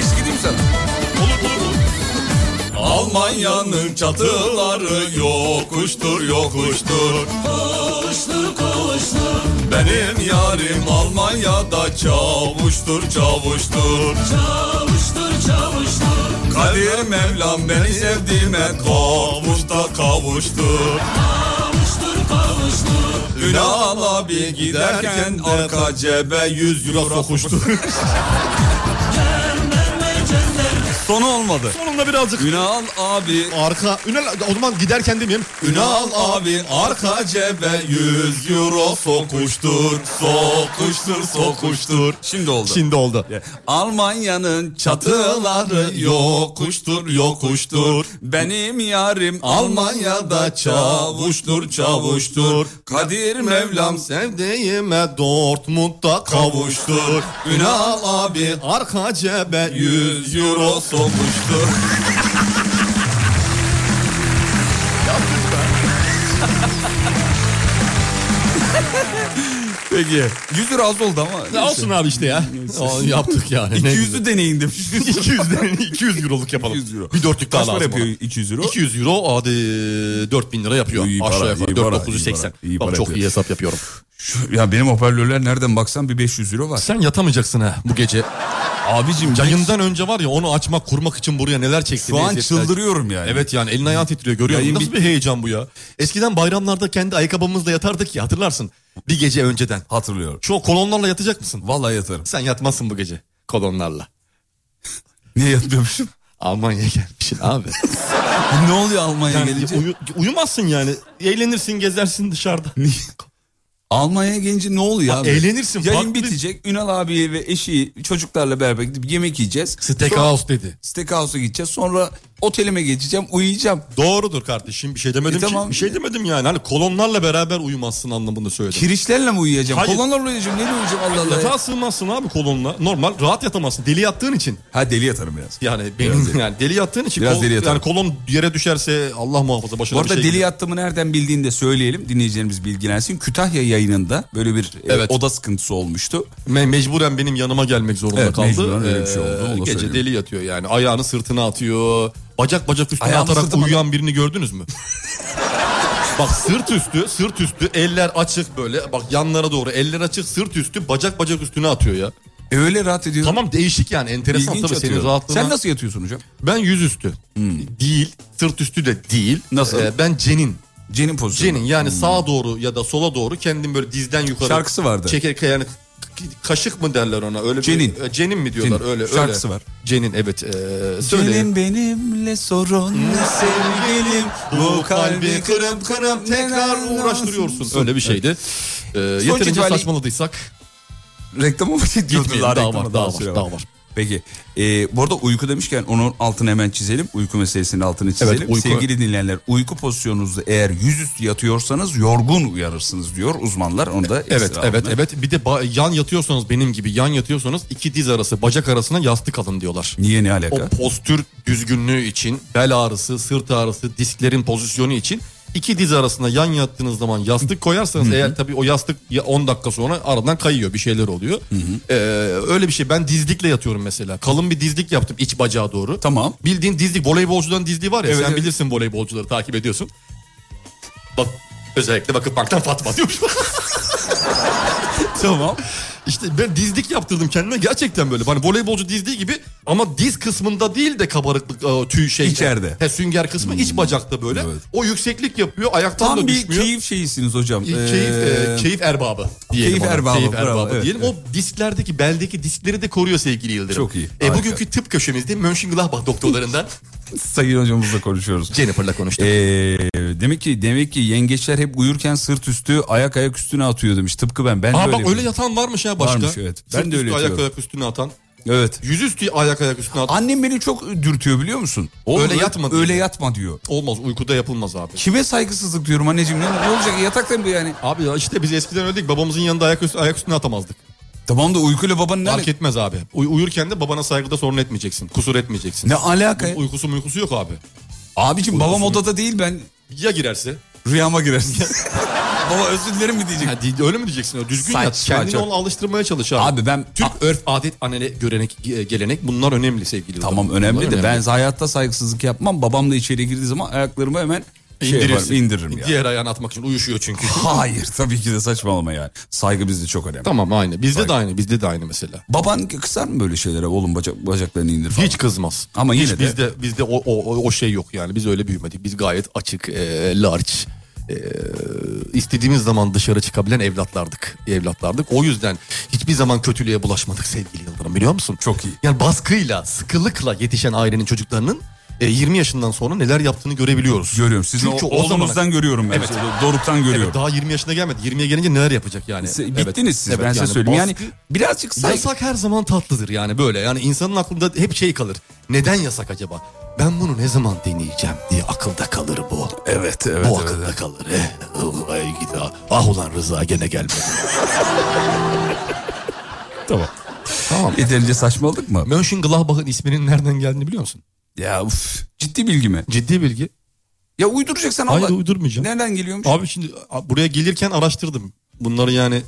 Eski değil mi sen?
Olur olur olur Almanya'nın çatıları yokuştur yokuştur Kovuştur kovuştur Benim yarim Almanya'da çavuştur çavuştur Çavuştur çavuştur Kadir Mevlam beni sevdiğime kavuştur da kavuştur Kavuştur kavuştur Ünal abi giderken arka cebe 100 euro sokuştur
Sonu olmadı.
Sonunda birazcık
Ünal abi.
Arka Ünal o zaman giderken demeyeyim. Ünal abi arka cebe 100 euro sokuştur. Sokuştur sokuştur.
Şimdi oldu.
Şimdi oldu.
Almanya'nın
Çatıları yokuştur yokuştur.
Benim yarim
Almanya'da çavuştur çavuştur. Kadir Mevlam sevdiğime Dortmund'da kavuştur. Ünal abi arka cebe 100 euro sokuştur.
Peki. 100 lira az oldu ama.
Ne olsun abi işte ya. Aa, yaptık yani.
200'ü deneyin demiş.
200 deneyin, 200 euroluk yapalım.
200 euro.
Bir dörtlük daha
Kaç
lazım.
para yapıyor
ona.
200 euro?
200 euro adi 4000 lira yapıyor.
İyi para,
Aşağı
iyi
yukarı
para,
4980.
iyi para, iyi
Bak
para
çok
yapıyor.
iyi hesap yapıyorum.
Şu- ya benim hoparlörler nereden baksan bir 500 euro var.
Sen yatamayacaksın ha bu gece.
Abicim
Yayından önce var ya onu açmak kurmak için buraya neler çekti.
şu an
eziyetler.
çıldırıyorum yani.
Evet yani elin ayağın titriyor görüyor musun?
Yayın
Nasıl
bitti.
bir heyecan bu ya? Eskiden bayramlarda kendi ayakkabımızla yatardık ya hatırlarsın. Bir gece önceden.
Hatırlıyorum.
Şu kolonlarla yatacak mısın?
Vallahi yatarım.
Sen yatmazsın bu gece kolonlarla.
Niye yatmıyormuşum?
Almanya'ya gelmişsin abi.
ne oluyor Almanya'ya
Yani
gelince?
uyu- uyumazsın yani. Eğlenirsin gezersin dışarıda.
Almanya'ya gelince ne oluyor abi?
eğlenirsin,
Yayın
farklı-
bitecek. Ünal abiye ve eşi çocuklarla beraber gidip yemek yiyeceğiz. Sonra
Steakhouse dedi.
Steakhouse'a gideceğiz. Sonra otelime geçeceğim. Uyuyacağım.
Doğrudur kardeşim bir şey demedim
E tamam.
ki. Bir şey demedim yani. Hani kolonlarla beraber uyumazsın anlamında söyledim.
Kirişlerle mi uyuyacağım?
Hayır.
Kolonlarla uyuyacağım. Neyle uyuyacağım Allah Allah. ya?
Yatağa sığmazsın abi kolonla. Normal rahat yatamazsın. Deli yattığın için.
Ha deli yatarım biraz.
Yani benim yani deli yattığın için
Biraz
kol-
deli yatarım.
yani kolon yere düşerse Allah muhafaza başına
Bu arada
bir şey
deli
gelir.
yattığımı nereden bildiğini de söyleyelim. Dinleyicilerimiz bilgilensin. Kütahya yayınında böyle bir e,
Evet.
oda sıkıntısı olmuştu.
Me- mecburen benim yanıma gelmek zorunda
Evet,
kaldı. Ee,
mecburen öyle bir şey oldu, onu da
gece
söyleyeyim.
deli yatıyor yani. Ayağını sırtına atıyor. Bacak bacak üstüne
Ayağını
atarak
sırtıma-
uyuyan birini gördünüz mü? Bak sırt üstü, sırt üstü, eller açık böyle. Bak yanlara doğru eller açık, sırt üstü, bacak bacak üstüne atıyor ya.
E, öyle rahat ediyorum.
Tamam değişik yani enteresan
İlginç
tabii senin
atıyorum.
rahatlığına.
Sen nasıl yatıyorsun hocam?
Ben yüzüstü. Değil, sırt üstü de değil. Ee,
Nasıl?
ben cenin.
Cenin pozisyonu.
Cenin yani sağa doğru ya da sola doğru kendim böyle dizden yukarı.
Hmm. Şarkısı vardı.
Çeker yani k- kaşık mı derler ona öyle bir-
Cenin.
E, cenin mi diyorlar
Cenin.
öyle
Şarkısı
öyle.
var.
Cenin evet. E, söyle. Hmm.
Senin benimle sorun sevgilim
Bu kalbi kırıp kırıp tekrar uğraştırıyorsun. Öyle bir şeydi. E, yeterince
itibariyle-
saçmaladıysak
Reklam mı
gitmeyelim.
diyordu
Daha var, daha var, daha var.
şey Peki. Ee, bu arada uyku demişken onun altını hemen çizelim. Uyku meselesinin altını çizelim.
Evet, uyku-
Sevgili dinleyenler uyku pozisyonunuzda eğer yüzüstü yatıyorsanız yorgun uyanırsınız diyor uzmanlar. Onu da
Evet
ekstra
evet
altına-
evet bir de ba- yan yatıyorsanız benim gibi yan yatıyorsanız iki diz arası bacak arasına yastık alın diyorlar.
Niye ne alaka?
O postür düzgünlüğü için bel ağrısı sırt ağrısı disklerin pozisyonu için iki diz arasına yan yattığınız zaman yastık koyarsanız eğer tabii o yastık ya 10 dakika sonra aradan kayıyor bir şeyler oluyor. Ee, öyle bir şey ben dizlikle yatıyorum mesela kalın bir dizlik yaptım iç bacağa doğru.
Tamam.
Bildiğin dizlik voleybolcudan dizliği var ya
Evet,
sen
evet.
bilirsin voleybolcuları takip ediyorsun. Bak özellikle bakıp banktan Fatma diyormuş.
tamam.
İşte ben dizlik yaptırdım kendime gerçekten böyle. Hani voleybolcu dizdiği gibi ama diz kısmında değil de kabarıklık e, tüy şey.
İçeride. Hmm.
He, sünger kısmı iç bacakta böyle. O yükseklik yapıyor ayaktan
Tam
da
bir
düşmüyor.
keyif şeyisiniz hocam.
E, Keyif, e,
Ee,
keyif erbabı diyelim.
Keyif
ona.
erbabı,
Keyif
bravo, evet,
diyelim. O disklerdeki beldeki diskleri de koruyor sevgili Yıldırım.
Çok iyi,
E,
harika.
bugünkü tıp köşemizde Mönchengladbach doktorlarından
Sayın hocamızla konuşuyoruz.
Jennifer'la konuştuk.
Ee, demek ki demek ki yengeçler hep uyurken sırt üstü ayak ayak üstüne atıyor demiş. Tıpkı ben. Ben de
Aa
öyle
bak öyle
yapıyorum.
yatan varmış ya başka.
Varmış, evet. Ben
Sırt
de öyle
üstü ayak
yatıyorum.
ayak üstüne atan.
Evet.
Yüzüstü ayak ayak üstüne atan.
Annem beni çok dürtüyor biliyor musun? Oğlum,
öyle yatma diyor.
Öyle yatma diyor.
Olmaz uykuda yapılmaz abi.
Kime saygısızlık diyorum anneciğim ne, ne olacak yatakta mı bu yani?
Abi ya işte biz eskiden öyle değil babamızın yanında ayak, üstü, ayak üstüne atamazdık.
Tamam da uykuyla babanın ne
Fark etmez abi. Uy- uyurken de babana saygıda sorun etmeyeceksin. Kusur etmeyeceksin.
Ne alaka ya?
Bunun Uykusu muykusu yok abi.
Abicim babam odada değil ben
Ya girerse?
rüyama girersin. Baba özür dilerim mi diyecek?
Ha, di- öyle mi diyeceksin? Öyle Düzgün
Saç,
yat. Kendini
saç,
ona alıştırmaya çalış abi.
Abi ben Ah,
Türk örf, adet, anene, görenek, ge- gelenek bunlar önemli sevgili.
tamam
dostum.
önemli
Bunlar
de ben hayatta saygısızlık yapmam. Babam da içeri girdiği zaman ayaklarımı hemen şey
İndirirsin.
yaparım, indiririm ya.
Diğer ayağını atmak için uyuşuyor çünkü.
Hayır tabii ki de saçmalama yani. Saygı bizde çok önemli.
Tamam aynı. Bizde
Saygı.
de aynı. Bizde de aynı mesela.
Baban kısar mı böyle şeylere oğlum bacak, bacaklarını indir falan?
Hiç kızmaz.
Ama yine
Hiç
de-
bizde bizde o, o o- o şey yok yani. Biz öyle büyümedik. Biz gayet açık, e, large, e, istediğimiz zaman dışarı çıkabilen evlatlardık. Evlatlardık. O yüzden hiçbir zaman kötülüğe bulaşmadık sevgili Yıldırım biliyor musun?
Çok iyi.
Yani baskıyla, sıkılıkla yetişen ailenin çocuklarının e, 20 yaşından sonra neler yaptığını görebiliyoruz.
Görüyorum. Sizin o,
zamana-
oğlunuzdan görüyorum ben.
Evet.
Şey, Doruk'tan görüyorum.
Evet, daha 20 yaşına gelmedi. 20'ye gelince neler yapacak yani?
Se-
Evet.
Bittiniz siz
Evet,
ben size
yani
söyleyeyim. Yani
baskı-
birazcık saygı.
Yasak her zaman tatlıdır yani böyle. Yani insanın aklında hep şey kalır. Neden yasak acaba? Ben bunu ne zaman deneyeceğim diye akılda kalır bu.
Evet evet.
bu
evet.
akılda kalır. Eh, oh, ay gidi ah. Ah ulan Rıza gene gelmedi.
Tamam.
tamam.
Yeterince saçmaladık mı?
Mönchengladbach'ın isminin nereden geldiğini biliyor musun?
Ya uf, ciddi bilgi mi?
Ciddi bilgi.
Ya uyduracaksan Allah.
Hayır uydurmayacağım.
Nereden geliyormuş?
Abi şimdi a, buraya gelirken araştırdım. Bunları yani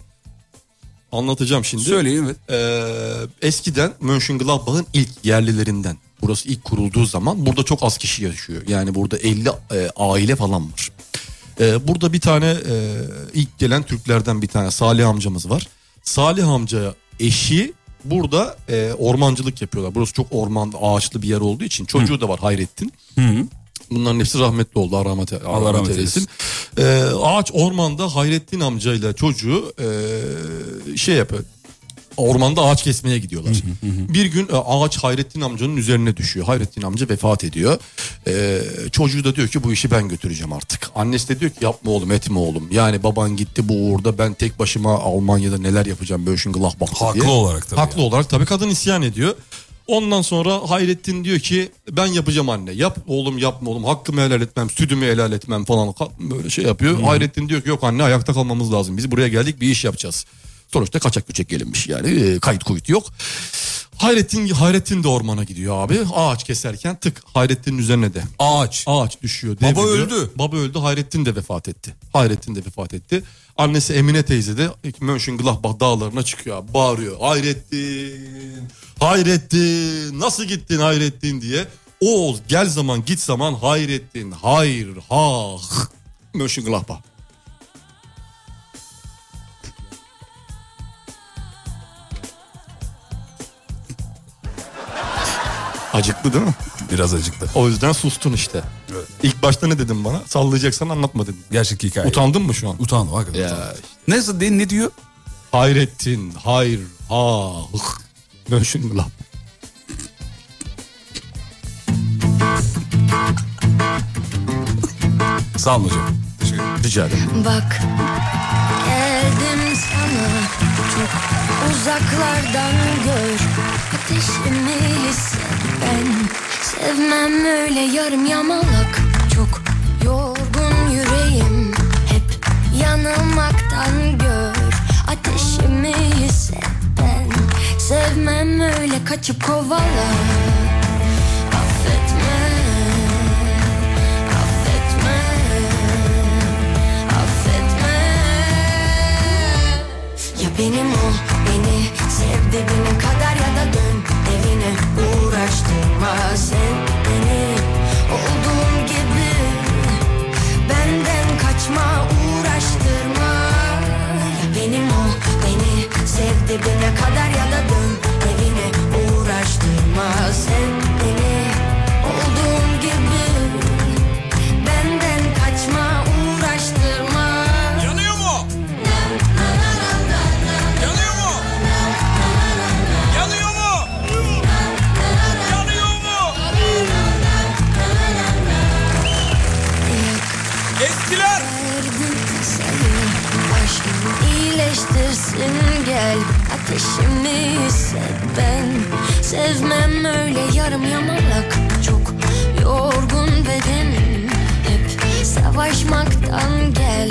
anlatacağım şimdi.
Söyleyin evet.
Ee, eskiden Mönchengladbach'ın ilk yerlilerinden. Burası ilk kurulduğu zaman burada çok az kişi yaşıyor. Yani burada 50 e, aile falan var. Ee, burada bir tane e, ilk gelen Türklerden bir tane Salih amcamız var. Salih amca eşi burada e, ormancılık yapıyorlar. Burası çok orman ve ağaçlı bir yer olduğu için çocuğu da var Hayrettin. Bunların hepsi rahmetli oldu. Allah rahmet, Allah
rahmet
rahmet eylesin. Ee, ağaç ormanda Hayrettin amcayla çocuğu e, şey yapıyor. Ormanda ağaç kesmeye gidiyorlar. Bir gün e, ağaç Hayrettin amcanın üzerine düşüyor. Hayrettin amca vefat ediyor. Ee, çocuğu da diyor ki bu işi ben götüreceğim artık. Annesi de diyor ki yapma oğlum etme oğlum. Yani baban gitti bu uğurda ben tek başıma Almanya'da neler yapacağım Mönchengladbach'ta diye.
Haklı olarak tabii
Haklı olarak tabii kadın isyan ediyor. Ondan sonra Hayrettin diyor ki ben yapacağım anne. Yap oğlum yapma oğlum hakkımı helal etmem sütümü helal etmem falan Ka- böyle şey yapıyor. Hayrettin diyor ki yok anne ayakta kalmamız lazım. Biz buraya geldik bir iş yapacağız. Sonuçta kaçak göçek gelinmiş yani e, kayıt kuyut yok. Hayrettin, Hayrettin de ormana gidiyor abi. Ağaç keserken tık Hayrettin'in üzerine de
Ağaç.
ağaç düşüyor.
Baba
devriliyor.
öldü.
Baba öldü. Hayrettin de vefat etti. Hayrettin de vefat etti. Annesi Emine teyze de Mönchengladbach dağlarına çıkıyor. abi, Bağırıyor. Hayrettin. Hayrettin. Nasıl gittin Hayrettin diye. Oğuz gel zaman git zaman Hayrettin. Hayır. Ha. Mönchengladbach. Acıklı değil mi?
Biraz acıktı.
O yüzden sustun işte. İlk başta ne dedim bana? Sallayacaksan anlatma dedim.
Gerçek hikaye.
Utandın mı şu an?
Utandım hakikaten. utandım.
Ya
Neyse de, ne diyor?
Hayrettin, hayır, ha. hıh. Ben şimdi lan.
Sağ olun hocam. Teşekkür ederim.
Rica ederim.
Bak geldim sana çok uzaklardan gör düşünmelisin Ben sevmem öyle yarım yamalak Çok yorgun yüreğim Hep yanılmaktan gör Ateşimi hisset ben Sevmem öyle kaçıp kovala Affetme Affetme Affetme ya benim ol beni sev dediğine kadar ya da dön evine uğraştırma sen beni olduğum gibi benden kaçma uğraştırma ya benim ol beni sev dediğine kadar ya da dön evine uğraştırma sen beni olduğum gibi benden kaçma uğraştırma yanıyor mu Yanıyor mu? Yanıyor mu? Yanıyor mu? Eskiler. Aşkım iyileştirsin gel Ateşimi hisset ben Sevmem öyle yarım yamalak Çok yorgun bedenim Hep savaşmaktan gel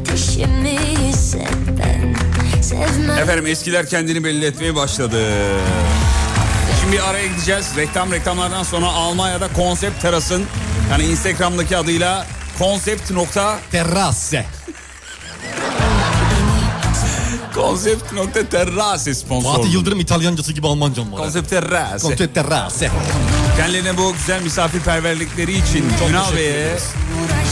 Ateşimi hisset ben Sevmem
Efendim eskiler kendini belli etmeye başladı. Şimdi bir araya gideceğiz. Reklam reklamlardan sonra Almanya'da konsept terasın yani Instagram'daki adıyla konsept nokta
Terrasse.
konsept nokta terrasse sponsoru.
Fatih Yıldırım İtalyancası gibi Almancam var.
Konsept terrasse.
Konsept terrasse.
Kendilerine bu güzel misafirperverlikleri için Ünal
teşekkür
Bey'e,
ederiz.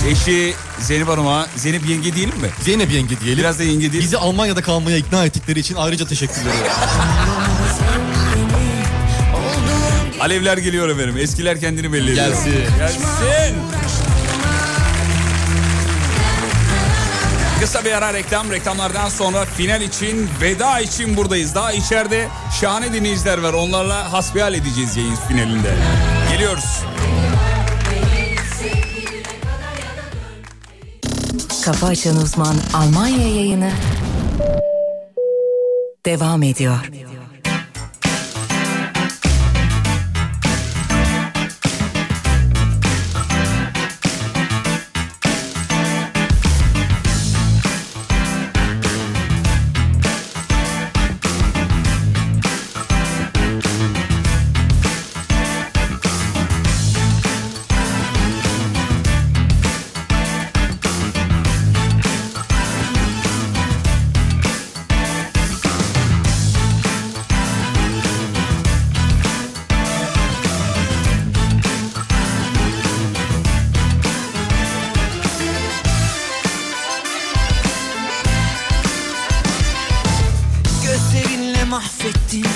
eşi Zeynep Hanım'a, Zeynep yenge diyelim mi?
Zeynep yenge diyelim.
Biraz da yenge diyelim.
Bizi Almanya'da kalmaya ikna ettikleri için ayrıca teşekkürler.
Alevler geliyor efendim. Eskiler kendini belli ediyor.
Gelsin.
Gelsin. Kısa bir ara reklam. Reklamlardan sonra final için, veda için buradayız. Daha içeride şahane dinleyiciler var. Onlarla hasbihal edeceğiz yayın finalinde. Geliyoruz.
Kafa Açan Uzman Almanya yayını devam ediyor.
Gözlerinle mahvettin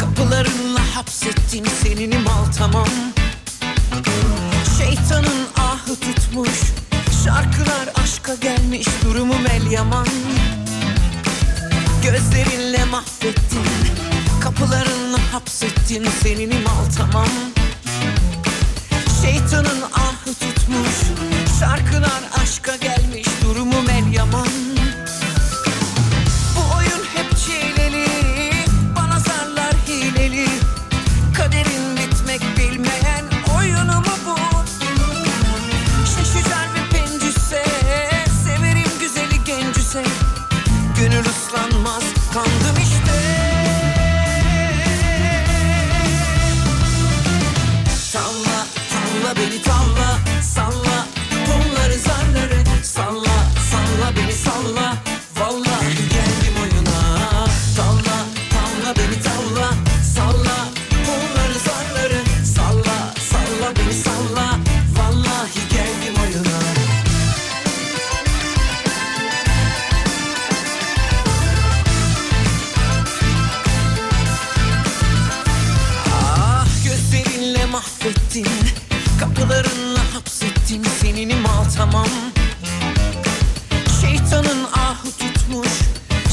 Kapılarınla hapsettin Seninim al tamam Şeytanın ahı tutmuş Şarkılar aşka gelmiş Durumum el yaman Gözlerinle mahvettin Kapılarınla hapsettin Seninim al tamam Şeytanın
ah
ahı tutmuş Şarkılar aşka gelmiş Durumum el yaman bu oyun hep çileli Bana zarlar hileli Kaderin bitmek bilmeyen oyunu mu bu? Şaşıcar ve pencüse Severim güzeli gencüse Gönül ıslanmaz kandım işte Salla salla beni talla Salla tonları zarları Salla salla beni salla Vallahi geldim oyuna Tavla tavla beni tavla Salla kolları zarları Salla salla beni salla Vallahi geldim oyuna Ah gözlerinle mahvettin Kapılarınla hapsettin Seninim al tamam Şeytanın ahı tutmuş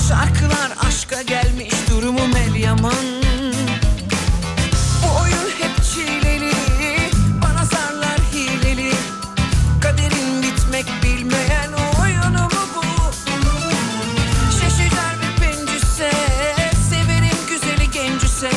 Şarkılar aşka gelmiş Durumum el yaman Bu oyun hep çileli Bana zarlar hileli Kaderin bitmek bilmeyen oyunu mu bu? Şaşırlar ve pencüse Severim güzeli gencüse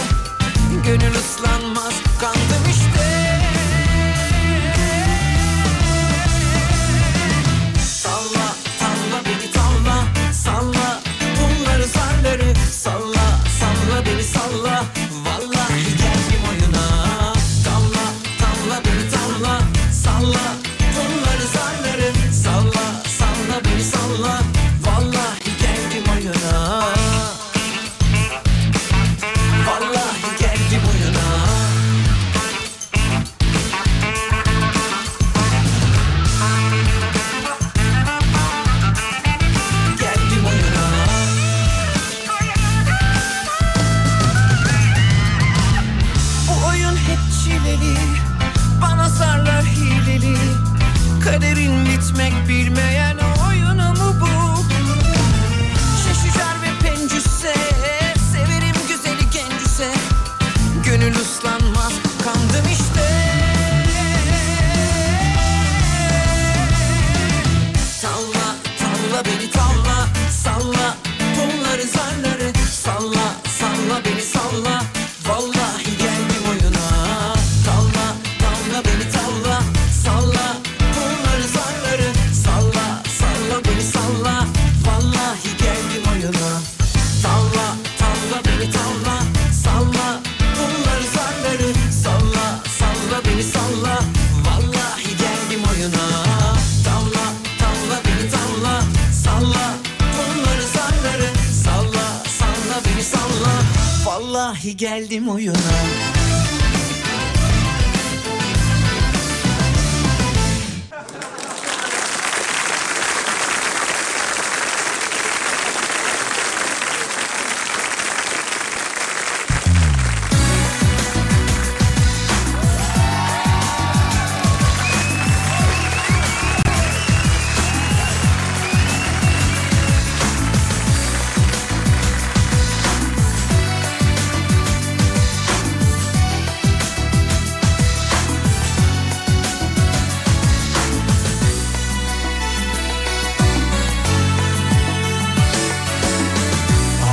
bitmek bilmeyen oyunu mu bu? Şişücer ve pencüse Severim güzeli gencüse Gönül ıslanmaz kandım işte Salla, salla beni salla, salla Kolları zarları salla, salla beni salla Vallahi geldim oyuna Salla, salla beni salla, salla Kolları zarları salla, salla beni salla Vallahi geldim oyuna Salla, salla beni salla, salla Kolları zarları salla, salla beni salla Vallahi geldim oyuna Tavla, tavla beni tavla Salla, kolları zarları Salla, salla beni salla Vallahi geldim oyuna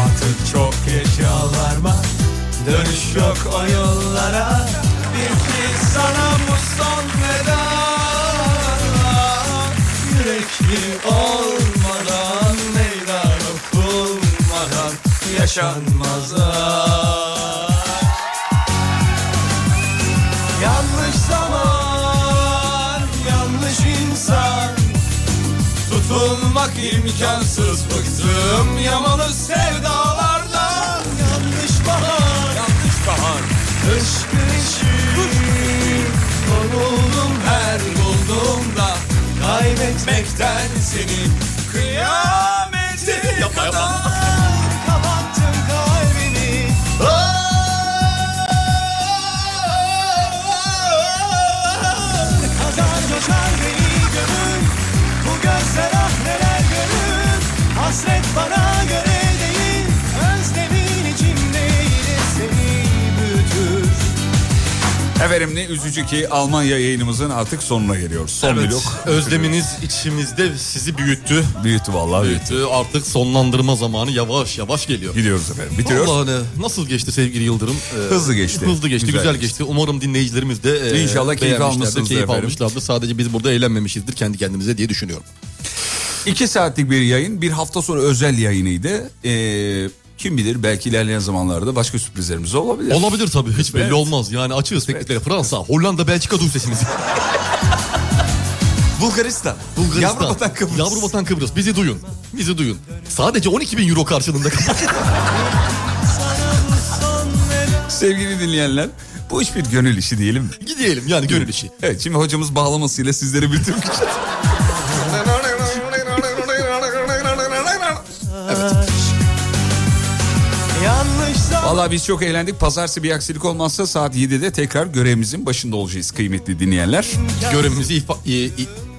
Artık çok geç yalvarma Dönüş yok o yollara Bitti sana bu son veda Yürekli olmadan Meydan okunmadan Yaşanmazlar Yanlış zaman Yanlış insan Tutulmak imkansız bıktım yamalı sevdalardan Yanlış bahar Yanlış bahar Kış güneşi Kovuldum her bulduğumda Kaybetmekten seni Kıyamete yapma, kadar Kapattım kalbini Kazan coşar beni gönül bu gözler ah neler görür Hasret bana göre değil Özlemin içimdeydi seni büyütür
Efendim ne üzücü ki Almanya yayınımızın artık sonuna geliyoruz. Son
Evet,
blok.
Özleminiz içimizde sizi büyüttü.
Büyüttü vallahi
büyüttü. Ee, Artık sonlandırma zamanı yavaş yavaş geliyor.
Gidiyoruz efendim. Bitiriyoruz.
Vallahi ne- nasıl geçti sevgili Yıldırım? Ee,
Hızlı geçti.
Hızlı geçti,
Güzel
güzel, geçti. Umarım dinleyicilerimiz de e,
İnşallah keyif
beğenmişlerdir,
almışsınızdır
keyif
efendim.
almışlardır. Sadece biz burada eğlenmemişizdir kendi kendimize diye düşünüyorum.
İki saatlik bir yayın. Bir hafta sonra özel yayınıydı. Ee, kim bilir belki ilerleyen zamanlarda başka sürprizlerimiz olabilir.
Olabilir tabii. Hiç belli
Evet.
olmaz. Yani açığız tekliklere. Fransa, Hollanda, Belçika duy sesimizi.
Bulgaristan.
Bulgaristan.
Yavru vatan
Kıbrıs. Yavru vatan Kıbrıs. Bizi duyun. Bizi duyun. Sadece 12 bin euro karşılığında.
Sevgili dinleyenler bu iş bir gönül işi diyelim mi?
Gidelim yani gönül işi.
Evet şimdi hocamız bağlamasıyla sizlere bir türkü çalacak.
Yanlış zaman
Valla biz çok eğlendik. Pazartesi bir aksilik olmazsa saat 7'de tekrar görevimizin başında olacağız kıymetli dinleyenler.
Görevimizi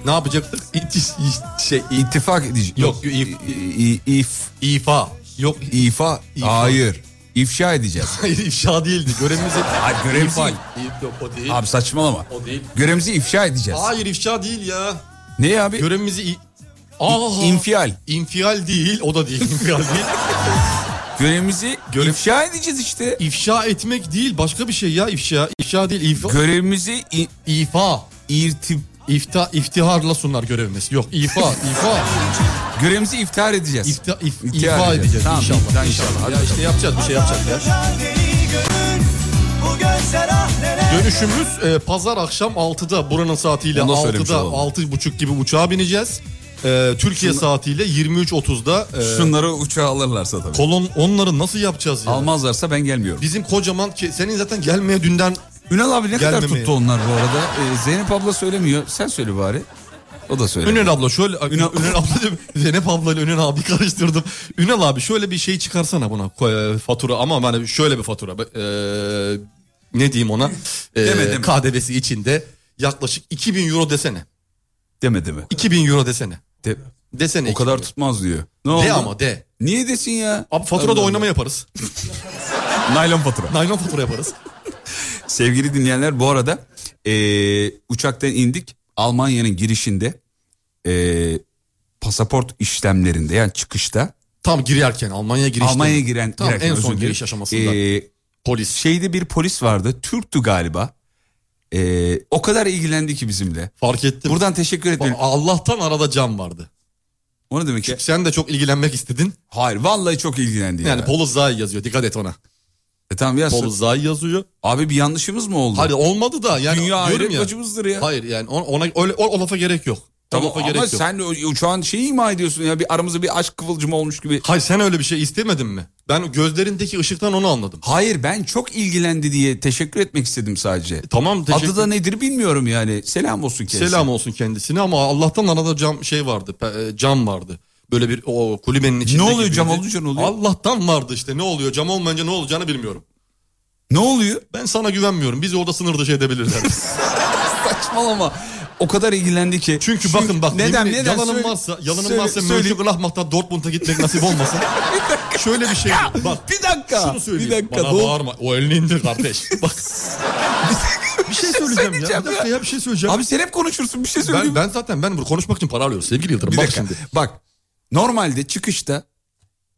ne yapacaktık? şey,
ittifak edeceğiz.
Yok, if, ifa. Yok.
İfa. Hayır. İfşa edeceğiz.
Hayır ifşa değildi. Görevimizi...
Hayır görevimizi...
İfa. İf- Yok o değil.
Abi saçmalama.
O değil.
Görevimizi ifşa edeceğiz.
Hayır ifşa değil ya.
Ne abi?
Görevimizi... i- Aa,
infial.
İnfial değil. O da değil. İnfial değil.
Görevimizi ifşa edeceğiz işte.
İfşa etmek değil. Başka bir şey ya ifşa. İfşa değil. ifa.
Görevimizi...
ifa.
İrtip.
İfta, iftiharla sunlar görevimiz. Yok ifa, ifa.
Görevimizi iftihar edeceğiz.
İfta, if,
İftihar
ifa
edeceğiz.
edeceğiz
Tamam,
inşallah.
iftihar
inşallah.
inşallah. Hadi
Ya işte yapacağız bir şey yapacağız ya.
beni görür Bu gözler ah neler
Dönüşümüz e, pazar akşam 6'da buranın saatiyle
Onu da söylemiş
6'da
olalım.
6.30 gibi uçağa bineceğiz. E, Türkiye saatiyle 23.30'da e,
Şunları uçağa alırlarsa tabii.
kolon onları nasıl yapacağız ya?
Almazlarsa ben gelmiyorum.
Bizim kocaman ki- senin zaten gelmeye dünden
Ünal abi ne kadar
Gelmemeye.
tuttu onlar bu arada? Ee, Zeynep abla söylemiyor. Sen söyle bari. O da söyle.
Ünal abla şöyle Ünal, abla diyorum. Zeynep abla ile Ünal abi karıştırdım. Ünal abi şöyle bir şey çıkarsana buna ko- e, fatura ama hani şöyle bir fatura e, ne diyeyim ona E,
Deme, deme.
KDV'si içinde yaklaşık 2000 euro desene.
Demedi mi?
2000 euro desene.
De,
desene.
O kadar tutmaz diyor. Ne
de
oldu?
ama de.
Niye desin ya?
Abi faturada
Allah
oynama
Allah.
yaparız.
Naylon fatura.
Naylon fatura yaparız.
Sevgili dinleyenler bu arada eee, uçaktan indik. Almanya'nın girişinde eee, pasaport işlemlerinde yani çıkışta.
Tam girerken Almanya'ya girişte.
Almanya'ya giren.
Tam
girerken,
en
özür
son
dilerim. Ee, şey-
giriş aşamasında.
Eee,
polis.
Şeyde bir polis vardı. Türktü galiba. Eee, o kadar ilgilendi ki bizimle.
Fark ettim.
Buradan teşekkür ederim.
Allah'tan arada cam vardı.
O ne demek ki?
Sen de çok ilgilenmek istedin.
Hayır vallahi çok ilgilendi
Yani,
ya.
Polozay yazıyor dikkat et ona.
E tamam yazsın.
Polozay yazıyor.
Abi bir yanlışımız mı oldu?
Hayır olmadı da yani
Dünya
diyorum
ayrı
ya.
bacımızdır ya.
Hayır yani ona, ona öyle o, o lafa gerek yok. O
Tamam
lafa
ama
gerek yok.
sen u- uçağın şeyi ima ediyorsun ya bir aramızda bir aşk kıvılcımı olmuş gibi.
Hayır sen öyle bir şey istemedin mi? Ben gözlerindeki ışıktan onu anladım.
Hayır ben çok ilgilendi diye teşekkür etmek istedim sadece.
E, tamam teşekkür-
Adı da nedir bilmiyorum yani. Selam olsun kendisine.
Selam olsun kendisine ama Allah'tan arada cam şey vardı. pe- e, Cam vardı. Böyle bir o kulübenin içinde.
Ne oluyor,
gibiydi.
cam olunca ne oluyor?
Allah'tan vardı işte. Ne oluyor? Cam olmayınca ne olacağını bilmiyorum.
Ne oluyor?
Ben sana güvenmiyorum. Bizi orada sınır dışı edebilirler.
Saçmalama. O kadar ilgilendi ki.
Çünkü, bakın bak
neden
yemin-
neden
yalanım
Söyle-
varsa yalanım
söyle-
varsa
söyle-
Mönchengladbach'tan Dortmund'a gitmek nasip olmasın. Şöyle bir şey bak.
Bir dakika.
Şunu söyleyeyim.
Bir dakika,
Bana
doğru.
bağırma. O elini indir kardeş. Bak. bir şey söyleyeceğim ya. Bir dakika ya bir şey söyleyeceğim.
Abi sen hep konuşursun bir şey
ben,
söyleyeyim.
ben zaten ben bunu konuşmak için para alıyorum sevgili Yıldırım.
Bir
bak
dakika.
şimdi.
Bak normalde çıkışta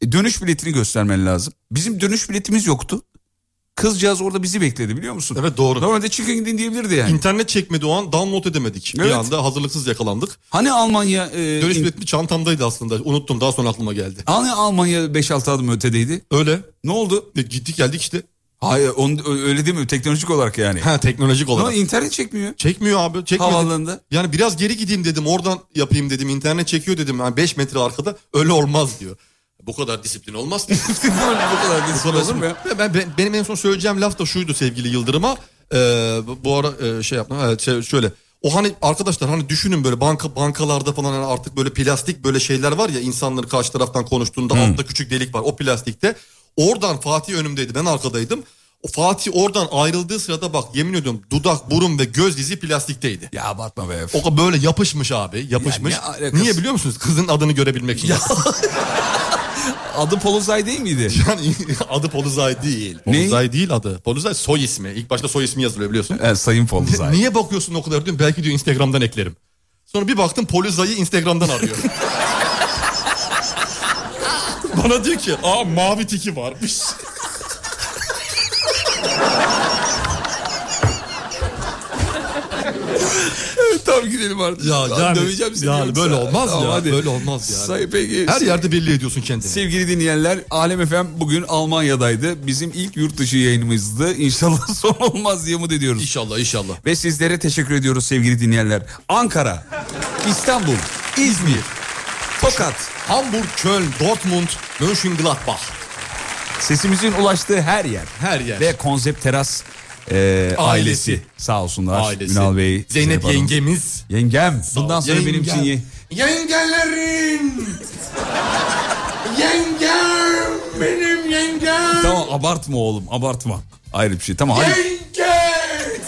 e, dönüş biletini göstermen lazım. Bizim dönüş biletimiz yoktu. Kızcağız orada bizi bekledi biliyor musun?
Evet doğru.
Normalde çıkın gidin diyebilirdi yani.
İnternet çekmedi o an download edemedik. Bir
Evet.
anda hazırlıksız yakalandık.
Hani Almanya... E,
Dönüş
in-
biletli çantamdaydı aslında. Unuttum daha sonra aklıma geldi.
Hani Almanya 5-6 adım ötedeydi.
Öyle.
Ne oldu?
E, gittik geldik işte.
Hayır onu, ö- öyle değil mi? Teknolojik olarak yani.
Ha teknolojik olarak.
Ama internet çekmiyor.
Çekmiyor abi. Çekmedi.
Havaalanında.
Yani biraz geri gideyim dedim oradan yapayım dedim. internet çekiyor dedim. Yani 5 metre arkada öyle olmaz diyor. Bu kadar disiplin olmaz.
Bu kadar disiplin olur mu ya?
Ben, ben- benim en son söyleyeceğim laf da şuydu sevgili Yıldırım'a. Ee, bu- bu ara e, şey yapma. Evet, şey- şöyle. O hani arkadaşlar hani düşünün böyle banka bankalarda falan hani artık böyle plastik böyle şeyler var ya insanları karşı taraftan konuştuğunda altta küçük delik var o plastikte. Oradan Fatih önümdeydi ben arkadaydım. O Fatih oradan ayrıldığı sırada bak yemin ediyorum dudak, burun ve göz izi plastikteydi.
Ya abartma be.
O ka- böyle yapışmış abi yapışmış.
Ya ne alakası?
Niye biliyor musunuz? Kızın adını görebilmek için.
Adı Polozay değil miydi?
Yani adı Poluzay değil.
Ne?
Poluzay değil adı. Poluzay soy ismi. İlk başta soy ismi yazılıyor biliyorsun.
Evet, E, Sayın Polozay.
Niye bakıyorsun o kadar diyorum. Belki diyor Instagram'dan eklerim. Sonra bir baktım Poluzay'ı Instagram'dan arıyor. Bana diyor ki aa mavi tiki varmış.
tamam gidelim artık.
Ya
Lan
yani,
döveceğim seni
yani
yoksa.
böyle olmaz
Tamam,
ya.
hadi.
Böyle olmaz yani.
Say peki.
Her yerde belli ediyorsun kendini.
Sevgili dinleyenler Alem Efem bugün Almanya'daydı. Bizim ilk yurt dışı yayınımızdı. İnşallah son olmaz diye umut ediyoruz.
İnşallah inşallah.
Ve sizlere teşekkür ediyoruz sevgili dinleyenler. Ankara, İstanbul, İzmir, Tokat.
Hamburg, Köln, Dortmund, Mönchengladbach.
Sesimizin ulaştığı her yer.
Her yer.
Ve konsept teras e, ailesi.
Ailesi.
Sağ olsunlar.
Ailesi.
Ünal Bey.
Zeynep
Hanım.
yengemiz.
Yengem. Bundan sonra benim için ye-
Yengelerin. Yengem. Benim yengem.
Tamam abartma oğlum abartma. Ayrı bir şey tamam. hadi.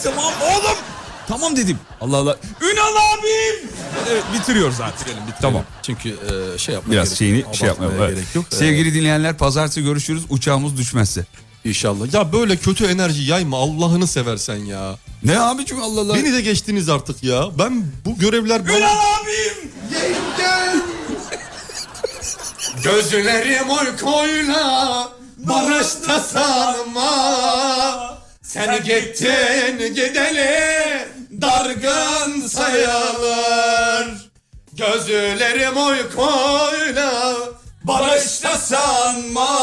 Tamam oğlum. Tamam dedim. Allah Allah. Ünal abim. Evet bitiriyoruz artık. Tamam.
Çünkü e, şey yapmaya
Biraz
gerek
şeyini
yok,
şey
abartmaya
yapmayalım. evet.
gerek yok.
Sevgili dinleyenler pazartesi görüşürüz uçağımız düşmezse.
İnşallah. E, Ya böyle kötü enerji yayma Allah'ını seversen ya.
Ne abicim Allah Allah.
Beni de geçtiniz artık ya. Ben bu görevler... Ünal
abim!
Yengem! Gözlerim uykuyla Maraş'ta sarma Sen gittin gideli Dargın sayılır Gözlerim uykuyla Barışta sanma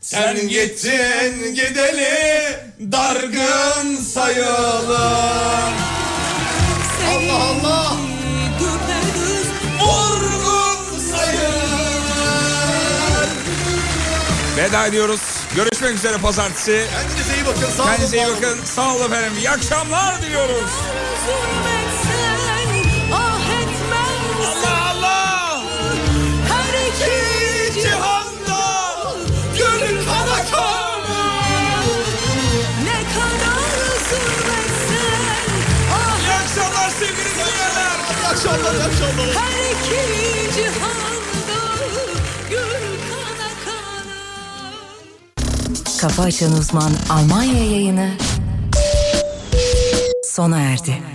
Sen gittin gideli Dargın sayılır Allah Allah
Düpedüz vurgun sayılır
Veda ediyoruz. Görüşmek üzere pazartesi.
Kendinize iyi bakın. Sağ
Kendinize iyi bakın. Sağ olun efendim. İyi akşamlar diliyoruz.
Zulmetsen ah etmem Allah Allah Her iki cihanda Gönül kana kana Ne kadar zulmetsen ah İyi akşamlar sevgili dinleyenler akşamlar, iyi akşamlar. Her iki cihanda gül kana kana.
Kafa Açan Uzman Almanya yayını sona erdi.